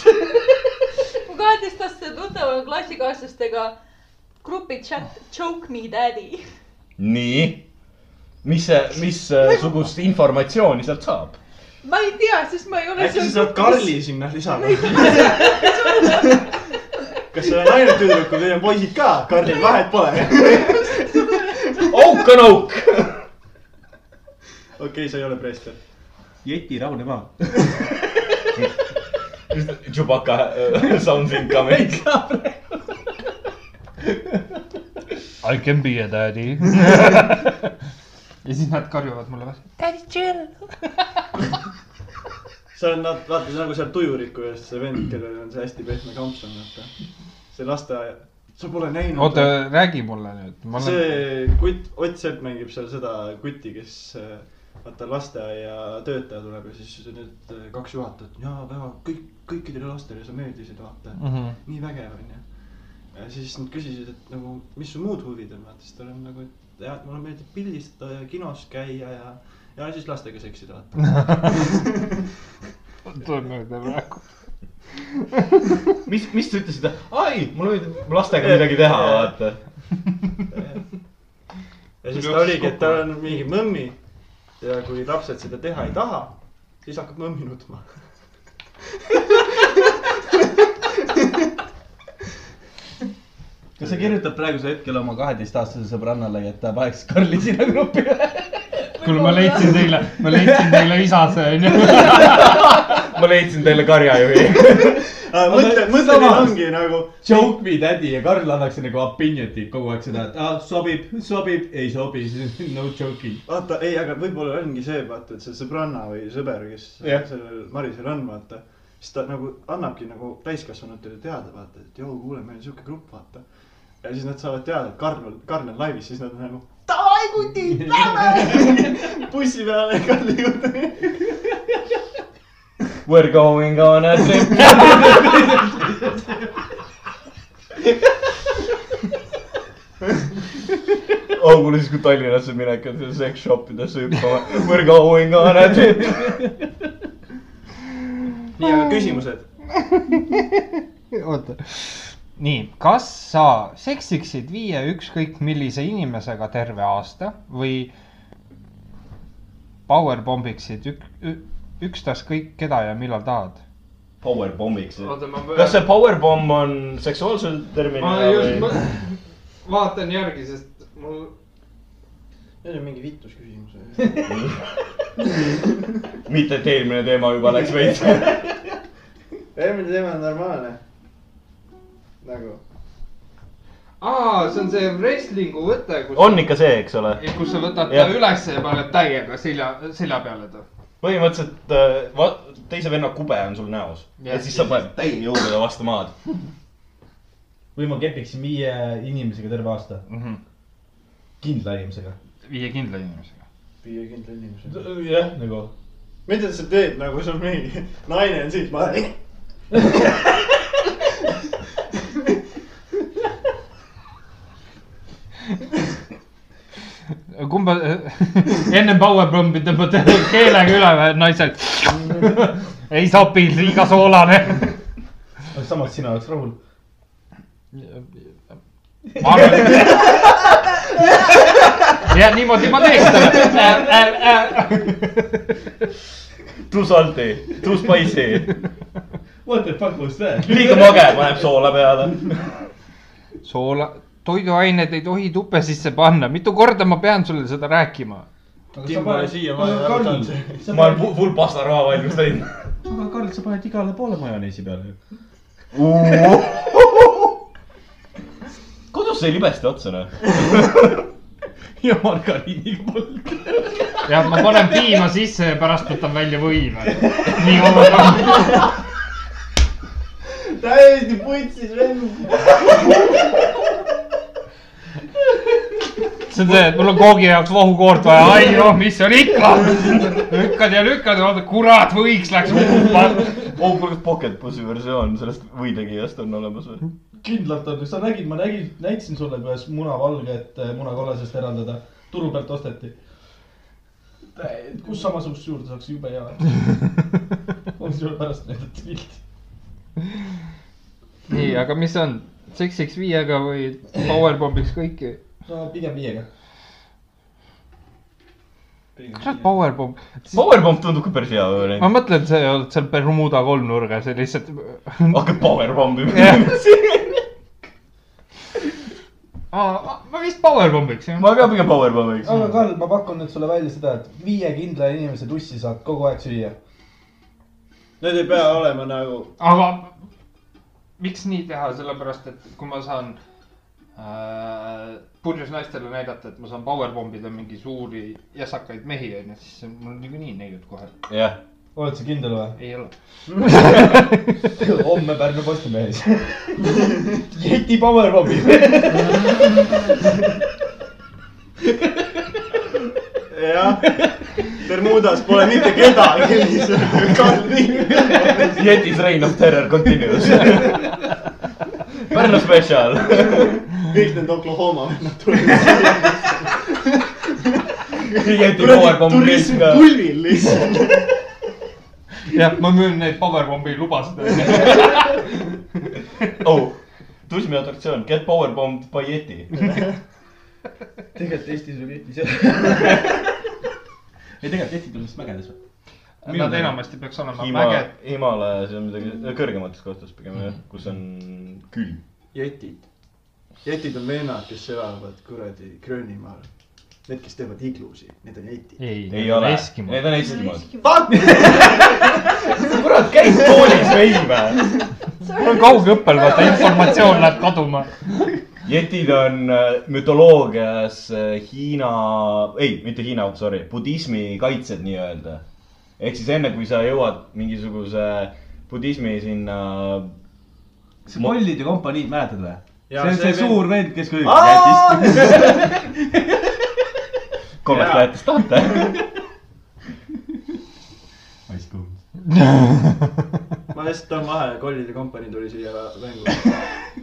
Speaker 12: mu kaheteistaastaste tuttava klassikaaslastega grupi chat Choke me daddy .
Speaker 2: nii , mis , missugust informatsiooni sealt saab ?
Speaker 12: ma ei tea , sest ma ei ole
Speaker 1: äkki sa saad . Karli sinna lisada ? kas seal on ainult tüdrukud , neil on poisid ka , Karlil vahet pole .
Speaker 2: auk on auk .
Speaker 1: okei , sa ei ole preester .
Speaker 7: jeti rahune maa .
Speaker 2: Chewbacca äh, sounds incoming .
Speaker 3: I can be a daddy . ja siis nad karjuvad mulle vastu .
Speaker 1: sa oled , nad , vaata , see on nagu seal tujuriku eest see vend , kellel on see hästi pehme kamps on , vaata . see lasteaia , sa pole näinud .
Speaker 3: oota , räägi mulle nüüd . ma olen ,
Speaker 1: see kutt , Ott Sepp mängib seal seda kutti , kes äh, vaata lasteaia töötaja tuleb ja siis need äh, kaks juhatajat , jaa , väga kõik , kõikidele lastele sa meeldisid , vaata mm .
Speaker 3: Mhm.
Speaker 1: -hmm. nii vägev onju . ja siis nad küsisid , et nagu , mis su muud huvid on , vaata , siis tal on nagu , et jah , et mulle meeldib pildistada ja kinos käia ja , ja siis lastega seksida , vaata .
Speaker 3: tuleb meelde praegu .
Speaker 2: mis , mis te ütlesite ? ai , mul meeldib lastega midagi teha , vaata .
Speaker 1: ja siis ta oligi , et tal on mingi mõmmi ja kui lapsed seda teha ei taha , siis hakkab mõmmi nutma .
Speaker 7: kas sa kirjutad praegusel hetkel oma kaheteistaastasele sõbrannale , et ta paneks Karli sinna gruppi ?
Speaker 3: kuule , ma leidsin teile , ma leidsin teile isase onju .
Speaker 2: ma leidsin teile karjajuhi .
Speaker 1: mõtle , mõtle , neil ongi nagu
Speaker 7: Joke me daddy ja Karl annaks nagu opinion'it kogu aeg seda , et ah, sobib , sobib , ei sobi , no joking .
Speaker 1: vaata , ei , aga võib-olla ongi see , vaata , et see sõbranna või sõber , kes
Speaker 7: Jah.
Speaker 1: sellel Marisel on , vaata , siis ta nagu annabki nagu täiskasvanutele teada , vaata , et joo , kuule , meil on sihuke grupp , vaata . ja siis nad saavad teada , et Karl on , Karl on laivis , siis nad on nagu davai , kutid , lähme bussi peale Karli juurde .
Speaker 2: We are going on a trip . oh , kuule siis , kui Tallinnasse minek on , siis seks shop idesse hüppama . We are going on a trip .
Speaker 1: nii , aga küsimused ?
Speaker 3: oota . nii , kas sa seksiksid viie ükskõik millise inimesega terve aasta või powerpombiksid ük- , ükstaskõik keda ja millal tahad ?
Speaker 2: Powerbombiks .
Speaker 3: Oota, ma pööran-
Speaker 2: kas see powerbomb on seksuaalse terminina või ?
Speaker 3: vaatan järgi , sest mul .
Speaker 1: Need on mingi vitus küsimused .
Speaker 2: mitte , et eelmine teema juba läks veits .
Speaker 1: eelmine teema on normaalne . nagu .
Speaker 3: aa , see on see wrestling'u võte , kus
Speaker 2: on ikka see , eks ole ?
Speaker 3: kus sa võtad
Speaker 2: ta Jah.
Speaker 3: ülesse ja paned täiega selja , selja peale ta .
Speaker 2: põhimõtteliselt äh, va- teise venna kube on sul näos ja,
Speaker 3: Jah.
Speaker 2: ja siis sa paned täie jõuga vastu maad .
Speaker 5: või ma kepiksin viie inimesega terve aasta , kindla inimesega .
Speaker 3: viie kindla inimesega .
Speaker 1: viiekümnendal inimesel .
Speaker 5: jah , nagu .
Speaker 1: mida sa teed nagu sul mingi naine on siin , ma .
Speaker 3: kumba , enne powerbombi tõmbad keelega üle või naised . ei sobi , liiga soolane .
Speaker 4: samas sina oleks rahul .
Speaker 3: ma arvan . ja niimoodi ma teeks talle .
Speaker 2: Too salty , too spicy ,
Speaker 5: What the fuck was that ?
Speaker 2: liiga mage , paneb soola peale .
Speaker 3: soola , toiduained ei tohi tuppe sisse panna , mitu korda ma pean sulle seda rääkima ?
Speaker 1: Tim pole siiamaani ära võtanud .
Speaker 2: ma olen fu- full pastaraha valmis teinud .
Speaker 5: aga Karl , sa paned igale poole majoneesi peale ju .
Speaker 2: kodus sai libesti otsa noh .
Speaker 5: ja margariiniga polnud .
Speaker 3: ja ma panen piima sisse ja pärast võtan välja võiva . nii kaua ka .
Speaker 1: täiesti putsis vend .
Speaker 3: see on see , et mul on koogi jaoks vohukoort vaja , ai noh , mis seal ikka . lükkad ja lükkad ja vaatad , kurat , võiks läks uppa .
Speaker 2: oh , kuule , kas Pocket Bussi versioon sellest võitegijast on olemas või ?
Speaker 5: kindlalt on , kas sa nägid , ma nägin , näitasin sulle , kuidas munavalget eh, munakollasest eraldada . turu pealt osteti . kus samasugust juurde saaks , jube hea . on sul pärast näidata pilti .
Speaker 3: nii , aga mis on , seksiks viiega või powerbombiks kõiki ?
Speaker 5: no pigem viiega .
Speaker 3: kurat , powerbomb ,
Speaker 2: Powerbomb tundub ka päris hea variant
Speaker 3: ma . mõtlen , sa oled seal Bermuda kolmnurgas ja lihtsalt .
Speaker 2: hakkab Powerbombi
Speaker 3: Jah.
Speaker 2: minema .
Speaker 3: ma vist powerbombiks jah .
Speaker 2: ma ka pigem Powerbombiks .
Speaker 5: aga Karl , ma pakun nüüd sulle välja seda , et viie kindla inimese tussi saad kogu aeg süüa .
Speaker 1: Need ei pea olema nagu ,
Speaker 3: aga miks nii teha , sellepärast et kui ma saan äh, purjus naistele näidata , et ma saan powerbombida mingi suuri jäsakaid mehi onju , siis on mul niikuinii neiud kohe
Speaker 2: jah ,
Speaker 5: oled sa kindel või ?
Speaker 3: ei ole .
Speaker 5: homme Pärnu Postimehes . jeti Powerbombi .
Speaker 1: jah . Bermudas pole mitte kedagi lihtsalt .
Speaker 2: Yetis Reign of Terror continues . Pärnu spetsial .
Speaker 1: kõik need Oklahoma vennad tulid .
Speaker 2: Yeti
Speaker 1: kuradi
Speaker 2: Powerbomb
Speaker 1: turism
Speaker 2: ka .
Speaker 1: pulmil lihtsalt .
Speaker 3: jah , ma müün neid powerbombi lubasid onju .
Speaker 2: oh , turismiatraktsioon Get Powerbombed by Yeti .
Speaker 7: tegelikult Eestis oli ketis jah . ei tegelikult ketid on vist mägedes või ?
Speaker 3: Nad enamasti peaks olema mäged .
Speaker 2: Himalajas ja midagi kõrgemates kohtades pigem jah , kus on Mhm. külm .
Speaker 1: jetid . jetid on vennad , kes elavad kuradi Gröönimaal . Need , kes teevad iglusi , need on jetid .
Speaker 3: ei
Speaker 2: ei ole , need on Eestimaad .
Speaker 3: kurat , käis
Speaker 2: koolis veime .
Speaker 3: mul on kaugõppel , vaata informatsioon läheb kaduma .
Speaker 2: Yetid on äh, mütoloogias äh, Hiina , ei , mitte Hiina , sorry , budismi kaitsjad nii-öelda . ehk siis enne , kui sa jõuad mingisuguse budismi sinna .
Speaker 7: see Mollid ja kompaniid , mäletad või ?
Speaker 1: Jaa,
Speaker 7: see on
Speaker 1: see
Speaker 7: see
Speaker 1: vend-
Speaker 7: suur vend , kes kõik
Speaker 1: Aa!
Speaker 7: jätist .
Speaker 2: kolmest
Speaker 1: Jaa.
Speaker 2: lähetest tahate .
Speaker 7: Ice Cube .
Speaker 1: ma lihtsalt tahan vahele , kollide kompanii tuli siia mängu .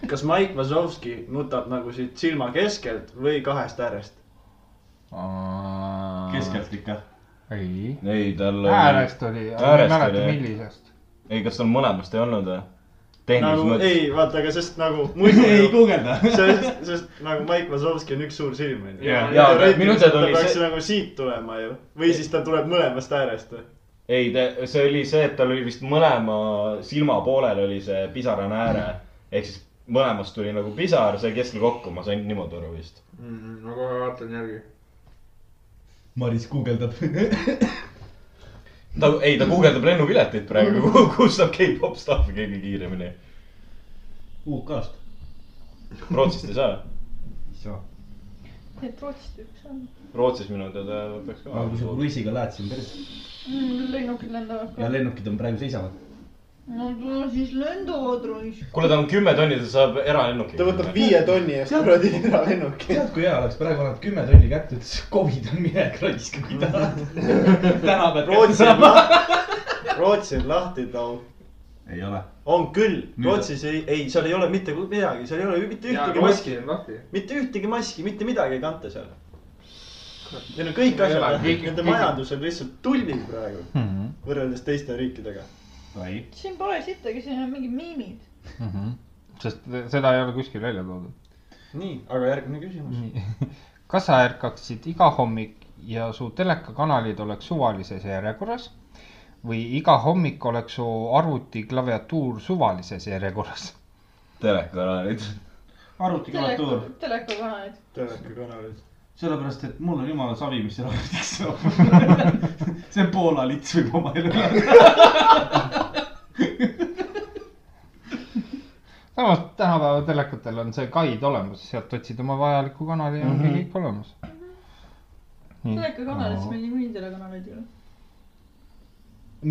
Speaker 1: kas Mike Wazowski nutab nagu siit silma keskelt või kahest äärest ?
Speaker 7: keskelt ikka .
Speaker 3: ei ,
Speaker 2: ei , tal .
Speaker 3: äärest oli , ma ei
Speaker 2: Äärest oli,
Speaker 3: mäleta
Speaker 2: jah.
Speaker 3: millisest .
Speaker 2: ei , kas tal mõlemast ei olnud või ? tehnilises
Speaker 1: nagu
Speaker 2: mõttes .
Speaker 1: ei , vaata , aga sest nagu muidu
Speaker 7: Nagu ei guugelda .
Speaker 1: sest , sest nagu Mike Wazowski on üks suur silm onju
Speaker 3: Jaa.
Speaker 2: Jaa, aga minu teada
Speaker 1: ta
Speaker 2: oli
Speaker 1: peaks
Speaker 2: see-
Speaker 1: nagu siit tulema ju või siis ta tuleb mõlemast äärest või ?
Speaker 2: ei , see oli see , et tal oli vist mõlema silma poolel oli see pisarane ääre . ehk siis mõlemast tuli nagu pisar , sai keskel kokku , ma sain niimoodi aru vist .
Speaker 3: Mhm, ma kohe vaatan järgi .
Speaker 5: Maris guugeldab .
Speaker 2: ta , ei , ta guugeldab lennupiletit praegu ,
Speaker 1: Mhm.
Speaker 2: kus saab K-pop stuff'i kõige kiiremini .
Speaker 7: UK-st .
Speaker 2: Rootsist ei saa .
Speaker 12: et Rootsist üks on .
Speaker 2: Rootsis minu teada peaks
Speaker 7: aga kui sa
Speaker 2: ka .
Speaker 7: kruiisiga lähed , siis on päris .
Speaker 12: Mm, lennukid lendavad
Speaker 7: ja
Speaker 12: ka .
Speaker 7: lennukid on praegu seisavad .
Speaker 6: no siis lendavad raisk .
Speaker 2: kuule , ta on kümme tonni , ta saab eralennuki .
Speaker 1: ta võtab viie tonni eest kuradi eralennuki .
Speaker 5: tead , kui hea oleks praegu annab kümme tonni kätte , ütles Covid on minek raiska , kui tahad .
Speaker 7: täna pead kätte
Speaker 1: Rootsi on
Speaker 7: saama .
Speaker 1: lahti , Rootsi on lahti too .
Speaker 7: ei ole .
Speaker 1: on küll ,
Speaker 7: Nüüd-
Speaker 1: Rootsis ei , ei , seal ei ole mitte ku- midagi , seal ei ole mitte ühtegi maski ,
Speaker 3: on lahti .
Speaker 1: mitte ühtegi maski , mitte midagi ei kanta seal . Neil on kõik
Speaker 3: Ei ole,
Speaker 1: asjad ,
Speaker 3: kõik-
Speaker 1: nende
Speaker 3: kõik-
Speaker 1: majandus on lihtsalt tulvil praegu
Speaker 3: Mhm,
Speaker 1: võrreldes teiste riikidega .
Speaker 2: ei ,
Speaker 6: siin pole sittagi , siin on mingid miimid .
Speaker 3: mhm. sest seda ei ole kuskil välja toodud .
Speaker 1: nii , aga järgmine küsimus .
Speaker 3: kas sa ärkaksid iga hommik ja su telekakanalid oleks suvalises järjekorras või iga hommik oleks su arvuti klaviatuur suvalises järjekorras ?
Speaker 2: telekanalid .
Speaker 7: arvutiklaviatuur ,
Speaker 6: telekakanalid .
Speaker 1: telekakanalid .
Speaker 7: sellepärast et mul on jumala savi , mis seal arvutiks saab . see Poola lits võib oma elu elada .
Speaker 3: samas tänapäeva telekatel on see guide olemas , sealt otsid oma vajaliku kanali ja ongi kõik olemas .
Speaker 6: telekakanalid , siis meil niikuinii telekanaleid ei ole .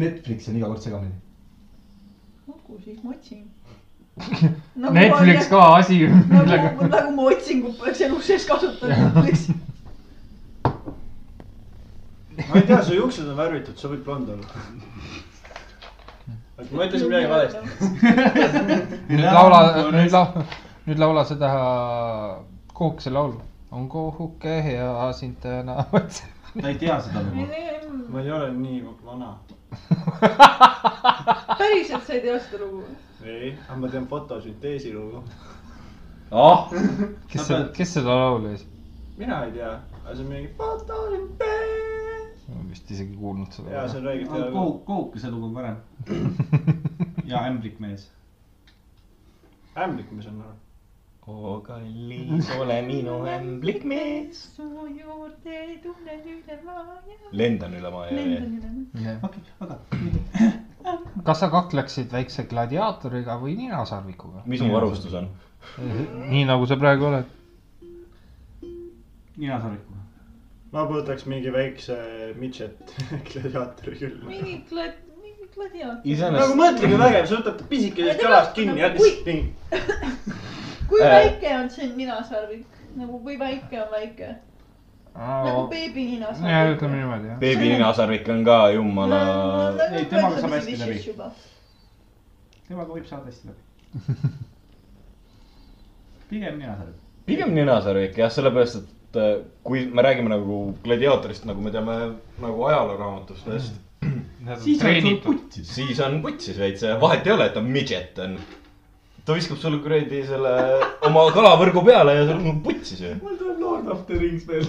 Speaker 5: Netflix on iga kord segamini .
Speaker 6: olgu , siis ma otsin .
Speaker 3: Netflix ka asi , millega .
Speaker 6: nagu , nagu ma otsingut poleks elu sees kasutanud , eks .
Speaker 1: ma ei tea , su juuksed on värvitud , sa võid blond olla . ma ütlesin midagi valesti .
Speaker 3: nüüd laula , nüüd laula , nüüd laula seda kohukese laulu . on kohuke hea sind täna otsima .
Speaker 7: ta ei tea seda lugu .
Speaker 6: valesti .
Speaker 1: ma ei ole nii vana .
Speaker 6: päriselt sa ei tea seda lugu ?
Speaker 1: ei , aga ma teen fotosünteesi lugu .
Speaker 2: ah ,
Speaker 3: kes see , kes seda laulis ?
Speaker 1: mina ei tea , aga see on mingi fotosüntees .
Speaker 3: ma vist isegi ei kuulnud
Speaker 1: ja see on
Speaker 3: seda .
Speaker 1: nagu õige teada .
Speaker 7: kohuk , kohukese lugu on parem . ja ämblikmees .
Speaker 1: ämblik , mis on nagu .
Speaker 2: oo Oh, kallis , ole minu ämblik mees .
Speaker 6: su juurde tunnen üle maailma .
Speaker 2: lendan üle maa ja vee .
Speaker 3: kas sa kakleksid väikse gladiaatoriga või ninasarvikuga ?
Speaker 2: mis mu varustus on ?
Speaker 3: nii nagu sa praegu oled .
Speaker 7: ninasarviku .
Speaker 1: ma võtaks mingi väikse midžet gladiaatori küll .
Speaker 6: mingi klad- , mingi gladiaator .
Speaker 1: nagu
Speaker 2: iseenesest ,
Speaker 1: mõtlege vägev , sa võtad ta pisikesest jalast
Speaker 6: nagu
Speaker 1: kinni ja siis ping .
Speaker 6: kui
Speaker 2: Äh.
Speaker 6: väike on see ninasarvik ? nagu kui väike on väike ? nagu
Speaker 3: ja
Speaker 6: beebi
Speaker 3: ütleme
Speaker 6: ninasarvik .
Speaker 3: niimoodi jah .
Speaker 2: beebi ninasarvik on ka jumala .
Speaker 7: Ei, temaga saab hästi läbi. temaga võib saada hästi läbi . pigem ninasarvik .
Speaker 2: pigem ninasarvik jah , sellepärast , et äh, kui me räägime nagu gladiaatorist , nagu me teame nagu ajalooraamatustest ,
Speaker 7: siis on sul
Speaker 3: treenitud .
Speaker 7: putsi .
Speaker 2: siis on putsis veits , vahet ei ole , et ta midžet on . ta viskab sulle kuradi selle oma kalavõrgu peale ja sul on putsis ju .
Speaker 5: mul tuleb Lord of the Rings veel .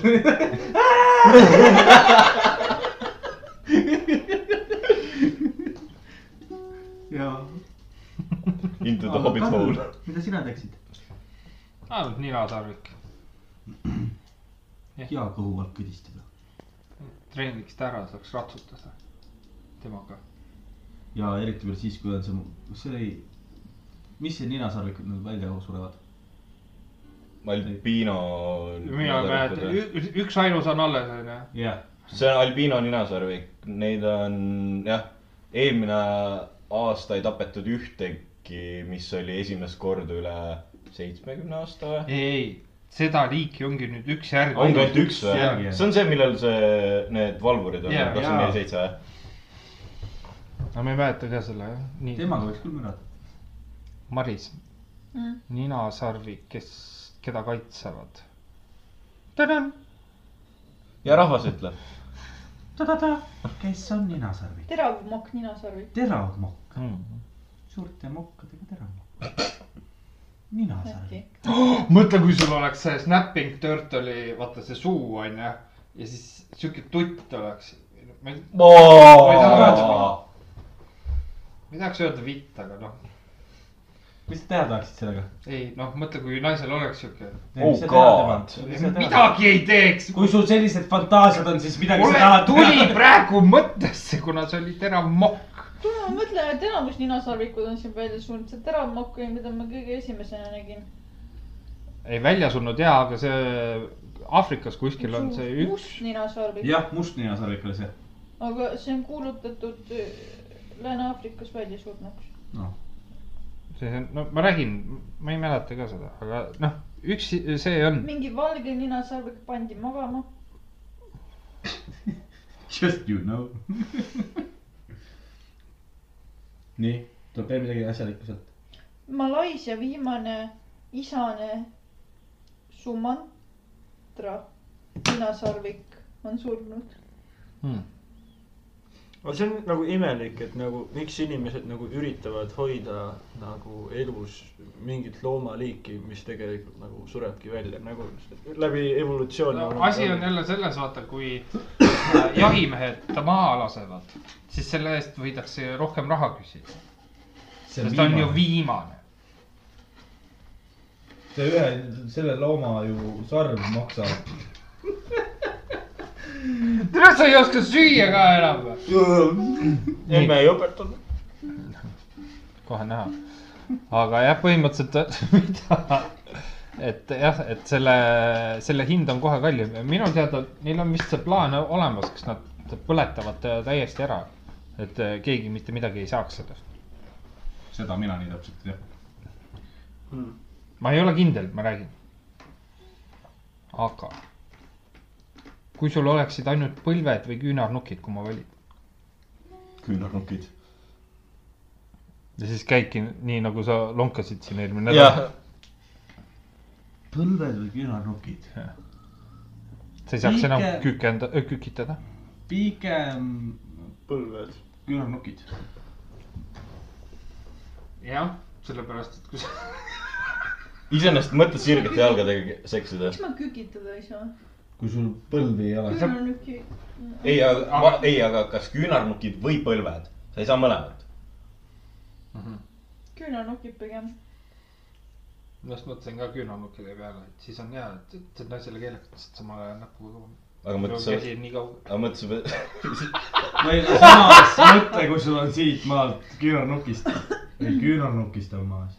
Speaker 7: jaa .
Speaker 2: Into the hobbit hole .
Speaker 7: mida sina teeksid ?
Speaker 3: ainult Ah, ninasarvik .
Speaker 7: hea kõhu alt pidistada
Speaker 3: treeniks ta ära , saaks ratsutada temaga .
Speaker 7: ja eriti veel siis , kui on see , kas see oli , mis see ninasarvikud nüüd välja surevad ?
Speaker 2: Albino .
Speaker 3: mina ei mäleta , üks ainus on alles onju .
Speaker 7: jah ,
Speaker 2: see on albino ninasarvik , neid on jah , eelmine aasta ei tapetud ühtegi , mis oli esimest korda üle seitsmekümne aasta või ?
Speaker 3: ei , ei , seda liiki ongi nüüd üks järg .
Speaker 2: ongi ainult üks või
Speaker 7: järgi, ? jah.
Speaker 2: see on see , millel see , need valvurid on
Speaker 3: Jaa, ,
Speaker 2: kakskümmend neli seitse või ?
Speaker 3: no ma ei mäleta ka selle jah . nii ,
Speaker 7: temaga võiks küll mürata .
Speaker 3: Maris
Speaker 6: Mm. ,
Speaker 3: ninasarvik , kes , keda kaitsevad ? tänan .
Speaker 2: ja rahvas ütleb .
Speaker 7: ta-ta-ta , kes on ninasarvik ?
Speaker 6: terav mokk ninasarvik .
Speaker 7: terav mokk , suurte mokkadega terav mokk . ninasarvik .
Speaker 6: äkki .
Speaker 3: mõtle , kui sul oleks see snapping turtle'i , vaata see suu onju ja siis siuke tutt oleks . ma ei , Ma ei taha- ma ei tahaks öelda vitt , aga noh ,
Speaker 7: mis sa teha tahaksid sellega ?
Speaker 3: ei noh , mõtle , kui naisel oleks siuke ,
Speaker 2: Oh god. .
Speaker 3: midagi ei teeks .
Speaker 7: kui sul sellised fantaasiad on , siis midagi
Speaker 3: mulle
Speaker 7: sa tahad
Speaker 3: tuli praegu mõttesse , kuna see oli terav mokk .
Speaker 6: tule ma mõtlen , et enamus ninasarvikud on siin välja surnud , see terav mokk oli , mida ma kõige esimesena nägin .
Speaker 3: ei , välja surnud jaa , aga see Aafrikas kuskil on see üks .
Speaker 6: must ninasarvik ,
Speaker 7: jah , must ninasarvik oli see .
Speaker 6: aga see on kuulutatud öö, Lääne-Aafrikas väljasurnuks .
Speaker 3: see on , no ma räägin , ma ei mäleta ka seda , aga noh , üks see on ,
Speaker 6: mingi valge ninasarvik pandi magama .
Speaker 7: Just you know . nii , tuleb veel midagi asjalikku sealt .
Speaker 6: Malaisia viimane isane Sumantra ninasarvik
Speaker 12: on surnud .
Speaker 1: aga see on nagu imelik , et nagu miks inimesed nagu üritavad hoida nagu elus mingit loomaliiki , mis tegelikult nagu surebki välja nagu läbi evolutsiooni .
Speaker 3: asi on jälle selles , vaata , kui äh, jahimehed ta maha lasevad , siis selle eest võidakse rohkem raha küsida ,
Speaker 7: see
Speaker 3: sest ta on ju viimane .
Speaker 7: see ühe , selle looma ju sarv maksab .
Speaker 3: tere , sa ei oska süüa ka enam või ?
Speaker 1: emme ei õpetanud .
Speaker 3: kohe näha . aga jah , põhimõtteliselt mida , et jah , et selle , selle hind on kohe kallim . minu teada neil on vist see plaan olemas , kas nad põletavad ta täiesti ära , et keegi mitte midagi ei saaks sellest .
Speaker 2: seda mina nii täpselt ei tea .
Speaker 3: ma ei ole kindel , ma räägin . aga kui sul oleksid ainult põlved või küünarnukid , kui ma valin
Speaker 2: küünarnukid .
Speaker 3: ja siis käidki nii , nagu sa lonkasid siin eelmine
Speaker 2: jah
Speaker 3: nädal ,,
Speaker 5: põlved või küünarnukid ?
Speaker 3: sa ei saaks enam
Speaker 5: Liike-
Speaker 3: kükenda , kükitada .
Speaker 5: pigem
Speaker 1: põlved .
Speaker 5: küünarnukid .
Speaker 3: jah , sellepärast , et kui sa
Speaker 2: iseenesest mõtled sirgete jalgadega seksida
Speaker 12: miks ? ma kükitada ei saa ?
Speaker 7: kui sul põlvi ei ole .
Speaker 12: küll on niuke ,
Speaker 2: ei , aga , ei , aga kas küünarnukid või põlved ? sa ei saa mõlemat .
Speaker 12: küll on nokib pigem .
Speaker 3: ma just mõtlesin ka küünarnukkide peale , et siis on hea , et , et see on asjale keelatud , sest samal ajal näpuga .
Speaker 2: aga mõtle , sa ,
Speaker 3: käsi on nii kaugel .
Speaker 2: aga mõtle , sa pead ,
Speaker 7: või no samas mõtle , kui sul on siit maalt küünarnukist , ei küünarnukist on maas .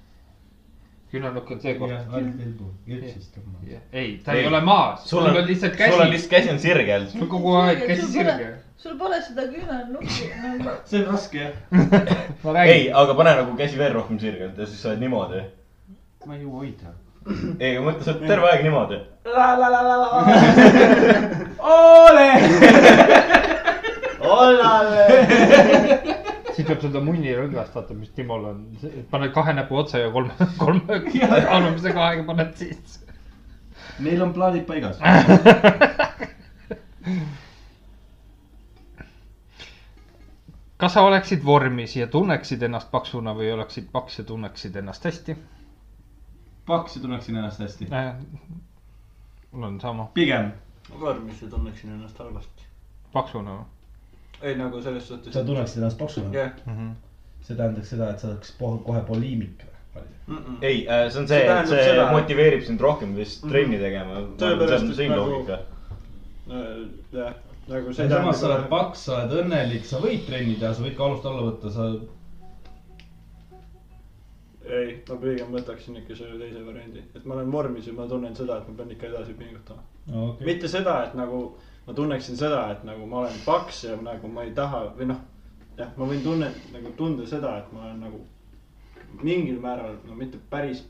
Speaker 3: küünarnukk on see koht .
Speaker 7: altpilgu , üksist on maas .
Speaker 3: ei , ta ei, ei ole maas ,
Speaker 2: sul on ,
Speaker 3: lihtsalt
Speaker 2: sul on
Speaker 3: käsi ,
Speaker 2: lihtsalt käsi on sirgel .
Speaker 3: sul on kogu aeg käsi
Speaker 12: Sul pole-
Speaker 3: sirge .
Speaker 12: sul pole seda küünarnukki nagu .
Speaker 5: see on raske jah .
Speaker 3: ma
Speaker 2: ei
Speaker 3: räägin ,,
Speaker 2: aga pane nagu käsi veel rohkem sirgelt ja siis sa oled niimoodi .
Speaker 5: ma ei jõua hoida .
Speaker 2: ei , aga mõtle , sa oled terve aeg niimoodi .
Speaker 1: Ollale .
Speaker 3: siis peab seda munnirõngast vaata , mis Timol on , paned kahe näpu otsa ja kolme , kolme alumise kahega paned sisse .
Speaker 5: meil on plaanid paigas .
Speaker 3: kas sa oleksid vormis ja tunneksid ennast paksuna või oleksid paks ja tunneksid ennast hästi ?
Speaker 5: paks ja tunneksin ennast hästi .
Speaker 3: mul on sama ,
Speaker 5: pigem .
Speaker 1: vormis ju tunneksin ennast halvasti .
Speaker 3: paksuna või
Speaker 1: ei nagu selles suhtes .
Speaker 13: sa tunneksid ennast paksuna ?
Speaker 1: jah ,
Speaker 3: mm
Speaker 2: Mhm.
Speaker 3: -hmm. ?
Speaker 13: see tähendaks seda , et sa oleks po- kohe poliimik või ?
Speaker 2: ei , see on
Speaker 1: See
Speaker 2: see , et
Speaker 1: tähendab
Speaker 2: see
Speaker 1: seda-
Speaker 2: motiveerib sind rohkem vist trenni tegema .
Speaker 1: Tõepärast,
Speaker 2: see on
Speaker 1: et
Speaker 2: siin
Speaker 1: nagu-
Speaker 2: loogika .
Speaker 1: jah , nagu see .
Speaker 7: samas sa oled paks , sa oled õnnelik , sa võid trenni teha , sa võid kaalust alla võtta , sa
Speaker 1: ei , ma pigem võtaksin ikka selle teise variandi , et ma olen vormis ja ma tunnen seda , et ma pean ikka edasi pingutama okay. . mitte seda , et nagu ma tunneksin seda , et nagu ma olen paks ja nagu ma ei taha või noh , jah , ma võin tunne , nagu tunda seda , et ma olen nagu mingil määral , no mitte päris .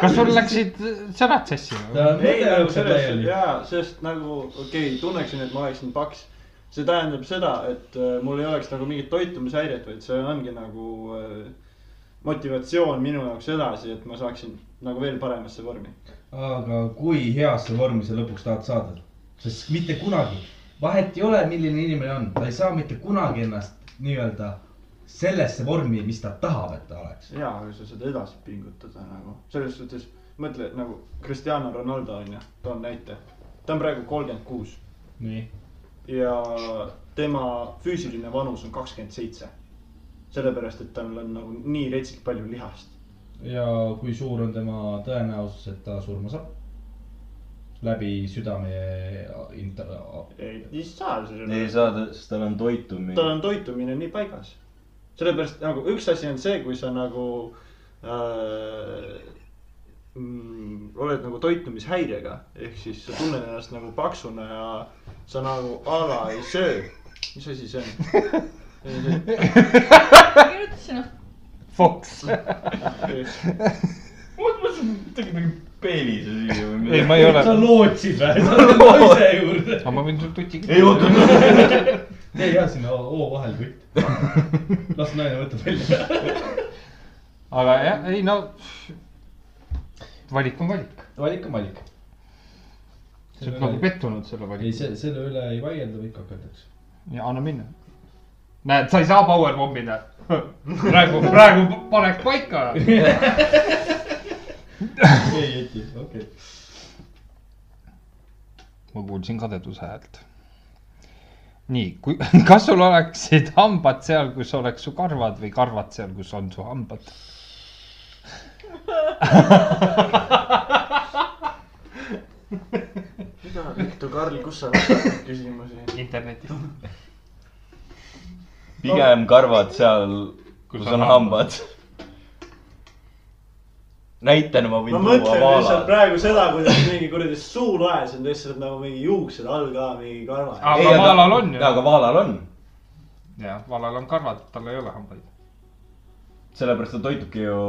Speaker 3: kas sul läksid sõnad sassi või ?
Speaker 1: ei , nagu selles , jaa , sest nagu okei okay, , tunneksin , et ma oleksin paks . see tähendab seda , et äh, mul ei oleks nagu mingit toitumishäiret , vaid see ongi nagu äh, motivatsioon minu jaoks edasi , et ma saaksin nagu veel paremasse vormi .
Speaker 7: aga kui heasse vormi sa lõpuks tahad saada , sest mitte kunagi , vahet ei ole , milline inimene on , ta ei saa mitte kunagi ennast nii-öelda sellesse vormi , mis ta tahab , et ta oleks .
Speaker 1: jaa , aga sa saad edasi pingutada nagu , selles suhtes mõtle nagu Cristiano Ronaldo on ju , toon näite . ta on praegu kolmkümmend kuus
Speaker 7: nii .
Speaker 1: ja tema füüsiline vanus on kakskümmend seitse . sellepärast , et tal on nagu nii retsilt palju lihast .
Speaker 7: ja kui suur on tema tõenäosus , et ta surma saab ? läbi südame inter- .
Speaker 1: ei , ei saa .
Speaker 2: ei saa , sest tal on
Speaker 1: tal
Speaker 2: toitumine .
Speaker 1: on toitumine nii paigas . sellepärast nagu üks asi on see , kui sa nagu äh, mm, oled nagu toitumishäirega , ehk siis sa tunned ennast nagu paksuna ja sa nagu a la ei söö . mis asi see on ?
Speaker 12: kirjutasin ,
Speaker 3: Fox .
Speaker 2: ma mõtlesin , et tegid mingi peelise süüa või
Speaker 3: ei , ma ei ole ,
Speaker 7: lootsid või ? sa oled naise juurde .
Speaker 3: aga ma võin sul tuti .
Speaker 2: ei oota ,
Speaker 7: tee jah sinna O O vahel kutt . las naine võtab välja .
Speaker 3: aga jah , ei no , valik on valik .
Speaker 7: valik on valik .
Speaker 3: sa oled nagu pettunud selle
Speaker 7: ei ,
Speaker 3: valiku .
Speaker 7: see , selle üle ei vaielda , ikka hakatakse .
Speaker 3: ja anna minna . näed , sa ei saa power bombida . praegu , praegu paneks paika .
Speaker 7: ei , Jeti , okei .
Speaker 3: ma kuulsin kadeduse häält . nii , kui , kas sul oleksid hambad seal , kus oleks su karvad või karvad seal , kus on su hambad ?
Speaker 1: mida , Viktor , Karl , kus sa võtad neid küsimusi ?
Speaker 3: internetis .
Speaker 2: pigem karvad seal , kus on hambad . näitena ma võin
Speaker 1: ma
Speaker 2: tuua
Speaker 1: mõtlen lihtsalt
Speaker 2: vaala .
Speaker 1: praegu seda , kuidas mingi kuradi suulaes on lihtsalt nagu mingi juuksed all ka mingi karva .
Speaker 3: aga vaalal on ju .
Speaker 2: aga vaalal on ,
Speaker 3: jah , vaalal on karvad , tal ei ole hambaid .
Speaker 2: sellepärast ta toitubki ju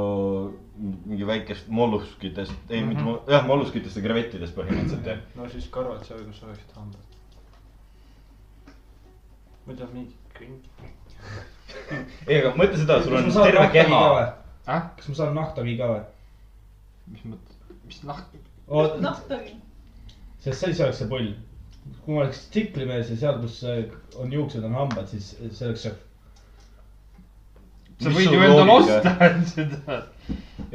Speaker 2: mingi väikest molluskitest , ei mm -hmm.
Speaker 1: Mhm.
Speaker 2: mitte , jah , molluskitest ja krevettidest põhimõtteliselt jah .
Speaker 1: no siis karvad seal , kus oleksid hambad . muidu on mingi kõnd .
Speaker 2: ei , aga mõtle seda , sul on
Speaker 7: kas ma saan
Speaker 2: terve
Speaker 7: nahktagi
Speaker 2: keha
Speaker 7: ka . või ?
Speaker 3: Äh?
Speaker 7: kas ma saan nahktagi ka või ?
Speaker 3: mis mõttes , mis lahti ?
Speaker 7: oot ,
Speaker 12: naftagi .
Speaker 7: sest siis oleks see pull . kui ma oleks tsiklimees ja seal , kus on juuksed , on hambad , siis see oleks see .
Speaker 3: sa
Speaker 2: Mis
Speaker 3: võid
Speaker 2: sul
Speaker 3: ju endale
Speaker 2: loogika?
Speaker 3: osta seda .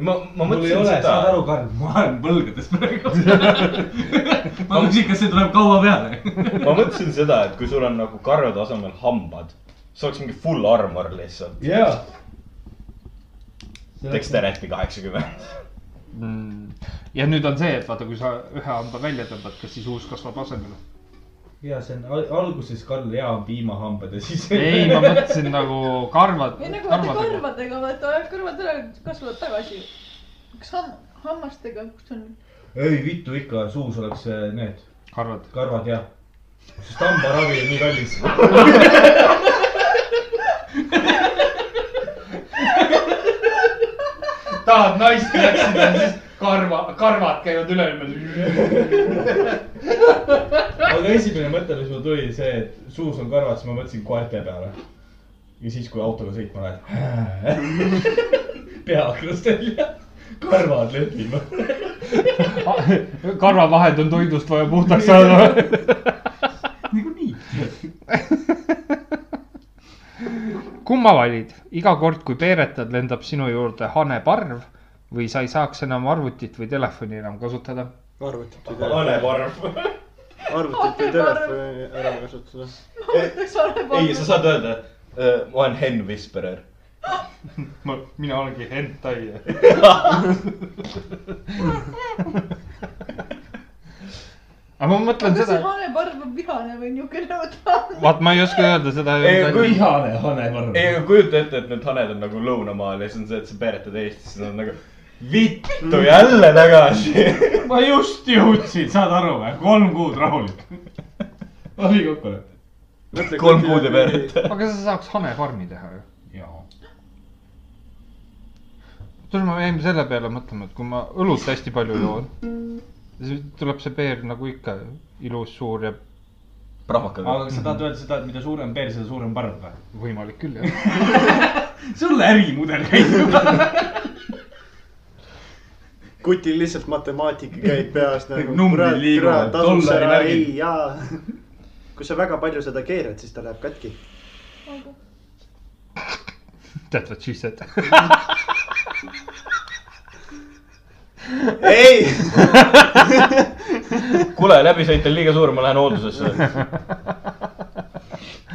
Speaker 2: ma , ma
Speaker 7: mul ei
Speaker 2: mõtlesin
Speaker 7: ole , saad
Speaker 2: seda ,
Speaker 7: aru , Karl , ma olen põlgades praegu .
Speaker 5: ma küsin , kas see tuleb kaua peale ?
Speaker 2: ma mõtlesin seda , et kui sul on nagu karvade asemel hambad , see oleks mingi full armor lihtsalt .
Speaker 7: jaa .
Speaker 2: Dexterity kaheksakümmend .
Speaker 3: Mm. ja nüüd on see , et vaata , kui sa ühe hamba välja tõmbad , kas siis uus kasvab asemele ?
Speaker 7: ja see on al- alguses Karl ja on piimahambad ja siis .
Speaker 3: ei , ma mõtlesin nagu karvad .
Speaker 12: või nagu vaata . karvadega , vaata ajad kõrvad ära , kasvavad tagasi . kas ham- , hammastega , kus on ?
Speaker 7: ei vittu ikka , suus oleks eh, need
Speaker 3: karvad .
Speaker 7: karvad ja . sest hambaravi on nii kallis .
Speaker 3: tahad naist läksida , siis karva , karvad käivad üle ümber .
Speaker 7: aga esimene mõte , mis mul tuli , see , et suus on karvad , siis ma mõtlesin koerte peale . ja siis , kui autoga sõitma lähed . pea aknast välja , karvad lehvivad .
Speaker 3: karvavahend on toidust vaja puhtaks saada .
Speaker 5: niikuinii .
Speaker 3: kumma valid ? iga kord , kui peeretad , lendab sinu juurde haneparv või sa ei saaks enam arvutit või telefoni enam kasutada ?
Speaker 1: arvutit ei tee ,
Speaker 2: hanevarv .
Speaker 1: arvutit ei telefoni ära kasutada .
Speaker 12: võtaks vale
Speaker 2: ei , sa saad öelda , ma olen Hen Whisperer .
Speaker 3: ma , mina olengi hentai . aga ma mõtlen
Speaker 12: kas
Speaker 3: seda
Speaker 12: see , vale parv on vihane või niukene , vaata .
Speaker 3: vaat ma ei oska öelda seda .
Speaker 2: Ei,
Speaker 7: Nagu
Speaker 2: kui-
Speaker 7: vihane hanevarv .
Speaker 2: ei , aga kujuta ette , et need haned on nagu lõunamaal ja siis on see , et sa peeretad Eestisse , nad on nagu vittu jälle tagasi .
Speaker 7: ma just jõudsin , saad aru või , kolm kuud rahulik . oli kokkulepe .
Speaker 2: kolm kuud ei peereta .
Speaker 3: aga sa saaks hanefarmi teha ju .
Speaker 7: jaa .
Speaker 3: tule , ma jäin selle peale mõtlema , et kui ma õlut hästi palju joon , siis tuleb see peer nagu ikka ilus , suur ja
Speaker 2: prahvakaga
Speaker 7: aga . kas sa tahad öelda seda , et mida suurem peel , seda suurem parv või ?
Speaker 3: võimalik küll jah .
Speaker 7: sul ärimudel käib juba .
Speaker 1: kutil lihtsalt matemaatika käib peas nagu .
Speaker 7: Numbrid liiguvad, dollari märgid.
Speaker 1: ei jaa . kui sa väga palju seda keerad , siis ta läheb katki .
Speaker 3: That's what she said .
Speaker 1: ei ,
Speaker 2: kuule , läbisõit on liiga suur , ma lähen hooldusesse .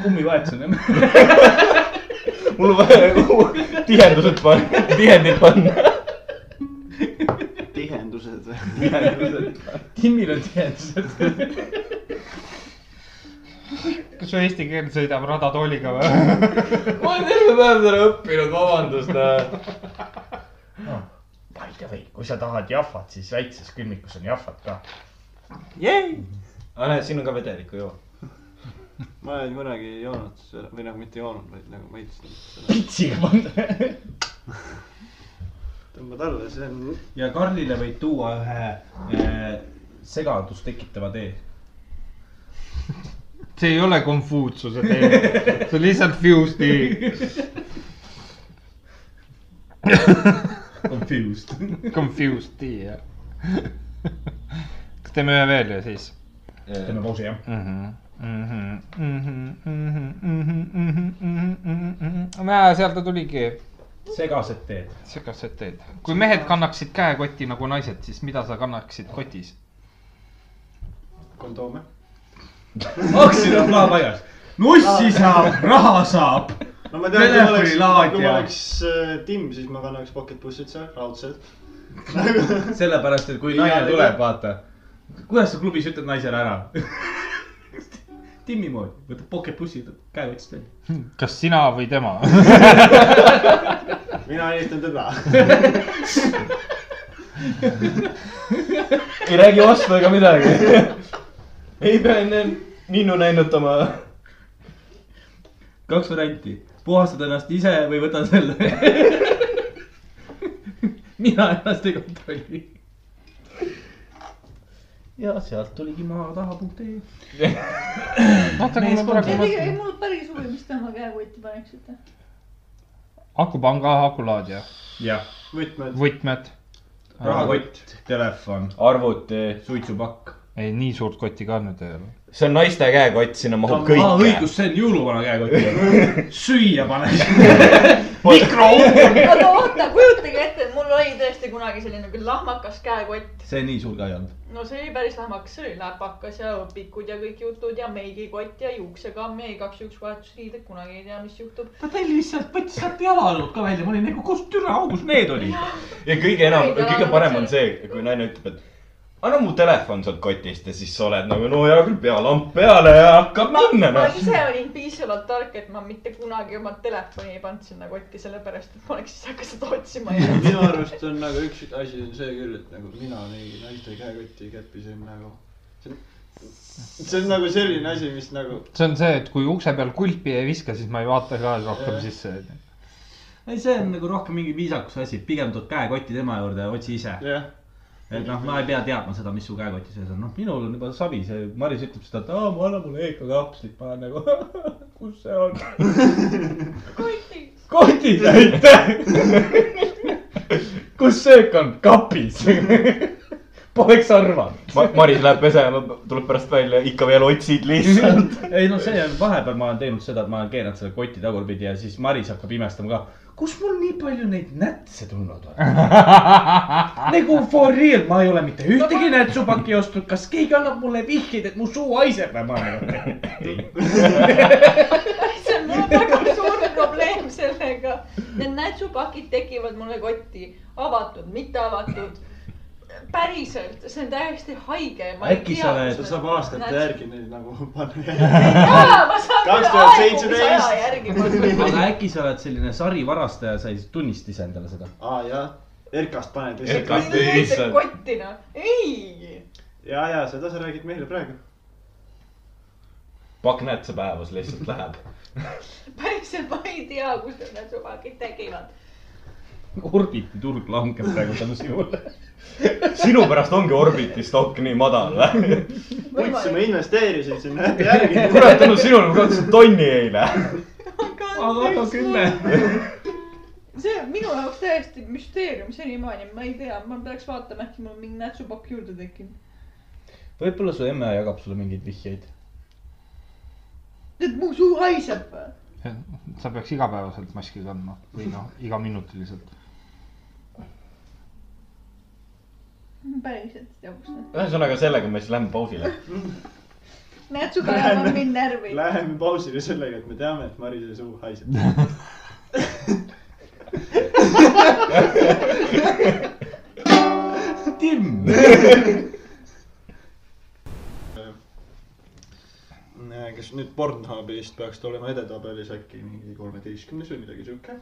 Speaker 7: kummivahetus on jah .
Speaker 2: mul on vaja tihendused panna , tihendid panna .
Speaker 1: tihendused .
Speaker 7: Timmil on teadused .
Speaker 3: kas su eesti keel sõidab radatooliga või ?
Speaker 2: ma olen terve päev seda õppinud , vabandust .
Speaker 7: By the way , kui sa tahad jahvat , siis väikses külmikus on jahvat ka .
Speaker 2: aga näed , siin on ka vedelikku joo .
Speaker 1: ma olen kunagi joonud seda- või nagu mitte joonud , vaid nagu maitsnud seda .
Speaker 7: pitsiga panna .
Speaker 1: tõmbad alla , see on .
Speaker 7: ja Karlile võid tuua ühe äh, segadust tekitava tee .
Speaker 3: see ei ole konfuutsuse teema , see on lihtsalt fuse tea ,
Speaker 7: Confused .
Speaker 3: confused tea jah . kas teeme ühe veel ja siis Mhm,
Speaker 14: teeme pausi jah .
Speaker 3: mhm, näe , seal ta tuligi ,
Speaker 14: segased teed .
Speaker 3: segased teed . kui mehed kannaksid käekotti nagu naised , siis mida sa kannaksid kotis ?
Speaker 1: kondoome .
Speaker 7: aktsiad on ka paigas . nussi saab , raha saab .
Speaker 1: no ma tean , kui ma oleks ,
Speaker 7: Telefonilaadija.
Speaker 1: kui ma oleks äh, Tim , siis ma kannaks pocket pussitsa , raudselt .
Speaker 7: sellepärast , et kui naine tuleb , vaata . kuidas sa klubis ütled naisele ära ? Timmi moodi , võtad pocket pussi , käe otsast välja .
Speaker 3: kas sina või tema ?
Speaker 1: mina eelistan teda .
Speaker 2: ei räägi vastu ega midagi . ei pea enne ninnu näinutama .
Speaker 7: kaks varianti , puhastad ennast ise või võta selle . mina ennast ei kontrolli . ja sealt tuligi maa taha punkt ee .
Speaker 3: oota , mul on praegu
Speaker 6: ei ,
Speaker 3: mõte .
Speaker 6: mul on päris huvi , mis te oma käekotti paneksite .
Speaker 3: akupanga akulaadija ,
Speaker 7: jah ,
Speaker 1: võtmed .
Speaker 3: võtmed .
Speaker 7: rahakott , telefon ,
Speaker 2: arvuti ,
Speaker 7: suitsupakk .
Speaker 3: ei , nii suurt kotti ka nüüd ei ole .
Speaker 2: eh, see on naiste käekott , sinna mahub kõik .
Speaker 7: õigus , see on jõuluvana käekott . süüa paned .
Speaker 6: aga oota , kujutage ette , mul oli tõesti kunagi selline küll lahmakas käekott .
Speaker 7: see nii suur ka ei olnud .
Speaker 6: no see oli päris lahmakas , see oli läpakas ja õpikud ja kõik jutud ja meigikott ja juuksekamm ja igaks juhuks vahetusriided , kunagi ei tea , mis juhtub .
Speaker 7: ta tellis sealt , võttis sealt jalaalut ka välja , ma olin nagu , kus türa augus need olid .
Speaker 2: ja kõige enam , kõige parem on see , kui naine ütleb , et anna mu telefon sealt kotist ja siis sa oled nagu no hea küll , pea lamp peale ja hakkab minna
Speaker 6: ma
Speaker 2: noh .
Speaker 6: ise olin piisavalt tark , et ma mitte kunagi oma telefoni ei pannud sinna kotti , sellepärast et ma oleks siis hakanud seda otsima ja
Speaker 1: minu arust on nagu üks asi on see küll , et nagu mina mingi naiste käekotti ei käpi , see on nagu , see on , see on nagu selline asi , mis nagu
Speaker 3: see on see , et kui ukse peal kulpi ei viska , siis ma ei vaata ka rohkem sisse .
Speaker 7: ei , see on nagu rohkem mingi viisakuse asi , pigem tood käekoti tema juurde ja otsi ise .
Speaker 1: jah ,
Speaker 7: et noh , ma ei pea teadma seda , mis su käekoti sees on , noh , minul on juba savi , see Maris ütleb seda , et aa , ma annan mulle EK kapslit , ma olen nagu , kus see on ?
Speaker 6: kotti .
Speaker 7: kotis , aitäh . kus söök on ? kapis . Poleks arvanud .
Speaker 2: Maris läheb pesema , tuleb pärast välja , ikka veel otsid lihtsalt .
Speaker 7: ei noh , see on , vahepeal ma olen teinud seda , et ma olen keeranud selle koti tagurpidi ja siis Maris hakkab imestama ka . kus mul nii palju neid nätse tulnud on ? nagu for real , ma ei ole mitte ühtegi nätsupaki ostnud , kas keegi annab mulle vihjeid , et mu suu haiseb või ma olen .
Speaker 6: see on , mul on väga suur probleem sellega . Need nätsupakid tekivad mulle kotti , avatud , mitte avatud . päriselt , see on täiesti haige .
Speaker 7: Äkki sa oled-
Speaker 1: ta saab aastate . järgi neid nagu panna .
Speaker 6: jaa , ma saan küll
Speaker 1: 2017.
Speaker 6: aegumisaja järgi panna .
Speaker 7: aga äkki sa oled selline sarivarastaja , sa ei tunnista ise endale seda ?
Speaker 1: aa jah , RK-st paned
Speaker 2: RK-st.
Speaker 1: lihtsalt .
Speaker 2: issand.
Speaker 6: kottina , noh, ei .
Speaker 1: ja , ja seda sa räägid meile praegu .
Speaker 2: pakk nätse päevas lihtsalt läheb .
Speaker 6: päriselt ma ei tea , kust need nätsupakid tekivad .
Speaker 7: orbiti turg langeb praegu tänu sinule .
Speaker 2: sinu pärast ongi Orbiti stokk nii madal või ?
Speaker 1: võtsin , ma investeerisin sinna äkki järgi .
Speaker 2: kurat , tänu sinule ma kaotasin tonni eile .
Speaker 7: aga kümme .
Speaker 6: see on minu jaoks täiesti müsteerium senimaani , ma ei tea , ma peaks vaatama , äkki mul mingi nätsupakk juurde tekib .
Speaker 7: võib-olla su emme jagab sulle mingeid vihjeid .
Speaker 6: et mu suu haiseb või ?
Speaker 3: sa peaks igapäevaselt maski kandma või noh , igaminutiliselt .
Speaker 6: päriselt jabustan .
Speaker 2: ühesõnaga sellega me siis lähme pausile .
Speaker 6: nätsupäev on mind närvi .
Speaker 1: Läheme pausile sellega , et me teame , et Marise suu haiseb .
Speaker 7: Tim .
Speaker 1: kas Äh, nüüd Pornhubist peaks ta olema edetabelis äkki mingi kolmeteistkümnes või midagi sihuke ?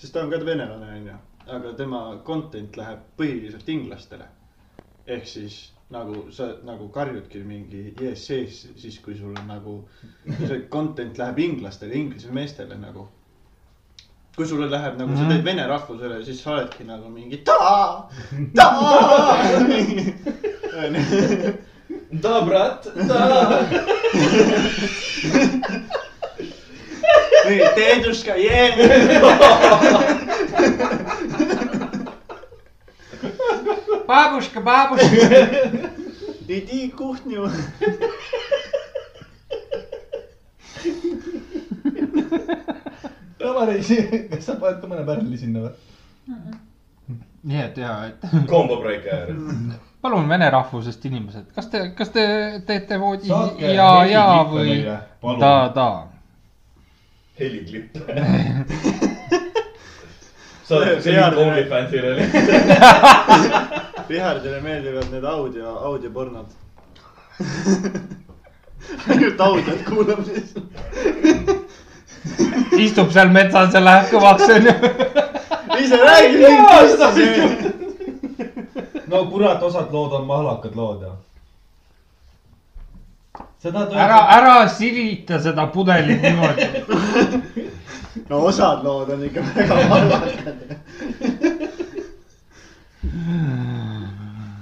Speaker 1: sest ta on ka venelane onju , aga tema content läheb põhiliselt inglastele . ehk siis nagu sa nagu karjudki mingi yes , yes , siis kui sul on nagu see content läheb inglastele , inglise meestele nagu . kui sulle läheb nagu sa teed vene rahvusele , siis sa oledki nagu mingi ta , ta .
Speaker 2: da brat , da .
Speaker 1: Või teeduska jeen .
Speaker 3: babuška , babuška .
Speaker 1: Иди кухню.
Speaker 5: Maris , kas sa paned ka mõne pärli sinna või ?
Speaker 3: nii et ja , et
Speaker 2: kombo break ära .
Speaker 3: palun vene rahvusest inimesed , kas te , kas te teete voodi ja , ja või ta , ta .
Speaker 2: heliklipp . sa oled see mingi OnlyFansile oli .
Speaker 1: Vihardile meeldivad need audio , audiopornod . ainult audiot kuulab siis .
Speaker 3: istub seal metsas ja läheb kõvaks onju .
Speaker 1: ise räägi mind .
Speaker 4: no kurat , osad lood on mahlakad lood ja . sa tahad
Speaker 3: ära , ära sirita seda pudelit niimoodi .
Speaker 1: no osad lood on ikka väga halvad .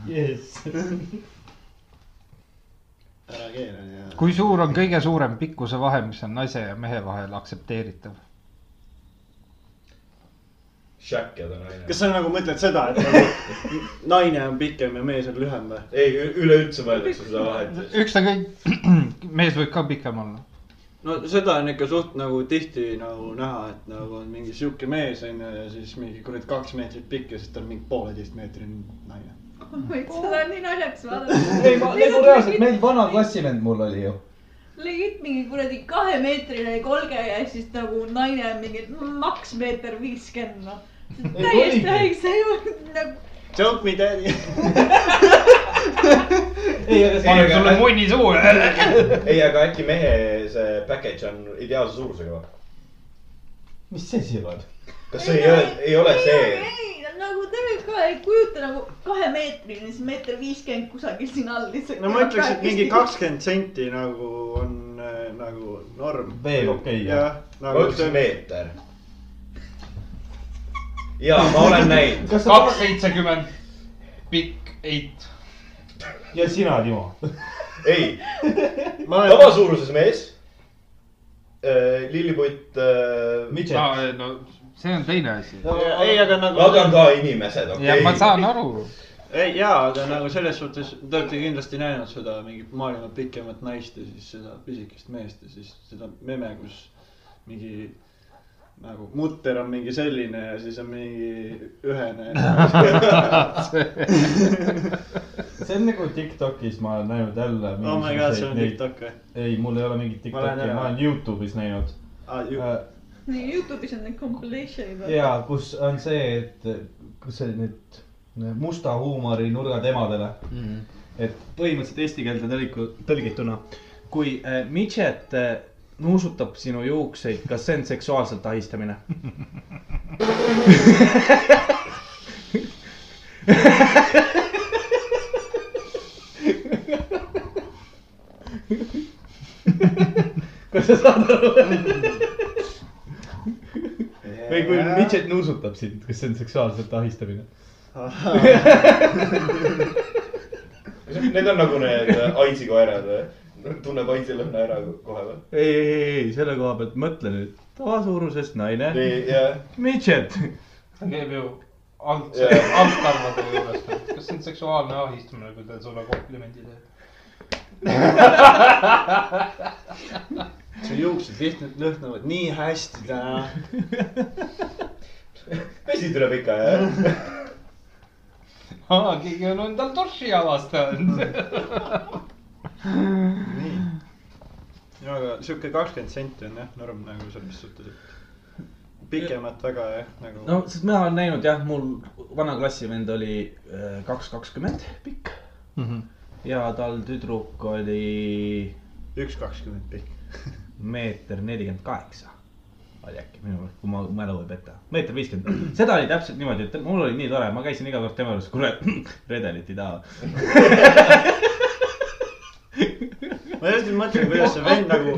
Speaker 4: yes. ?
Speaker 1: ära keela nii hea .
Speaker 3: kui suur on kõige suurem pikkuse vahe , mis on naise ja mehe vahel aktsepteeritav ?
Speaker 2: Shack ja ta naine .
Speaker 1: kas sa nagu mõtled seda , et nagu naine on pikem ja mees on lühem või ?
Speaker 2: ei , üleüldse mõeldakse seda vahet .
Speaker 3: ükskõik , mees võib ka pikem olla .
Speaker 1: no seda on ikka suht nagu tihti nagu näha , et nagu on mingi sihuke mees onju ja siis mingi kuradi kaks meetrit pikk ja siis ta on mingi pooleteistmeetrine naine .
Speaker 12: võid seda nii naljakas vaadata .
Speaker 4: ei , ma nagu reaalselt , meil vana klassivend mul oli ju .
Speaker 12: lõid mingi kuradi kahemeetrine kolge ja siis nagu naine on mingi maks meeter viiskümmend noh . täiesti haigse juurde nagu .
Speaker 1: Joke me daddy .
Speaker 4: ei , aga see
Speaker 2: Ei,
Speaker 3: paneb
Speaker 2: aga-
Speaker 3: sulle munni suhu .
Speaker 2: ei , aga äkki mehe see package on ideaalse suurusega või ?
Speaker 4: mis see siin on ?
Speaker 2: kas see ei ole , ei ole see ?
Speaker 12: ei , nagu tegelikult ka ei kujuta nagu kahemeetrine , siis meeter viiskümmend kusagil siin all lihtsalt .
Speaker 1: no ma ütleks , et mingi . kakskümmend senti nagu on äh, nagu norm .
Speaker 4: Veel okei, jah.
Speaker 1: jah . nagu
Speaker 2: ma ütlesin . meeter . ja ma olen näinud .
Speaker 4: kas sa
Speaker 3: kaks seitsekümmend , pikk eit .
Speaker 4: ja sina , Timo ?
Speaker 2: Äh, ei ,
Speaker 1: ma olen ,
Speaker 2: tavasuuruses mees . lilliputt . äh,
Speaker 4: Midget no. .
Speaker 3: Ah, no see on teine asi .
Speaker 1: ei , aga nagu
Speaker 2: Nad on ka inimesed ,
Speaker 3: ja ma
Speaker 2: okei .
Speaker 3: saan aru .
Speaker 1: ei jaa , aga nagu selles suhtes te olete kindlasti näinud seda mingit maailma pikemat naist ja siis seda pisikest meest ja siis seda meme , kus mingi nagu mutter on mingi selline ja siis on mingi ühene .
Speaker 4: see on nagu Tiktokis ma olen näinud jälle .
Speaker 1: oh my god , see on TikTok või ?
Speaker 4: ei , mul ei ole mingit
Speaker 1: Ma lähen
Speaker 4: Tiktoki ,
Speaker 1: ära.
Speaker 4: ma olen Youtube'is näinud .
Speaker 1: Ah,
Speaker 7: Äh.
Speaker 12: nii , Youtube'is on need compilation'id .
Speaker 4: ja kus on see , et kus see nüüd musta huumori nurgad emadele ,
Speaker 7: et põhimõtteliselt eesti keelde tõliku- tõlgituna , kui äh, midžet äh, nuusutab sinu juukseid , kas see on seksuaalselt ahistamine ? kas sa saad aru ? või kui midžet nuusutab sind , kas see on seksuaalselt ahistamine ?
Speaker 2: Need on nagu need äh, Aidsi koerad või ? tunneb Aidsi lõhna ära kohe või ?
Speaker 7: ei , ei , ei , ei , selle koha pealt mõtle nüüd , tavasuurusest naine ,
Speaker 2: nii , ja ,
Speaker 7: midžet
Speaker 3: ta käib ju alt
Speaker 2: Jah. ,
Speaker 3: altkarvade juures . kas see on seksuaalne ahistamine , kui ta sulle komplimendi teeb ?
Speaker 1: su juuksed lihtsalt lõhnavad nii hästi täna .
Speaker 2: pesid üle pika ja .
Speaker 3: aa , keegi on endal duši avastanud .
Speaker 1: nii . no aga sihuke kakskümmend senti on jah norm nagu selles suhtes , et pikemat väga jah nagu
Speaker 7: no , sest mina olen näinud jah , mul vana klassivend oli äh, kaks kakskümmend pikk
Speaker 3: Mhm.
Speaker 7: ja tal tüdruk oli
Speaker 1: üks kakskümmend pikk .
Speaker 7: meeter nelikümmend kaheksa . oli äkki minu meelest , kui ma mälu ei peta , meeter viiskümmend , seda oli täpselt niimoodi , et mul oli nii tore , ma käisin iga kord tema juures , kuule redelit ei taha .
Speaker 1: ma just nüüd mõtlen , kuidas see vend nagu ,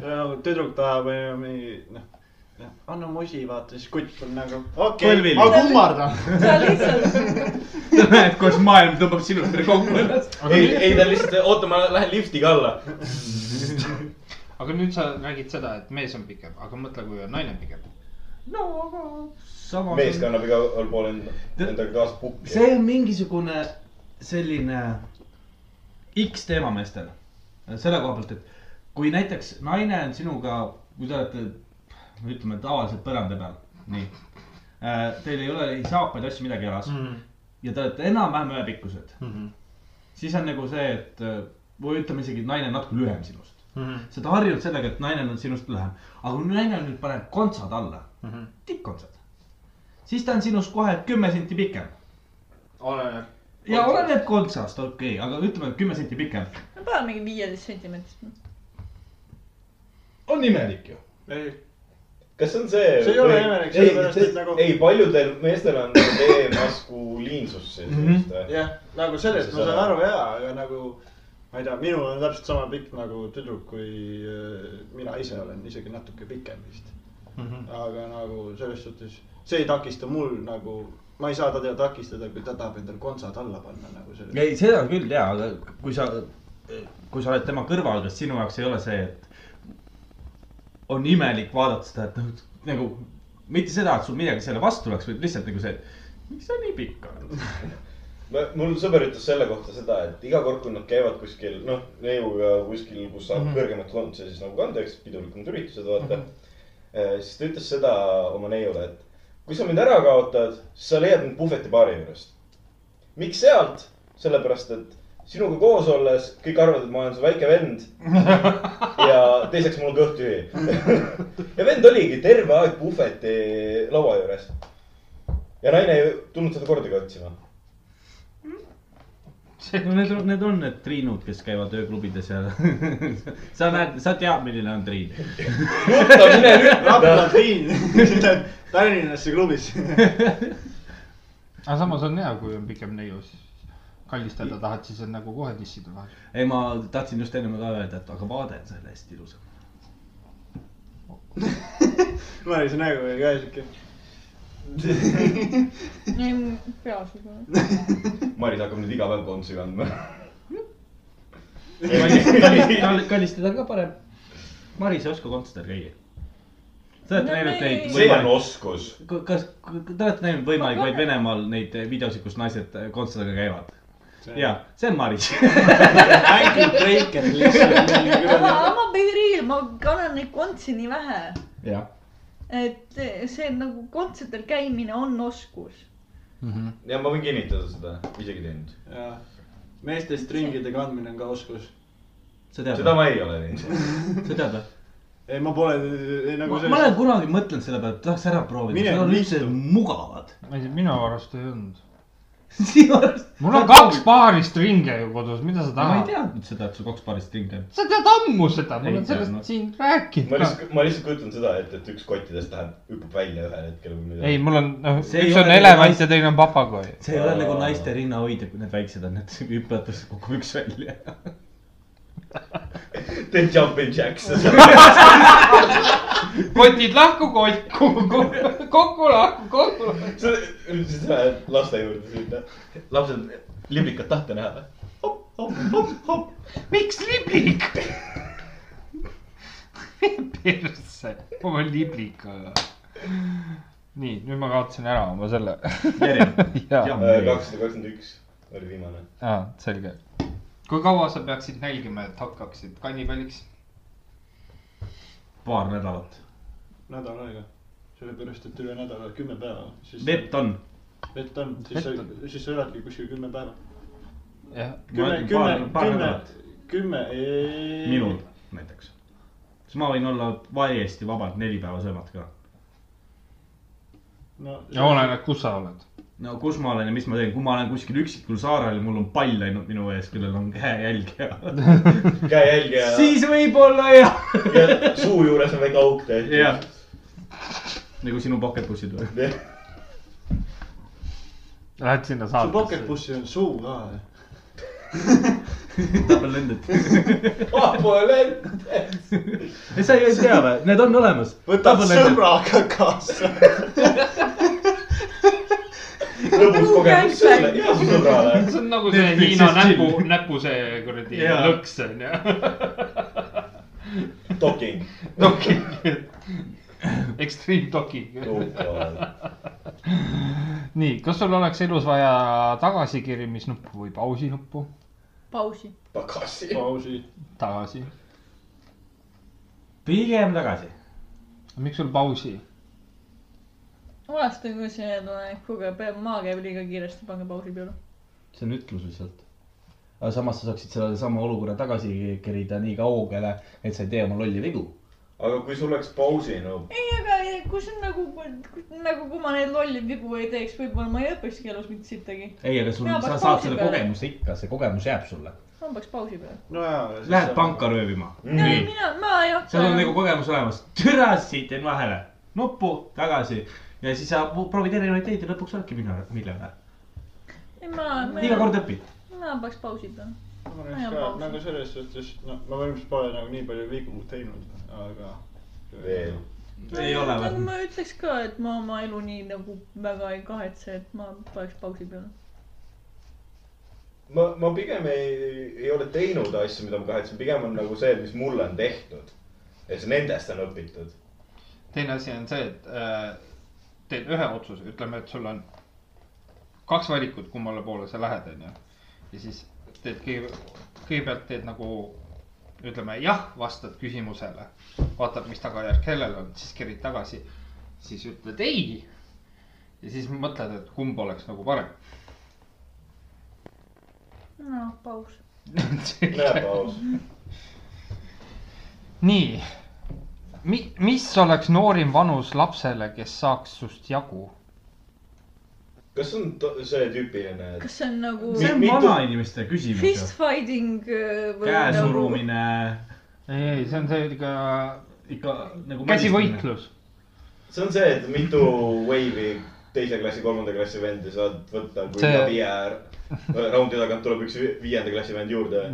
Speaker 1: nagu tüdruk tahab onju mingi noh , noh anna musi vaata , siis kutt on nagu okei okay, ,
Speaker 7: Põlvili.
Speaker 1: ma kummardan .
Speaker 12: sa lihtsalt ,
Speaker 7: sa näed , kuidas maailm tõmbab sinust veel kokku ennast .
Speaker 2: ei , ei ta lihtsalt , oota , ma lähen liftiga alla .
Speaker 3: aga nüüd sa räägid seda , et mees on pikem , aga mõtle , kui on naine pikem .
Speaker 7: no aga samas .
Speaker 2: mees kannab igal pool enda , endaga kaasa pukki .
Speaker 7: see on mingisugune selline X teema meestel . selle koha pealt , et kui näiteks naine on sinuga , kui te olete , ütleme tavaliselt põranda peal , nii . Teil ei ole ei saapaid , asju , midagi jalas
Speaker 3: Mhm.
Speaker 7: mm. ja te olete enam-vähem ühepikkused mm . -hmm. siis on nagu see , et äh, või ütleme isegi , et naine on natuke lühem sinust mm . -hmm. sa oled harjunud sellega , et naine on sinust lühem , aga kui naine nüüd paneb kontsad alla mm -hmm. , tikkontsad , siis ta on sinust kohe kümme senti pikem .
Speaker 1: oleneb .
Speaker 7: ja oleneb kontsast , okei okay, , aga ütleme , et kümme senti pikem .
Speaker 6: no paneme mingi viieteist sentimeetrit .
Speaker 5: on imelik ju .
Speaker 1: ei ,
Speaker 2: kas see on see ?
Speaker 1: See ei ole imelik, sellepärast, et nagu-
Speaker 2: ei , paljudel meestel on tee maskuliinsus äh, siis
Speaker 1: Mhm.
Speaker 2: vist või ?
Speaker 1: jah , nagu sellest ma
Speaker 2: Sa-
Speaker 1: saan aru jaa , aga nagu ma ei tea , minul on täpselt sama pikk nagu tüdruk , kui äh, mina ise olen , isegi natuke pikem vist mm . -hmm.
Speaker 7: Mhm.
Speaker 1: aga nagu selles suhtes , see ei takista mul nagu , ma ei saa teda takistada , kui ta tahab endale kontsad alla panna nagu selle .
Speaker 7: ei , seda küll ja , aga kui sa , kui sa oled tema kõrval , kas sinu jaoks ei ole see , et on imelik vaadata seda , et noh, nagu mitte seda , et sul midagi selle vastu oleks , vaid lihtsalt nagu see , et miks sa nii pikk oled .
Speaker 2: mul sõber ütles selle kohta seda , et iga kord , kui nad käivad kuskil , noh , neiuga kuskil , kus saab
Speaker 1: Mhm.
Speaker 2: mm -hmm. kõrgemat kontsi , siis nagu kandeks pidulikumad üritused , vaata mm . -hmm. siis ta ütles seda oma neiule , et kui sa mind ära kaotad , siis sa leiad mind puhvetibaari juurest . miks sealt ? sellepärast , et sinuga koos olles kõik arvavad , et ma olen su väike vend ja teiseks mul on kõht tühi . ja vend oligi terve aeg puhveti laua juures . ja naine ei tulnud seda kordagi otsima .
Speaker 7: no need on , need on need triinud , kes käivad ööklubides ja sa näed , sa tead , milline on triin .
Speaker 2: nutta , mine
Speaker 1: Rapla
Speaker 2: nutta .
Speaker 1: Triin , Tallinnasse klubis .
Speaker 3: aga samas on hea , kui on pikem neiu , siis kallistada tahad , siis on nagu kohe dissida vahel .
Speaker 7: ei , ma tahtsin just ennem ka öelda , et aga vaade on selle eest ilusam .
Speaker 1: Maris nägu oli ka siuke .
Speaker 6: ei , peas võib-olla .
Speaker 2: Maris hakkab nüüd iga päev kontsi kandma .
Speaker 7: kallistada ka parem . Maris ei oska kontserdil käia . Te olete
Speaker 6: No
Speaker 7: näinud
Speaker 6: ei.
Speaker 7: neid
Speaker 2: see on nagu
Speaker 7: võimalik-
Speaker 2: oskus .
Speaker 7: Ku- kas , te olete näinud võimalik vaid Venemaal neid videosid , kus naised kontserdiga käivad ? ja , see on Maris .
Speaker 1: ainult Breaker lihtsalt .
Speaker 6: aga , aga Beiril ma kannan neid kontsi nii vähe ,
Speaker 7: jah .
Speaker 6: et see nagu kontsadel käimine on oskus .
Speaker 2: ja ma võin kinnitada seda , isegi teinud .
Speaker 1: meeste stringide kandmine on ka oskus .
Speaker 7: sa tead
Speaker 2: seda
Speaker 7: või ?
Speaker 2: ma ei ole teinud .
Speaker 7: sa tead või ?
Speaker 1: ei , ma pole ei, nagu
Speaker 7: ma olen kunagi mõtelnud selle peale , et tahaks ära proovida ,
Speaker 1: Mine
Speaker 7: need on
Speaker 1: istu.
Speaker 7: lihtsalt mugavad .
Speaker 3: ma ei tea , minu arust ei olnud .
Speaker 7: sinu arust .
Speaker 3: mul on kaks . paari stringe ju kodus , mida sa
Speaker 7: ma ei
Speaker 3: tahad ?
Speaker 7: teadnud seda , et sul kaks paari stringi on .
Speaker 3: sa tead ammu seda , ma
Speaker 7: Ei
Speaker 3: olen
Speaker 7: teadnud.
Speaker 3: sellest siin
Speaker 2: ma
Speaker 3: rääkinud ka .
Speaker 2: lihtsalt , ma lihtsalt kujutan seda , et , et üks kottidest läheb , hüppab välja ühel hetkel või
Speaker 3: ei ,
Speaker 2: midagi .
Speaker 3: mul on , noh ,
Speaker 7: See ei
Speaker 3: üks
Speaker 7: ole
Speaker 3: on
Speaker 7: nagu
Speaker 3: elevant
Speaker 7: nais-
Speaker 3: ja teine on papagoi .
Speaker 7: see ei ole nagu naiste rinnahoidja , kui need väiksed on , need hüppavad tõesti kokku üks välja .
Speaker 2: The jumping jacks .
Speaker 3: kotid lahku , kokku , kokku lahku , kokku lahku .
Speaker 2: sa üldiselt lähed laste juurde sinna . lapsed , liblikat tahate näha või ? hopp , hopp , hopp , hopp .
Speaker 3: miks liblik ? persse , ma olen liblikaga . nii , nüüd ma kaotasin ära oma selle .
Speaker 2: Äh,
Speaker 3: jaa ,
Speaker 2: kakssada kakskümmend üks oli viimane .
Speaker 3: selge . kui kaua sa peaksid nälgima , et hakkaksid kannipaliks ?
Speaker 7: paar nädalat .
Speaker 1: nädal aega , sellepärast et üle nädala kümme päeva , siis
Speaker 7: vett on .
Speaker 1: vett on , siis sa , siis sa eladki kuskil kümme päeva .
Speaker 3: jah ,
Speaker 1: kümme , kümme , kümme , kümme , ei .
Speaker 7: minul . näiteks . siis ma võin olla täiesti vabalt neli päeva söömata ka .
Speaker 1: no
Speaker 3: ja . oleneb , kus sa oled .
Speaker 7: no kus ma olen ja mis ma teen , kui ma olen kuskil üksikul saarel ja mul on pall ainult minu ees , kellel on käejälg ja
Speaker 2: käejälg ja ,
Speaker 7: siis võib-olla jah .
Speaker 2: ja suu juures on väike auk tehtud .
Speaker 7: jah . nagu sinu pocketbussid või ?
Speaker 3: Lähed sinna
Speaker 1: su
Speaker 3: saatesse .
Speaker 1: pocketbussi on suu ka .
Speaker 7: Double ended .
Speaker 2: Ah, Apolente .
Speaker 7: ei , sa ju ei tea või , need on olemas .
Speaker 1: võtad . sõbraga kaasa .
Speaker 2: lõbus kogemus selle , hea sõbrale .
Speaker 3: see on nagu see
Speaker 7: Netflixis
Speaker 3: Hiina näpu
Speaker 7: chill. ,
Speaker 3: näpu see kuradi
Speaker 7: Jaa.
Speaker 3: lõks on ju .
Speaker 2: Docking .
Speaker 3: Docking , extreme docking . nii , kas sul oleks elus vaja tagasikirimisnuppu või pausinuppu ?
Speaker 6: pausi .
Speaker 15: pagasi .
Speaker 1: pausi .
Speaker 3: tagasi .
Speaker 7: pigem tagasi .
Speaker 3: miks sul pausi ?
Speaker 6: vanasti oli see ettepanek , kuulge , maa käib liiga kiiresti , pange pausi peale .
Speaker 7: see on ütlus lihtsalt . aga samas sa saaksid selle sama olukorra tagasi kerida nii kaugele , et sa ei tee oma lolli vigu .
Speaker 2: aga kui sul oleks pausinõu ,
Speaker 6: ei , aga kui see on nagu , nagu kui ma neid lolle vigu ei teeks , võib-olla ma ei õpikski elus mitte sittagi .
Speaker 7: ei , aga sul ,
Speaker 6: Jaa,
Speaker 7: sa
Speaker 6: paneks
Speaker 7: saad
Speaker 6: pausi
Speaker 7: selle
Speaker 6: peale.
Speaker 7: kogemuse ikka , see kogemus jääb sulle .
Speaker 6: ma paneks pausi peale .
Speaker 1: no jaa .
Speaker 7: Lähed panka . röövima .
Speaker 2: Mm.
Speaker 6: ei , mina , ma ei
Speaker 7: seal on nagu
Speaker 6: hakka .
Speaker 7: kogemus olemas . türa siit jäin vahele , nuppu tagasi ja siis sa pu- proovid erinevaid teid ja lõpuks oledki miljonär , miljonär .
Speaker 6: ei , ma , ma
Speaker 7: iga kord õpid .
Speaker 6: ma paneks pausi peale .
Speaker 1: ma oleks ka nagu selles suhtes , no ma ilmselt pole nagu nii palju vigu teinud , aga .
Speaker 2: Veel. .
Speaker 7: ei ole või ?
Speaker 6: ma ütleks ka , et ma oma elu nii nagu väga ei kahetse , et ma paneks pausi peale .
Speaker 2: ma , ma pigem ei , ei ole teinud asju , mida ma kahetsen , pigem on nagu see , mis mulle on tehtud . ja siis nendest on õpitud .
Speaker 3: teine asi on see , et äh, teed ühe otsuse , ütleme , et sul on kaks valikut , kummale poole sa lähed , onju . ja siis teed kõige , kõigepealt teed nagu ütleme jah , vastad küsimusele , vaatad , mis tagajärg kellel on , siis kerid tagasi , siis ütled ei . ja siis mõtled , et kumb oleks nagu parem .
Speaker 6: noh , paus .
Speaker 2: näe paus .
Speaker 3: nii , mi- , mis oleks noorim vanus lapsele , kes saaks sust jagu ?
Speaker 2: kas on to- see tüüpiline , et
Speaker 6: kas see on nagu
Speaker 2: Mi-
Speaker 7: see on
Speaker 2: mitu-
Speaker 7: vanainimeste küsimus ju .
Speaker 6: fist fighting äh, või nagu
Speaker 7: käesurumine ,
Speaker 3: ei , ei , see on see ikka
Speaker 7: ikka nagu ..
Speaker 3: käsivõitlus .
Speaker 2: see on see , et mitu wave'i teise klassi , kolmanda klassi vendi saad võtta , kui
Speaker 3: See-
Speaker 2: see... viie äh, raundi tagant tuleb üks vi- viienda klassi vend juurde .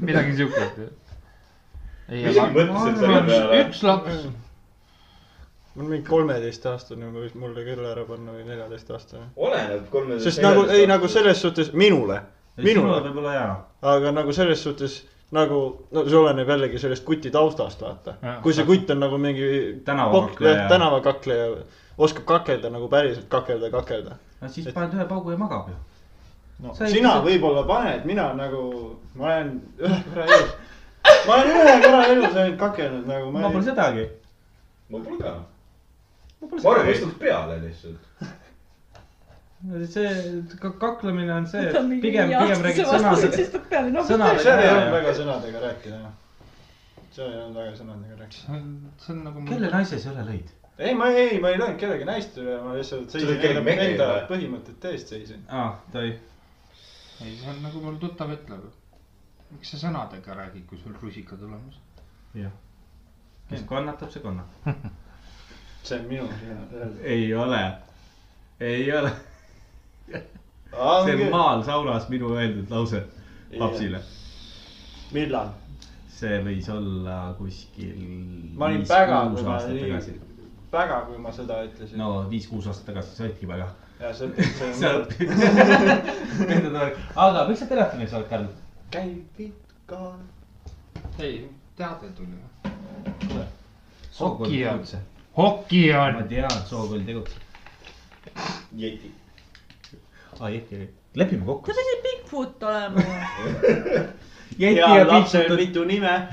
Speaker 3: midagi siukest . ei ,
Speaker 2: isegi mõtlesin selle peale .
Speaker 3: üks laps ,
Speaker 1: mul mingi kolmeteistaastane võis mulle küll ära panna või neljateistaastane .
Speaker 2: oleneb kolmeteist .
Speaker 1: sest nagu , ei nagu selles suhtes minule ,
Speaker 7: minul
Speaker 1: minule ,
Speaker 7: võib-olla jaa .
Speaker 1: aga nagu selles suhtes nagu , no see oleneb jällegi sellest kuti taustast , vaata
Speaker 3: Jaa. .
Speaker 1: kui see kutt on nagu mingi
Speaker 7: Tänavakakleja.
Speaker 1: pokk- jah, tänavakakleja , oskab kakelda nagu päriselt kakelda , kakelda .
Speaker 7: no siis
Speaker 1: Et-
Speaker 7: paned ühe paugu ja magab ju .
Speaker 1: no
Speaker 7: Sa ei
Speaker 1: sina
Speaker 7: lisa-
Speaker 1: võib-olla paned , mina nagu , ma olen ühe korra elus , ma olen ühe korra elus ainult kakelnud nagu ma
Speaker 7: ma pole
Speaker 1: ei ,
Speaker 7: sedagi .
Speaker 2: ma pole ka .
Speaker 7: ma pole
Speaker 2: ma arvan ,
Speaker 7: sedagi .
Speaker 2: istuks peale lihtsalt .
Speaker 7: see ka- kaklemine on see ,
Speaker 6: Võta
Speaker 7: et
Speaker 6: mingi
Speaker 7: pigem , pigem
Speaker 6: jaatuse
Speaker 7: räägid
Speaker 6: vastu,
Speaker 7: sõnadega
Speaker 6: siis . tuleb peale , noh .
Speaker 7: sõnadega
Speaker 1: seal ei olnud
Speaker 7: ära ja .
Speaker 1: väga sõnadega rääkida , jah . seal ei olnud väga sõnadega rääkida .
Speaker 3: see on nagu .
Speaker 7: kelle naise sa üle lõid ?
Speaker 1: ei , ma ei , ma ei löönud kellegi naist üle , ma lihtsalt
Speaker 2: Sa
Speaker 1: seisin
Speaker 2: lõid kellegi
Speaker 1: enda,
Speaker 2: mehe
Speaker 1: enda
Speaker 2: üle?
Speaker 1: põhimõtete eest seisin .
Speaker 7: aa , ta ei .
Speaker 3: ei , see on nagu mul tuttav ütleb . miks sa sõnadega räägid , kui sul rusikad olemas ?
Speaker 7: kes kannatab , see kannatab .
Speaker 1: see on minu sõnad .
Speaker 7: ei ole , ei ole . see on . maal saunas minu öeldud lause lapsile .
Speaker 1: millal ?
Speaker 7: see võis olla kuskil .
Speaker 1: ma olin päga , kui ma olin , päga , kui ma seda ütlesin
Speaker 7: no viis-kuus aastat tagasi sa olidki väga .
Speaker 1: ja see , see
Speaker 7: sa
Speaker 1: on , nagu,
Speaker 7: oled . aga miks sa telefonis oled , Karl ?
Speaker 1: käib ikka .
Speaker 3: ei , teade tuli .
Speaker 7: sookoll
Speaker 3: Hoki on.
Speaker 7: tegutse .
Speaker 3: hoki
Speaker 7: ma
Speaker 3: on ,
Speaker 7: tean , sookoll tegutse .
Speaker 2: jeti .
Speaker 7: aa , Ah, Jeti oli . lepime kokku
Speaker 6: ta . pidi Bigfoot olema .
Speaker 7: Jeti
Speaker 1: ja
Speaker 7: ja
Speaker 1: lapsel
Speaker 7: Pihtsutud .
Speaker 1: mitu nime .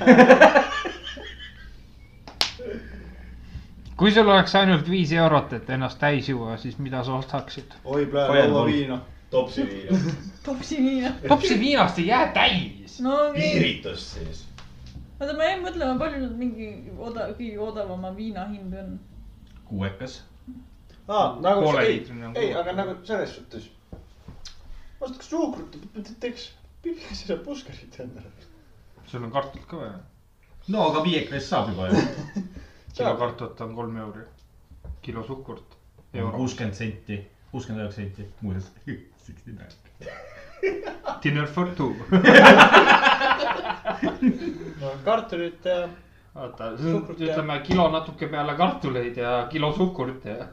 Speaker 3: kui sul oleks ainult viis eurot , et ennast täis juua , siis mida sa ostaksid ?
Speaker 1: oi , praegu
Speaker 7: Fireball.
Speaker 1: laua viina .
Speaker 2: topsi viina .
Speaker 6: topsi nii , jah .
Speaker 3: topsi viinast ei jää täis .
Speaker 6: no okei ,
Speaker 2: piiritust siis .
Speaker 6: oota , ma jäin mõtlema , palju nüüd mingi oda- , kõige odavama viina hind on .
Speaker 7: kuuekas .
Speaker 1: aa , nagu
Speaker 3: Poole
Speaker 1: ei
Speaker 3: liitrine , on
Speaker 1: ei ,
Speaker 3: kuus.
Speaker 1: aga nagu selles suhtes . ostaks suhkrut , teeks , püüaks seda puskarit endale .
Speaker 3: sul on kartulit ka vaja ?
Speaker 7: no aga viiekest saab juba ju .
Speaker 3: kilo kartulit on kolm euri . kilo suhkurt .
Speaker 7: kuuskümmend senti , kuuskümmend üheksa senti , muuseas . Sixty nine .
Speaker 3: Dinner for two .
Speaker 1: no kartulit ja
Speaker 3: vaata , see on ,
Speaker 1: Suhkrut ja-
Speaker 3: ütleme kilo natuke peale kartuleid ja kilo suhkurt ja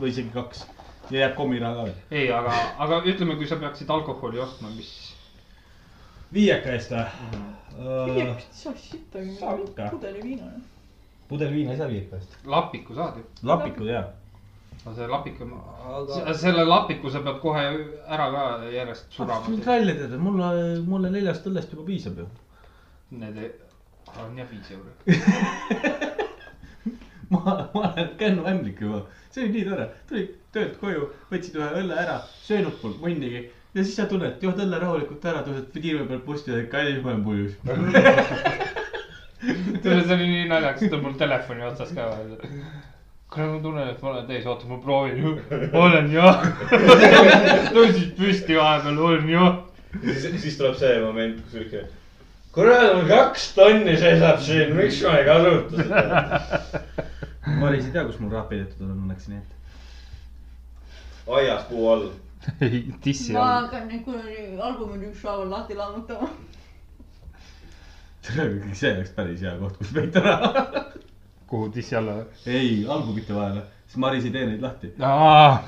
Speaker 7: või isegi kaks . ja jääb kommiraha ka veel .
Speaker 3: ei , aga , aga ütleme , kui sa peaksid alkoholi ostma , mis
Speaker 7: viieka eest või ?
Speaker 6: viiekümnest saab sitta
Speaker 7: Saab ikka.
Speaker 6: pudeli viina .
Speaker 7: Äh, pudel viina ei saa viieka eest .
Speaker 3: lapiku saad ju .
Speaker 7: lapikud jaa .
Speaker 3: no see lapik on , selle lapiku sa pead kohe ära ka järjest
Speaker 7: mind
Speaker 3: surama .
Speaker 7: välja teada , mulle , mulle neljast õllest juba piisab ju .
Speaker 3: Need ei- on jah viis eurot .
Speaker 7: ma , ma olen kännu ämblik juba , see oli nii tore , tulid töölt koju , võtsid ühe õlle ära , söönud polnud mõndagi ja siis sa tunned , jood õlle rahulikult ära , tõused tiiru peal bussi ja kallis ma olen puljus .
Speaker 3: tule , see oli nii naljakas , ta on mul telefoni otsas ka veel . kuule , ma tunnen , et ma olen täis , oota , ma proovin . olen jah . tõusid püsti vahepeal , olen jah .
Speaker 2: siis , siis tuleb see moment , kus sihuke , kurat , mul kaks tonni seisab siin , miks ma ei kasuta seda .
Speaker 7: Maris ei tea , kus mul raha peidetud on õnneks , nii et .
Speaker 2: aias puu all .
Speaker 3: ei , tissi
Speaker 12: ma
Speaker 3: all .
Speaker 12: hakkan neid kuradi albumid ükshaaval lahti lammutama .
Speaker 7: see oleks päris hea koht , kus peita raha .
Speaker 3: kuhu tissi alla ?
Speaker 7: ei , albumite vahele , siis Maris ei tee neid lahti .
Speaker 3: aa ,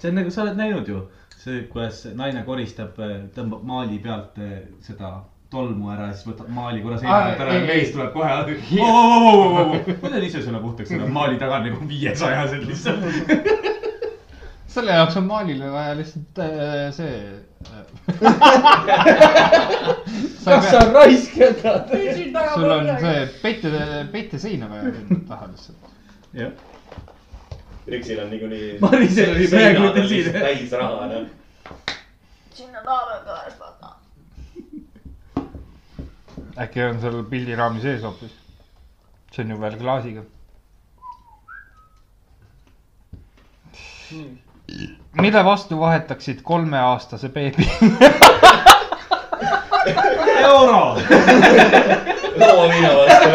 Speaker 7: see on nagu , sa oled näinud ju , see , kuidas naine koristab , tõmbab maali pealt eh, seda tolmu ära ja siis võtab maali korra seina
Speaker 3: Aa,
Speaker 7: pealt ära
Speaker 3: ei,
Speaker 7: ja mees tuleb kohe . ma teen ise selle puhtaks , selle maali taga on nagu viiesajased lihtsalt .
Speaker 3: selle jaoks on Maalile vaja lihtsalt äh, see .
Speaker 4: kas sa raiskad ?
Speaker 3: sul on see peite , peiteseina vaja sinna taha lihtsalt .
Speaker 7: jah ,
Speaker 2: Riksil on niikuinii .
Speaker 7: Marisel oli praegu tõsine.
Speaker 2: täis raha , noh .
Speaker 12: sinna taha peab ka vaata .
Speaker 3: äkki on seal pildiraami sees hoopis ? see on ju veel klaasiga . mille vastu vahetaksid kolmeaastase beebi ?
Speaker 7: euro .
Speaker 2: lauaviina vastu .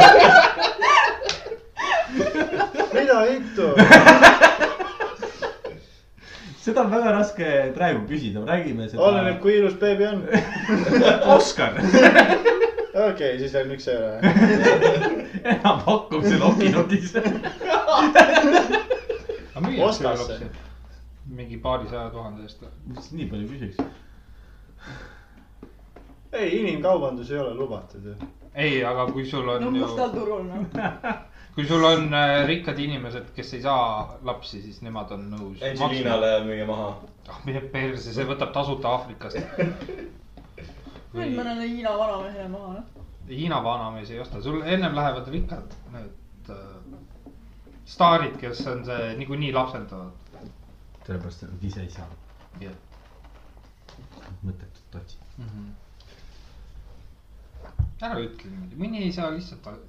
Speaker 1: mida vittu ?
Speaker 7: seda on väga raske praegu küsida , räägime
Speaker 1: oleneb ,
Speaker 7: seda .
Speaker 1: kui ilus beebi on .
Speaker 7: Oskar
Speaker 1: okei okay, , siis on üks ära .
Speaker 7: enam hakkab see lokinokis .
Speaker 1: Ostas see.
Speaker 3: mingi paarisaja tuhande eest .
Speaker 7: mis nii palju küsiks ?
Speaker 1: ei , inimkaubandus ei ole lubatud ju .
Speaker 3: ei , aga kui sul on
Speaker 12: no
Speaker 3: ju ,
Speaker 12: mustal turul noh .
Speaker 3: kui sul on äh, rikkad inimesed , kes ei saa lapsi , siis nemad on nõus .
Speaker 2: Angelinale müüa maha .
Speaker 3: ah , mine perse , see võtab tasuta Aafrikast .
Speaker 6: veel mõnele Hiina vanamehele maha , noh .
Speaker 3: Hiina vanamees ei osta , sul ennem lähevad rikkad need äh, staarid , kes on see niikuinii lapsendavad .
Speaker 7: sellepärast , et nad ise ei saa
Speaker 3: Jah. .
Speaker 7: mõttetut otsi .
Speaker 3: ära ütle niimoodi , mõni ei saa lihtsalt al-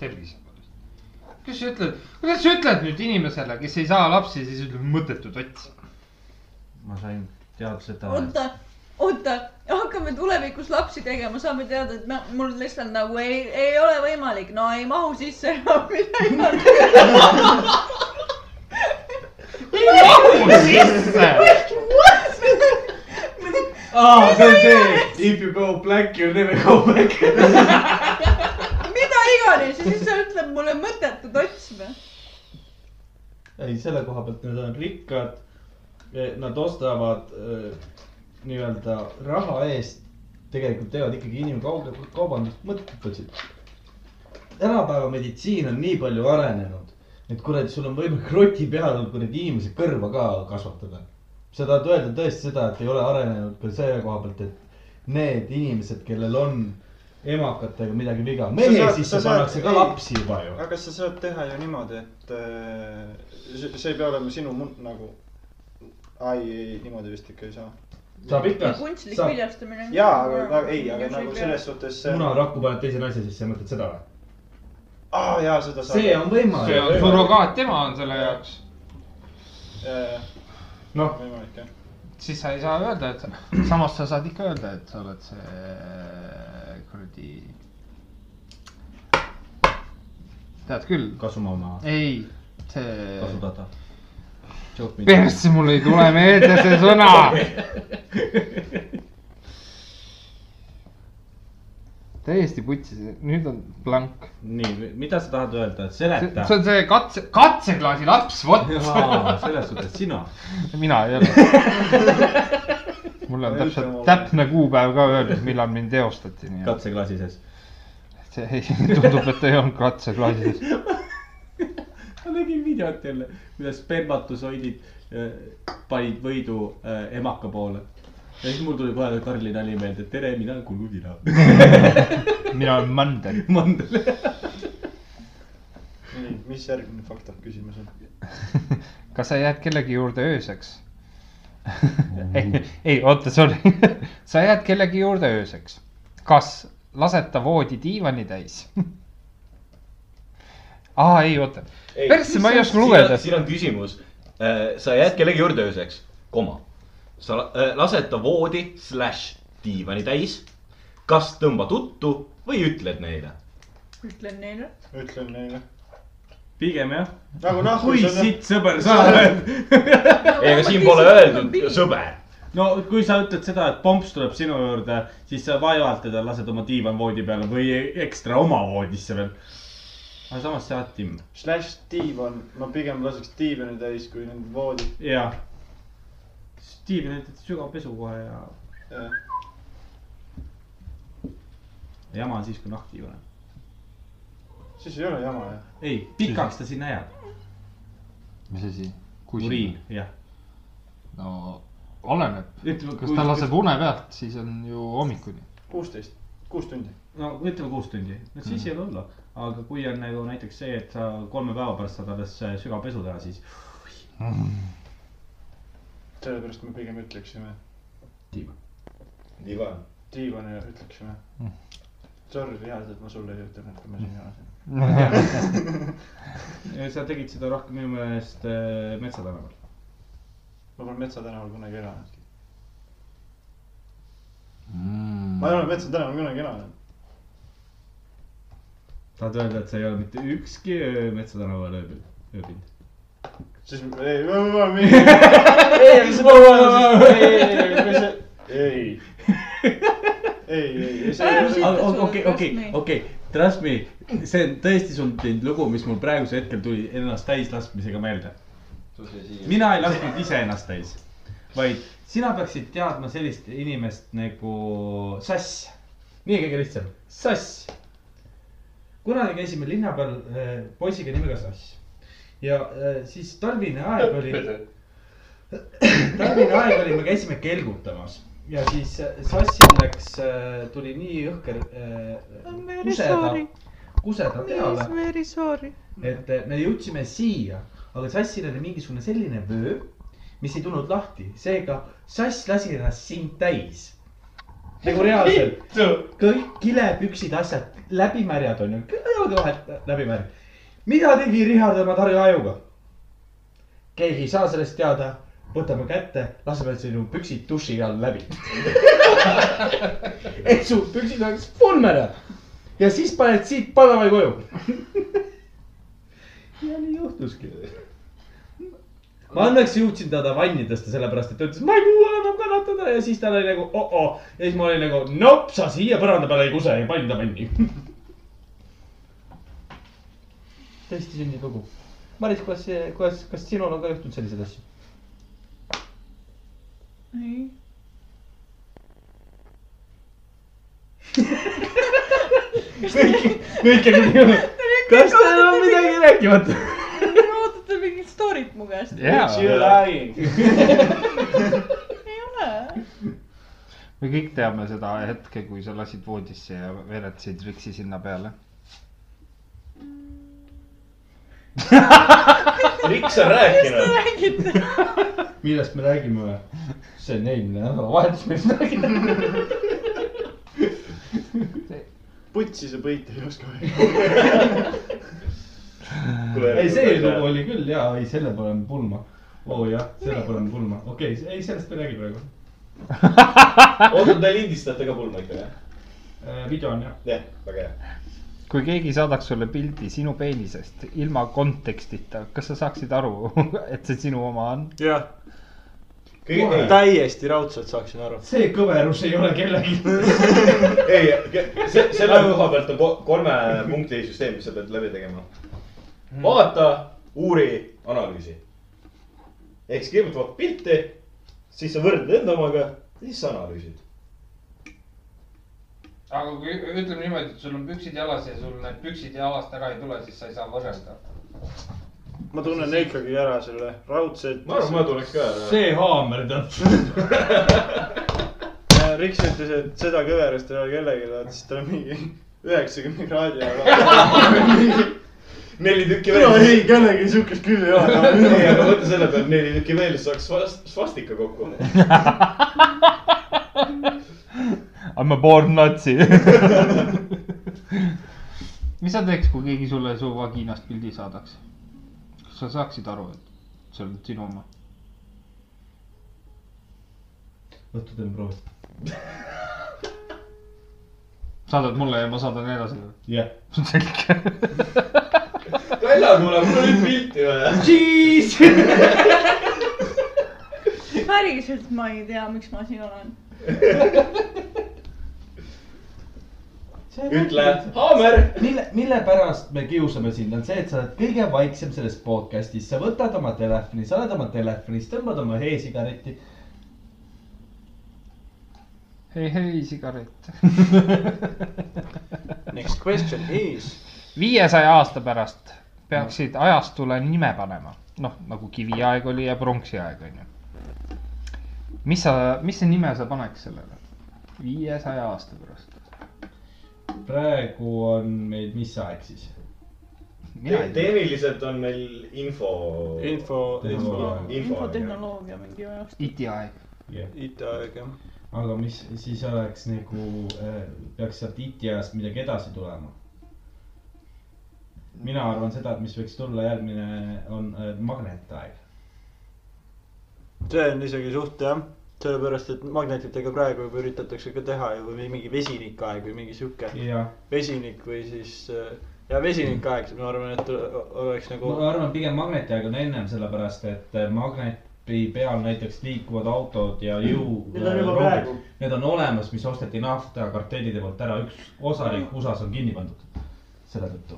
Speaker 3: tervise pärast . kuidas sa ütled , kuidas sa ütled nüüd inimesele , kes ei saa lapsi , siis ütleb mõttetu tots .
Speaker 7: ma sain teada seda .
Speaker 6: oota , oota , hakkame tulevikus lapsi tegema , saame teada , et ma , mul lihtsalt nagu ei , ei ole võimalik , no ei mahu sisse enam midagi .
Speaker 3: mahu sisse .
Speaker 7: aa , see on see if you go black you never go back .
Speaker 6: mida iganes ja siis sa ütled mulle mõttetu tots või ?
Speaker 5: ei , selle koha pealt nad on rikkad . Nad ostavad eh, nii-öelda raha eest , tegelikult teevad ikkagi inimkaubandust mõttetuid . tänapäeva meditsiin on nii palju arenenud , et kuradi , sul on võimalik roti peal kuradi inimese kõrva ka kasvatada . sa tahad öelda tõesti seda , et ei ole arenenud ka selle koha pealt , et need inimesed , kellel on emakatega midagi viga , meie
Speaker 1: saad- sa
Speaker 5: sisse
Speaker 1: saad-
Speaker 5: pannakse ka
Speaker 1: ei.
Speaker 5: lapsi juba ju .
Speaker 1: aga kas sa saad teha ju niimoodi , et äh, see see ei pea olema sinu mun- nagu . ai , ei , niimoodi vist ikka ei saa .
Speaker 5: saab ikka ,
Speaker 6: kunstlik
Speaker 5: saab
Speaker 6: viljastamine .
Speaker 1: jaa , aga , aga ei , aga nagu . selles suhtes .
Speaker 5: munarakku paned teise naise sisse , mõtled seda või ?
Speaker 1: aa , jaa , seda saab .
Speaker 5: see on
Speaker 3: see
Speaker 5: võimalik .
Speaker 3: on surrogaatema on selle jaoks ,
Speaker 5: Noh.
Speaker 1: noh . võimalik jah .
Speaker 3: siis sa ei saa öelda , et sa- samas sa saad ikka öelda , et sa oled see kuradi . tead küll ,
Speaker 5: kasuma oma
Speaker 3: ei , see .
Speaker 5: kasutada .
Speaker 3: persse , mul ei tule meelde see sõna . täiesti putsis , nüüd on blank .
Speaker 7: nii , mida sa tahad öelda ,
Speaker 3: see
Speaker 7: seleta
Speaker 3: see . on see katse , katseklaasi laps , vot .
Speaker 7: selles suhtes sina .
Speaker 3: mina ei ole . mul on täpselt täpne kuupäev ka öeldud , millal mind eostati , nii et
Speaker 7: katseklaasi sees .
Speaker 3: see ei, tundub , et ei olnud katseklaasis .
Speaker 7: ma nägin videot jälle , kuidas spermatosoidid äh, panid võidu äh, emaka poole . ja siis mul tuli kohe Karli nali meelde , et tere , mina olen kurgupina .
Speaker 3: mina olen mandel .
Speaker 7: mandel .
Speaker 1: nii , mis järgmine faktab küsimus on ?
Speaker 3: kas sa jääd kellegi juurde ööseks ? ei, ei , oota , sorry . sa jääd kellegi juurde ööseks . kas lased ta voodi diivani täis ? aa , ei , oota .
Speaker 2: Ei.
Speaker 3: persse , ma ei oska
Speaker 2: Siin
Speaker 3: lugeda
Speaker 2: on- . siin on küsimus . sa jääd kellegi juurde ööseks , koma . sa la- äh, lased ta voodi slaš diivani täis . kas tõmba tuttu või ütled neile ?
Speaker 6: ütlen neile .
Speaker 1: ütlen neile .
Speaker 7: pigem jah .
Speaker 1: nagu noh .
Speaker 7: oi sitt sõber , sa oled .
Speaker 2: ei , aga siin pole öeldud sõber .
Speaker 7: no kui sa ütled seda , et pomps tuleb sinu juurde , siis sa vaevalt teda lased oma diivanvoodi peale või ekstra oma voodisse veel . aga samas sa oled Tim .
Speaker 1: Slash diivan , ma pigem laseks diivani täis , kui nüüd voodi .
Speaker 7: jah . Steven ütleb sügav pesu kohe ja jama on siis , kui nahk tiivan on .
Speaker 1: siis ei ole jama jah .
Speaker 7: ei , pikaks ta sinna jääb .
Speaker 3: mis asi ?
Speaker 7: uriin , jah .
Speaker 3: no oleneb ,
Speaker 7: ütleme ,
Speaker 3: kas ta laseb une pealt , siis on ju hommikuni .
Speaker 1: kuusteist , kuus tundi .
Speaker 7: no ütleme kuus tundi , no siis ei ole hullu . aga kui on nagu näiteks see , et sa kolme päeva pärast saad alles sügav pesu teha , siis
Speaker 1: sellepärast me pigem ütleksime
Speaker 7: diivan .
Speaker 2: diivan .
Speaker 1: diivani ja ütleksime .
Speaker 2: Mm.
Speaker 1: Sorry , head , et ma sulle ei ütelnud , kui ma siin elasin .
Speaker 7: sa tegid seda rohkem minu meelest äh, Metsa tänaval .
Speaker 1: ma pole Metsa tänaval kunagi elanudki .
Speaker 2: Mm.
Speaker 3: Mm.
Speaker 1: ma ei ole Metsa tänaval kunagi elanud .
Speaker 7: tahad öelda , et sa ei ole mitte ükski öö Metsa tänaval ööbinud , ööbinud ?
Speaker 1: siis , ei , ma , ma , ma , ei , ei , ei , ei , ei , ei , ei , ei ,
Speaker 7: Ah,
Speaker 1: ei , see ei ole .
Speaker 7: okei , okei , okei , trust me , see on tõesti sul teinud lugu , mis mul praegusel hetkel tuli ennast täis laskmisega meelde . mina ei lasknud ise ennast täis , vaid sina peaksid teadma sellist inimest nagu Sass . nii kõige lihtsam , Sass . kunagi käisime linna peal äh, poisiga nimega Sass ja äh, siis talvine aeg oli talvine aeg oli , me käisime kelgutamas ja siis äh, Sassil läks , tuli nii õhker
Speaker 6: I'm
Speaker 7: äh,
Speaker 6: very
Speaker 7: kuseda
Speaker 6: sorry. ,
Speaker 7: kuseda peale ,
Speaker 6: very sorry .
Speaker 7: et äh, me jõudsime siia , aga Sassil oli mingisugune selline vöö , mis ei tulnud lahti , seega Sass lasi ennast sind täis . nagu reaalselt , kõik kilepüksid , asjad läbimärjad on ju , jalge vahelt läbimärg . mida tegi Richard oma Tarja Ajuga ? keegi ei saa sellest teada , võtame kätte , laseme sinu püksid duši all läbi . et su püksid oleks pulmele ja siis paned siit palamai koju . ja nii juhtuski . ma õnneks jõudsin teda vanni tõsta , sellepärast et ta ütles , ma ei kuule enam kannatada ja siis ta oli nagu oh-oh ja siis ma olin nagu nop , sa siia põranda peale ei kuse ja panin ta vanni . tõesti sündinud lugu . Maris , kuidas , kuidas , kas sinul on ka juhtunud selliseid asju ?
Speaker 6: ei ,
Speaker 7: kõik on nii , kas teil on midagi rääkimata ?
Speaker 6: ootate mingit story't mu käest ?
Speaker 3: jaa ,
Speaker 1: lying .
Speaker 6: ei ole .
Speaker 3: me kõik teame seda hetke , kui sa lasid voodisse ja veeretasid riksi sinna peale .
Speaker 2: miks sa rääkinud ?
Speaker 6: räägite ?
Speaker 5: millest me räägime või ? see on eelmine nädalavahetus , millest me räägime .
Speaker 1: putsi sa põita ei oska öelda .
Speaker 5: ei , see lugu oli küll ja , ei selle paneme pulma . oo jah , selle paneme pulma , okei okay, , ei sellest me ei räägi praegu .
Speaker 2: oota , te lindistate ka pulma ikka , jah ?
Speaker 5: Äh, video on jah .
Speaker 2: jah , väga hea .
Speaker 3: kui keegi saadaks sulle pildi sinu peenisest ilma kontekstita , kas sa saaksid aru , et see sinu oma on ?
Speaker 1: jah ,
Speaker 2: kõige ,
Speaker 1: täiesti raudselt saaksin aru .
Speaker 5: see kõverus ei ole kellelgi .
Speaker 2: ei , ei , see , selle koha pealt on ko- kolme punkti süsteem , mis sa pead läbi tegema . Hmm. vaata , uuri , analüüsi . ehk siis kõigepealt vaatad pilti , siis sa võrdled enda omaga , siis sa analüüsid .
Speaker 3: aga kui ütleme niimoodi , et sul on püksid jalas ja sul need püksid jalast ära ei tule , siis sa ei saa võrrelda .
Speaker 1: ma tunnen ikkagi ära selle raudselt .
Speaker 2: ma arvan , ma tuleks ka ära .
Speaker 7: see haamer tead .
Speaker 1: Riks ütles , et seda kõverust ei ole kellelgi , vaata siis tal on mingi üheksakümne kraadi ajal .
Speaker 2: neli tükki
Speaker 1: no
Speaker 2: veel .
Speaker 1: ei , kellelgi siukest küll ei
Speaker 2: ei ,
Speaker 1: ole .
Speaker 2: aga mõtle selle peale , neli tükki veel , siis saaks svast- svastika kokku .
Speaker 3: I m a born natsi . mis sa teeks , kui keegi sulle su vaginast pildi saadaks ? kas sa saaksid aru , et see on sinu oma ?
Speaker 7: oota , teeme proovi .
Speaker 3: saadad mulle ja ma saadan edasi .
Speaker 7: jah .
Speaker 3: selge .
Speaker 2: Kalja , kuule , mul on nüüd pilti vaja .
Speaker 6: päriselt ma ei tea , miks ma siin olen .
Speaker 2: ütle , haamer .
Speaker 7: mille , mille pärast me kiusame sind , on see , et sa oled kõige vaiksem selles podcast'is , sa võtad oma telefoni , sa oled oma telefonis , tõmbad oma e-sigareti .
Speaker 3: hei , hei , sigaret .
Speaker 1: Next question is .
Speaker 3: viiesaja aasta pärast peaksid ajastule nime panema , noh nagu kiviaeg oli ja pronksiaeg onju . mis sa , mis see nime sa paneks sellele ? viiesaja aasta pärast .
Speaker 7: praegu on meil , mis aeg siis ?
Speaker 3: mina ei tea ,
Speaker 2: tehniliselt on meil info .
Speaker 1: info , info ,
Speaker 2: info .
Speaker 6: infotehnoloogia mingi ajast .
Speaker 3: itiaeg .
Speaker 1: IT-aeg jah .
Speaker 7: aga mis siis oleks nagu , peaks sealt IT-ajast midagi edasi tulema ? mina arvan seda , et mis võiks tulla järgmine , on äh, magnetaeg .
Speaker 1: see on isegi suht jah , sellepärast et magnetitega praegu juba üritatakse ka teha ju või mingi vesinikaeg või mingi sihuke
Speaker 7: jah ,
Speaker 1: vesinik või siis äh, ja vesinikaeg , ma arvan , et oleks nagu
Speaker 7: ma arvan , pigem magnetiaeg on ennem , sellepärast et äh, magneti peal näiteks liikuvad autod ja jõu .
Speaker 1: Need on juba praegu. .
Speaker 7: Need on olemas , mis osteti naftakartellide poolt ära , üks osariik USA-s on kinni pandud selle tõttu .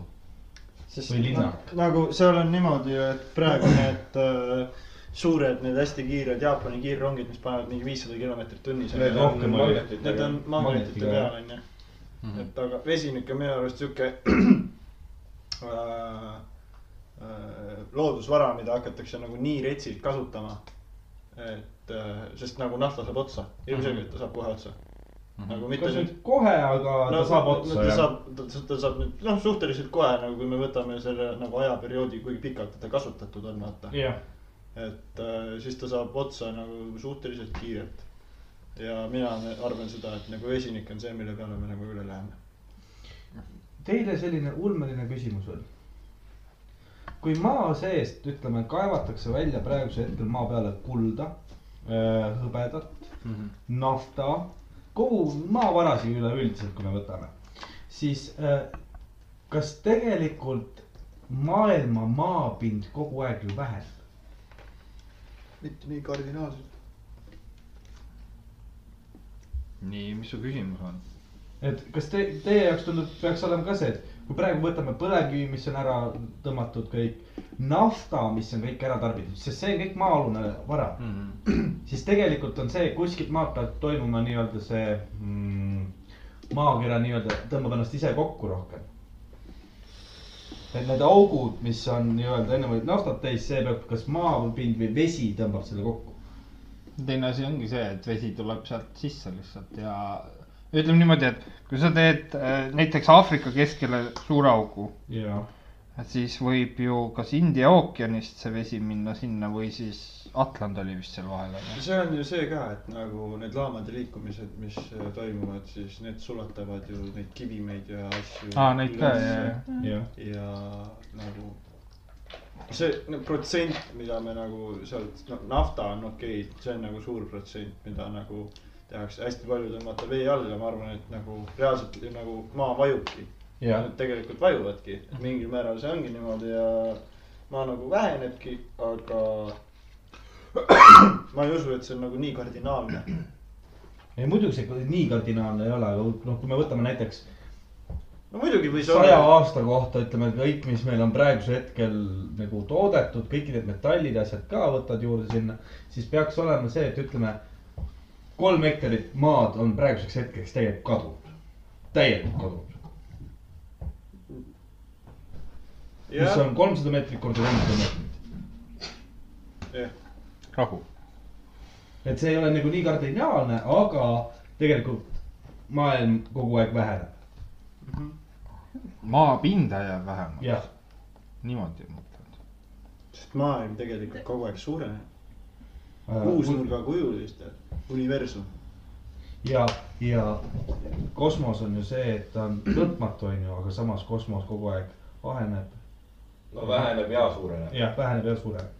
Speaker 1: sest
Speaker 7: või linna.
Speaker 1: na- nagu seal on niimoodi , et praegu need äh, suured , need hästi kiired Jaapani kiirrongid , mis panevad mingi viissada kilomeetrit tunnis .
Speaker 7: Need rohkem on
Speaker 1: magnetid . Need on magnetite
Speaker 7: Magnetiga, jah.
Speaker 1: peal onju ,
Speaker 3: Mhm.
Speaker 1: et aga vesinik on minu arust sihuke äh, äh, loodusvara , mida hakatakse nagu nii retsilt kasutama . et äh, sest nagu nafta saab otsa , ilmselgelt ta saab kohe otsa . nagu mitte
Speaker 7: kas
Speaker 1: nüüd
Speaker 7: nüüd kohe , aga ta saab otsa
Speaker 1: ta
Speaker 7: ja
Speaker 1: saab , ta, ta saab nüüd noh , suhteliselt kohe nagu , kui me võtame selle nagu ajaperioodi , kui pikalt teda kasutatud on , vaata .
Speaker 7: jah ,
Speaker 1: et äh, siis ta saab otsa nagu suhteliselt kiirelt . ja mina arvan seda , et nagu vesinik on see , mille peale me nagu üle läheme .
Speaker 7: teile selline ulmeline küsimus on . kui maa seest , ütleme , kaevatakse välja praegusel hetkel maa peale kulda , hõbedat mm , -hmm. nafta , kogu maavarasid üleüldiselt , kui me võtame , siis äh, kas tegelikult maailma maapind kogu aeg ju väheneb ?
Speaker 1: mitte nii kardinaalselt .
Speaker 3: nii , mis su küsimus on ?
Speaker 7: et kas te , teie jaoks tundub , peaks olema ka see , et kui praegu võtame põlevkivi , mis on ära tõmmatud kõik , nafta , mis on kõik ära tarbitud , sest see on kõik maa-alune vara mm , -hmm. siis tegelikult on see , kuskilt maalt peab toimuma nii-öelda see mm, maakera nii-öelda tõmbab ennast ise kokku rohkem . et need augud , mis on nii-öelda ennem olid naftat täis , see peab kas maapind või vesi tõmbab selle kokku .
Speaker 3: teine asi ongi see , et vesi tuleb sealt sisse lihtsalt ja ütleme niimoodi , et kui sa teed äh, näiteks Aafrika keskele suure augu ,
Speaker 7: jaa .
Speaker 3: siis võib ju kas India ookeanist see vesi minna sinna või siis Atland oli vist seal vahel , onju .
Speaker 1: see on ju see ka , et nagu need laamade liikumised , mis äh, toimuvad , siis need sulatavad ju neid kivimeid ja asju .
Speaker 3: aa , neid ka , ja ,
Speaker 7: jah .
Speaker 1: ja nagu see no, protsent , mida me nagu sealt , no nafta on okei okay, , see on nagu suur protsent , mida nagu tehakse , hästi palju tõmmata vee alla , ma arvan , et nagu reaalselt ju nagu maa vajubki .
Speaker 7: jah ,
Speaker 1: Nad tegelikult vajuvadki , et mingil määral see ongi niimoodi ja maa nagu vähenebki , aga ma ei usu , et see on nagu nii kardinaalne .
Speaker 7: ei muidugi see nii kardinaalne ei ole , aga noh , kui me võtame näiteks
Speaker 1: no muidugi võis
Speaker 7: saja
Speaker 1: olla ,
Speaker 7: aasta kohta ütleme kõik , mis meil on praegusel hetkel nagu toodetud , kõik need metallid ja asjad ka võtad juurde sinna , siis peaks olema see , et ütleme kolm hektarit maad on praeguseks hetkeks tegelikult kadunud , täielikult kadunud . mis on kolmsada meetrit korda kolmsada meetrit .
Speaker 3: rahu .
Speaker 7: et see ei ole nagu nii kardinaalne , aga tegelikult maailm kogu aeg väheneb .
Speaker 3: maapinda jääb vähemaks .
Speaker 7: jah ,
Speaker 3: niimoodi ma mõtlen .
Speaker 1: sest maailm tegelikult kogu aeg suureneb . Äh,
Speaker 7: äh,
Speaker 1: kuusnurga kujulist universum .
Speaker 7: ja , ja kosmos on ju see , et ta on lõpmatu , on ju , aga samas kosmos kogu aeg aheneb ,
Speaker 2: no väheneb ja suureneb .
Speaker 7: jah , väheneb ja suureneb .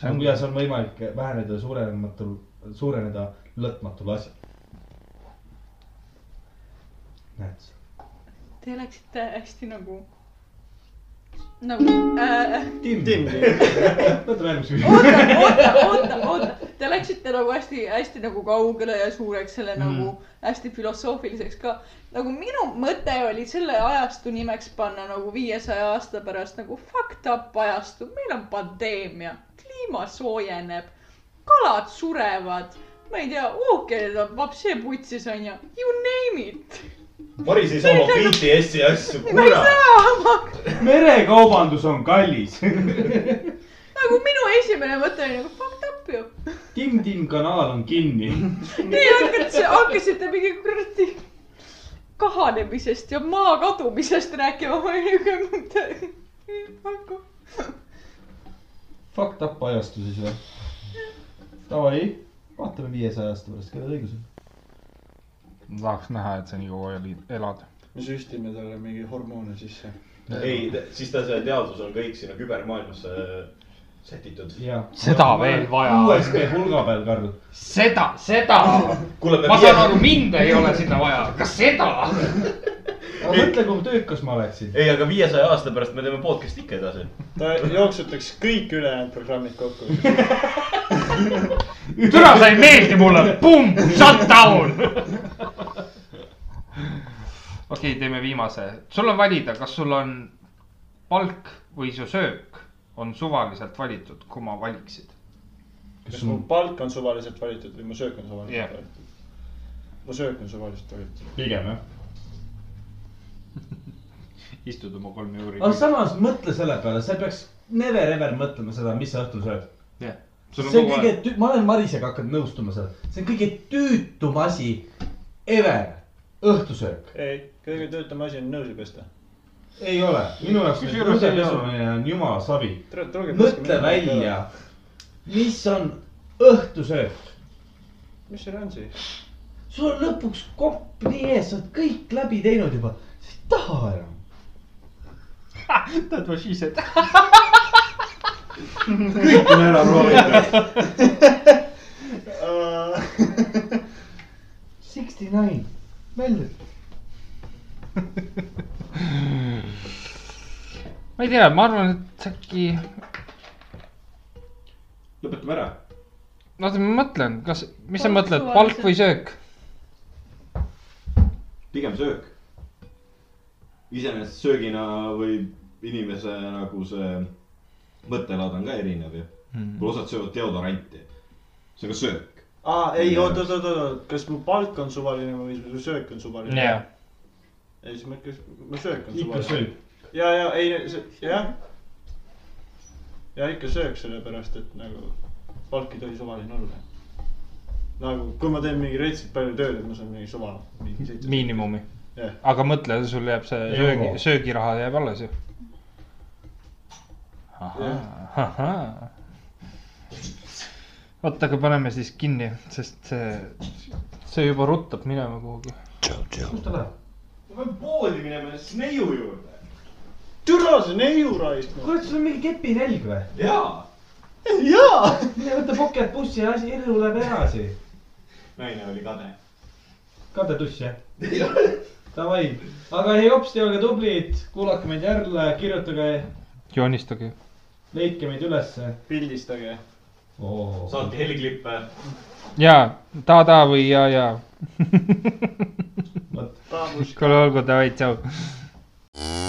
Speaker 7: see on , kuidas on võimalik väheneda ja suurenematul , suureneda lõpmatul asjal . näed ,
Speaker 6: Te läksite hästi nagu , nagu äh, ,
Speaker 1: Tim ,
Speaker 7: võtame järgmise küsimuse .
Speaker 6: oota , oota , oota , oota , te läksite nagu hästi , hästi nagu kaugele ja suureks selle mm. nagu hästi filosoofiliseks ka . nagu minu mõte oli selle ajastu nimeks panna nagu viiesaja aasta pärast nagu fucked up ajastu , meil on pandeemia , kliima soojeneb , kalad surevad , ma ei tea , ookeanid on vapsee putsis onju , you name it .
Speaker 2: Maris ei saa oma BTS-i asju ,
Speaker 6: ma ei
Speaker 1: Oh,
Speaker 2: kurat .
Speaker 6: saa , ma
Speaker 7: merekaubandus on kallis .
Speaker 6: nagu minu esimene mõte oli nagu fucked up ju .
Speaker 7: Tim-Tim kanal on kinni .
Speaker 6: Teie hakkasite , hakkasite mingi kuradi kahanemisest ja maa kadumisest rääkima , ma olin niuke mõte .
Speaker 7: Fucked up ajastu siis või ? Davai , vaatame viiesaja aasta pärast , kellel õigus on .
Speaker 3: ma tahaks näha , et sa nii kaua eli- elad .
Speaker 1: me süstime talle mingi hormoone sisse .
Speaker 2: ei , siis ta , see teadvus on kõik sinna kübermaailmasse äh, sätitud .
Speaker 3: Seda veel vaja.
Speaker 7: USB pulga peal , Karl .
Speaker 3: seda , seda .
Speaker 2: kuule , me
Speaker 3: ma saan aru ,. mind ei ole sinna vaja , aga seda .
Speaker 7: aga mõtle , kui töökas ma oleksin .
Speaker 2: ei , aga viiesaja aasta pärast me teeme podcast'i ikka edasi .
Speaker 1: ta jooksutaks kõik ülejäänud programmid kokku .
Speaker 3: türa , sa ei meeldi mulle , pumm , shut down . okei , teeme viimase . sul on valida , kas sul on palk või su söök on suvaliselt valitud , kumma valiksid ?
Speaker 1: kas mu palk on suvaliselt valitud või mu söök on suvaliselt
Speaker 3: Jah.
Speaker 1: valitud ? mu söök on suvaliselt valitud .
Speaker 7: pigem jah .
Speaker 3: istud oma kolme juuri .
Speaker 7: aga samas mõtle selle peale , sa ei peaks never ever mõtlema seda , mis sa õhtul sööd .
Speaker 3: sul on
Speaker 7: see on
Speaker 3: kogu
Speaker 7: kõige
Speaker 3: aeg ,
Speaker 7: ma olen Marisega hakanud nõustuma seda , see on kõige tüütum asi ever , õhtusöök .
Speaker 1: ei , kõige töötam asi on nõusi pesta .
Speaker 7: ei ole , minu jaoks
Speaker 3: Kusjuures ei ole.
Speaker 7: õhtupesumine on jumala savi . mõtle
Speaker 1: mõtle
Speaker 7: välja , mis on õhtusöök
Speaker 1: mis seal on siis ?
Speaker 7: sul on lõpuks kopp nii ees , sa oled kõik läbi teinud juba , sa ei taha enam .
Speaker 3: tead , ma siis , et
Speaker 5: kõik on ära proovitud .
Speaker 7: Sixty nine , välja .
Speaker 3: ma ei tea , ma arvan , et äkki ,
Speaker 5: lõpetame ära .
Speaker 3: oota , ma mõtlen , kas , mis sa
Speaker 6: Palk
Speaker 3: mõtled ,
Speaker 6: suvaliselt.
Speaker 3: palk või söök ?
Speaker 2: pigem söök . iseenesest söögina või inimese nagu see mõttelaad on ka erinev ju . kuule , osad söövad deodoranti . see on ka söök .
Speaker 1: aa , ei , oot , oot , oot , oot , kas mu palk on suvaline või mu söök on suvaline ?
Speaker 3: jah ,
Speaker 1: ei , siis ma , kas mu söök on
Speaker 7: ikka
Speaker 1: suvaline ?
Speaker 7: sööb .
Speaker 1: ja , ja ei , see , jah . ja ikka söök , sellepärast et nagu palk ei tohi suvaline olla . nagu , kui ma teen mingi retsilt palju tööd , et ma saan mingi suva , mingi seitse .
Speaker 3: miinimumi
Speaker 1: Jah. .
Speaker 3: aga mõtle , sul jääb see
Speaker 7: Euro.
Speaker 3: söögi , söögiraha jääb alles ju . ahhaa , oot , aga paneme siis kinni , sest see , see juba ruttab minema kuhugi .
Speaker 7: kus ta läheb ?
Speaker 2: me peame poodi minema neiu juurde .
Speaker 1: türa , see neiu raisk . noh.
Speaker 7: kurat , sul on mingi kepinälg või ?
Speaker 2: jaa .
Speaker 1: jaa .
Speaker 7: mine võta poketbussi ja asi , elu läheb edasi .
Speaker 2: naine oli kade .
Speaker 7: kadetuss jah ? Davai , aga ei hopsti , olge tublid , kuulake meid järele , kirjutage ,
Speaker 3: joonistage .
Speaker 7: leidke meid ülesse
Speaker 1: pildistage .
Speaker 7: oh. .
Speaker 2: saatke heliklippe .
Speaker 3: jaa , ta-ta või ja-ja .
Speaker 1: taabus .
Speaker 3: kuule , olgu , davai , tšau .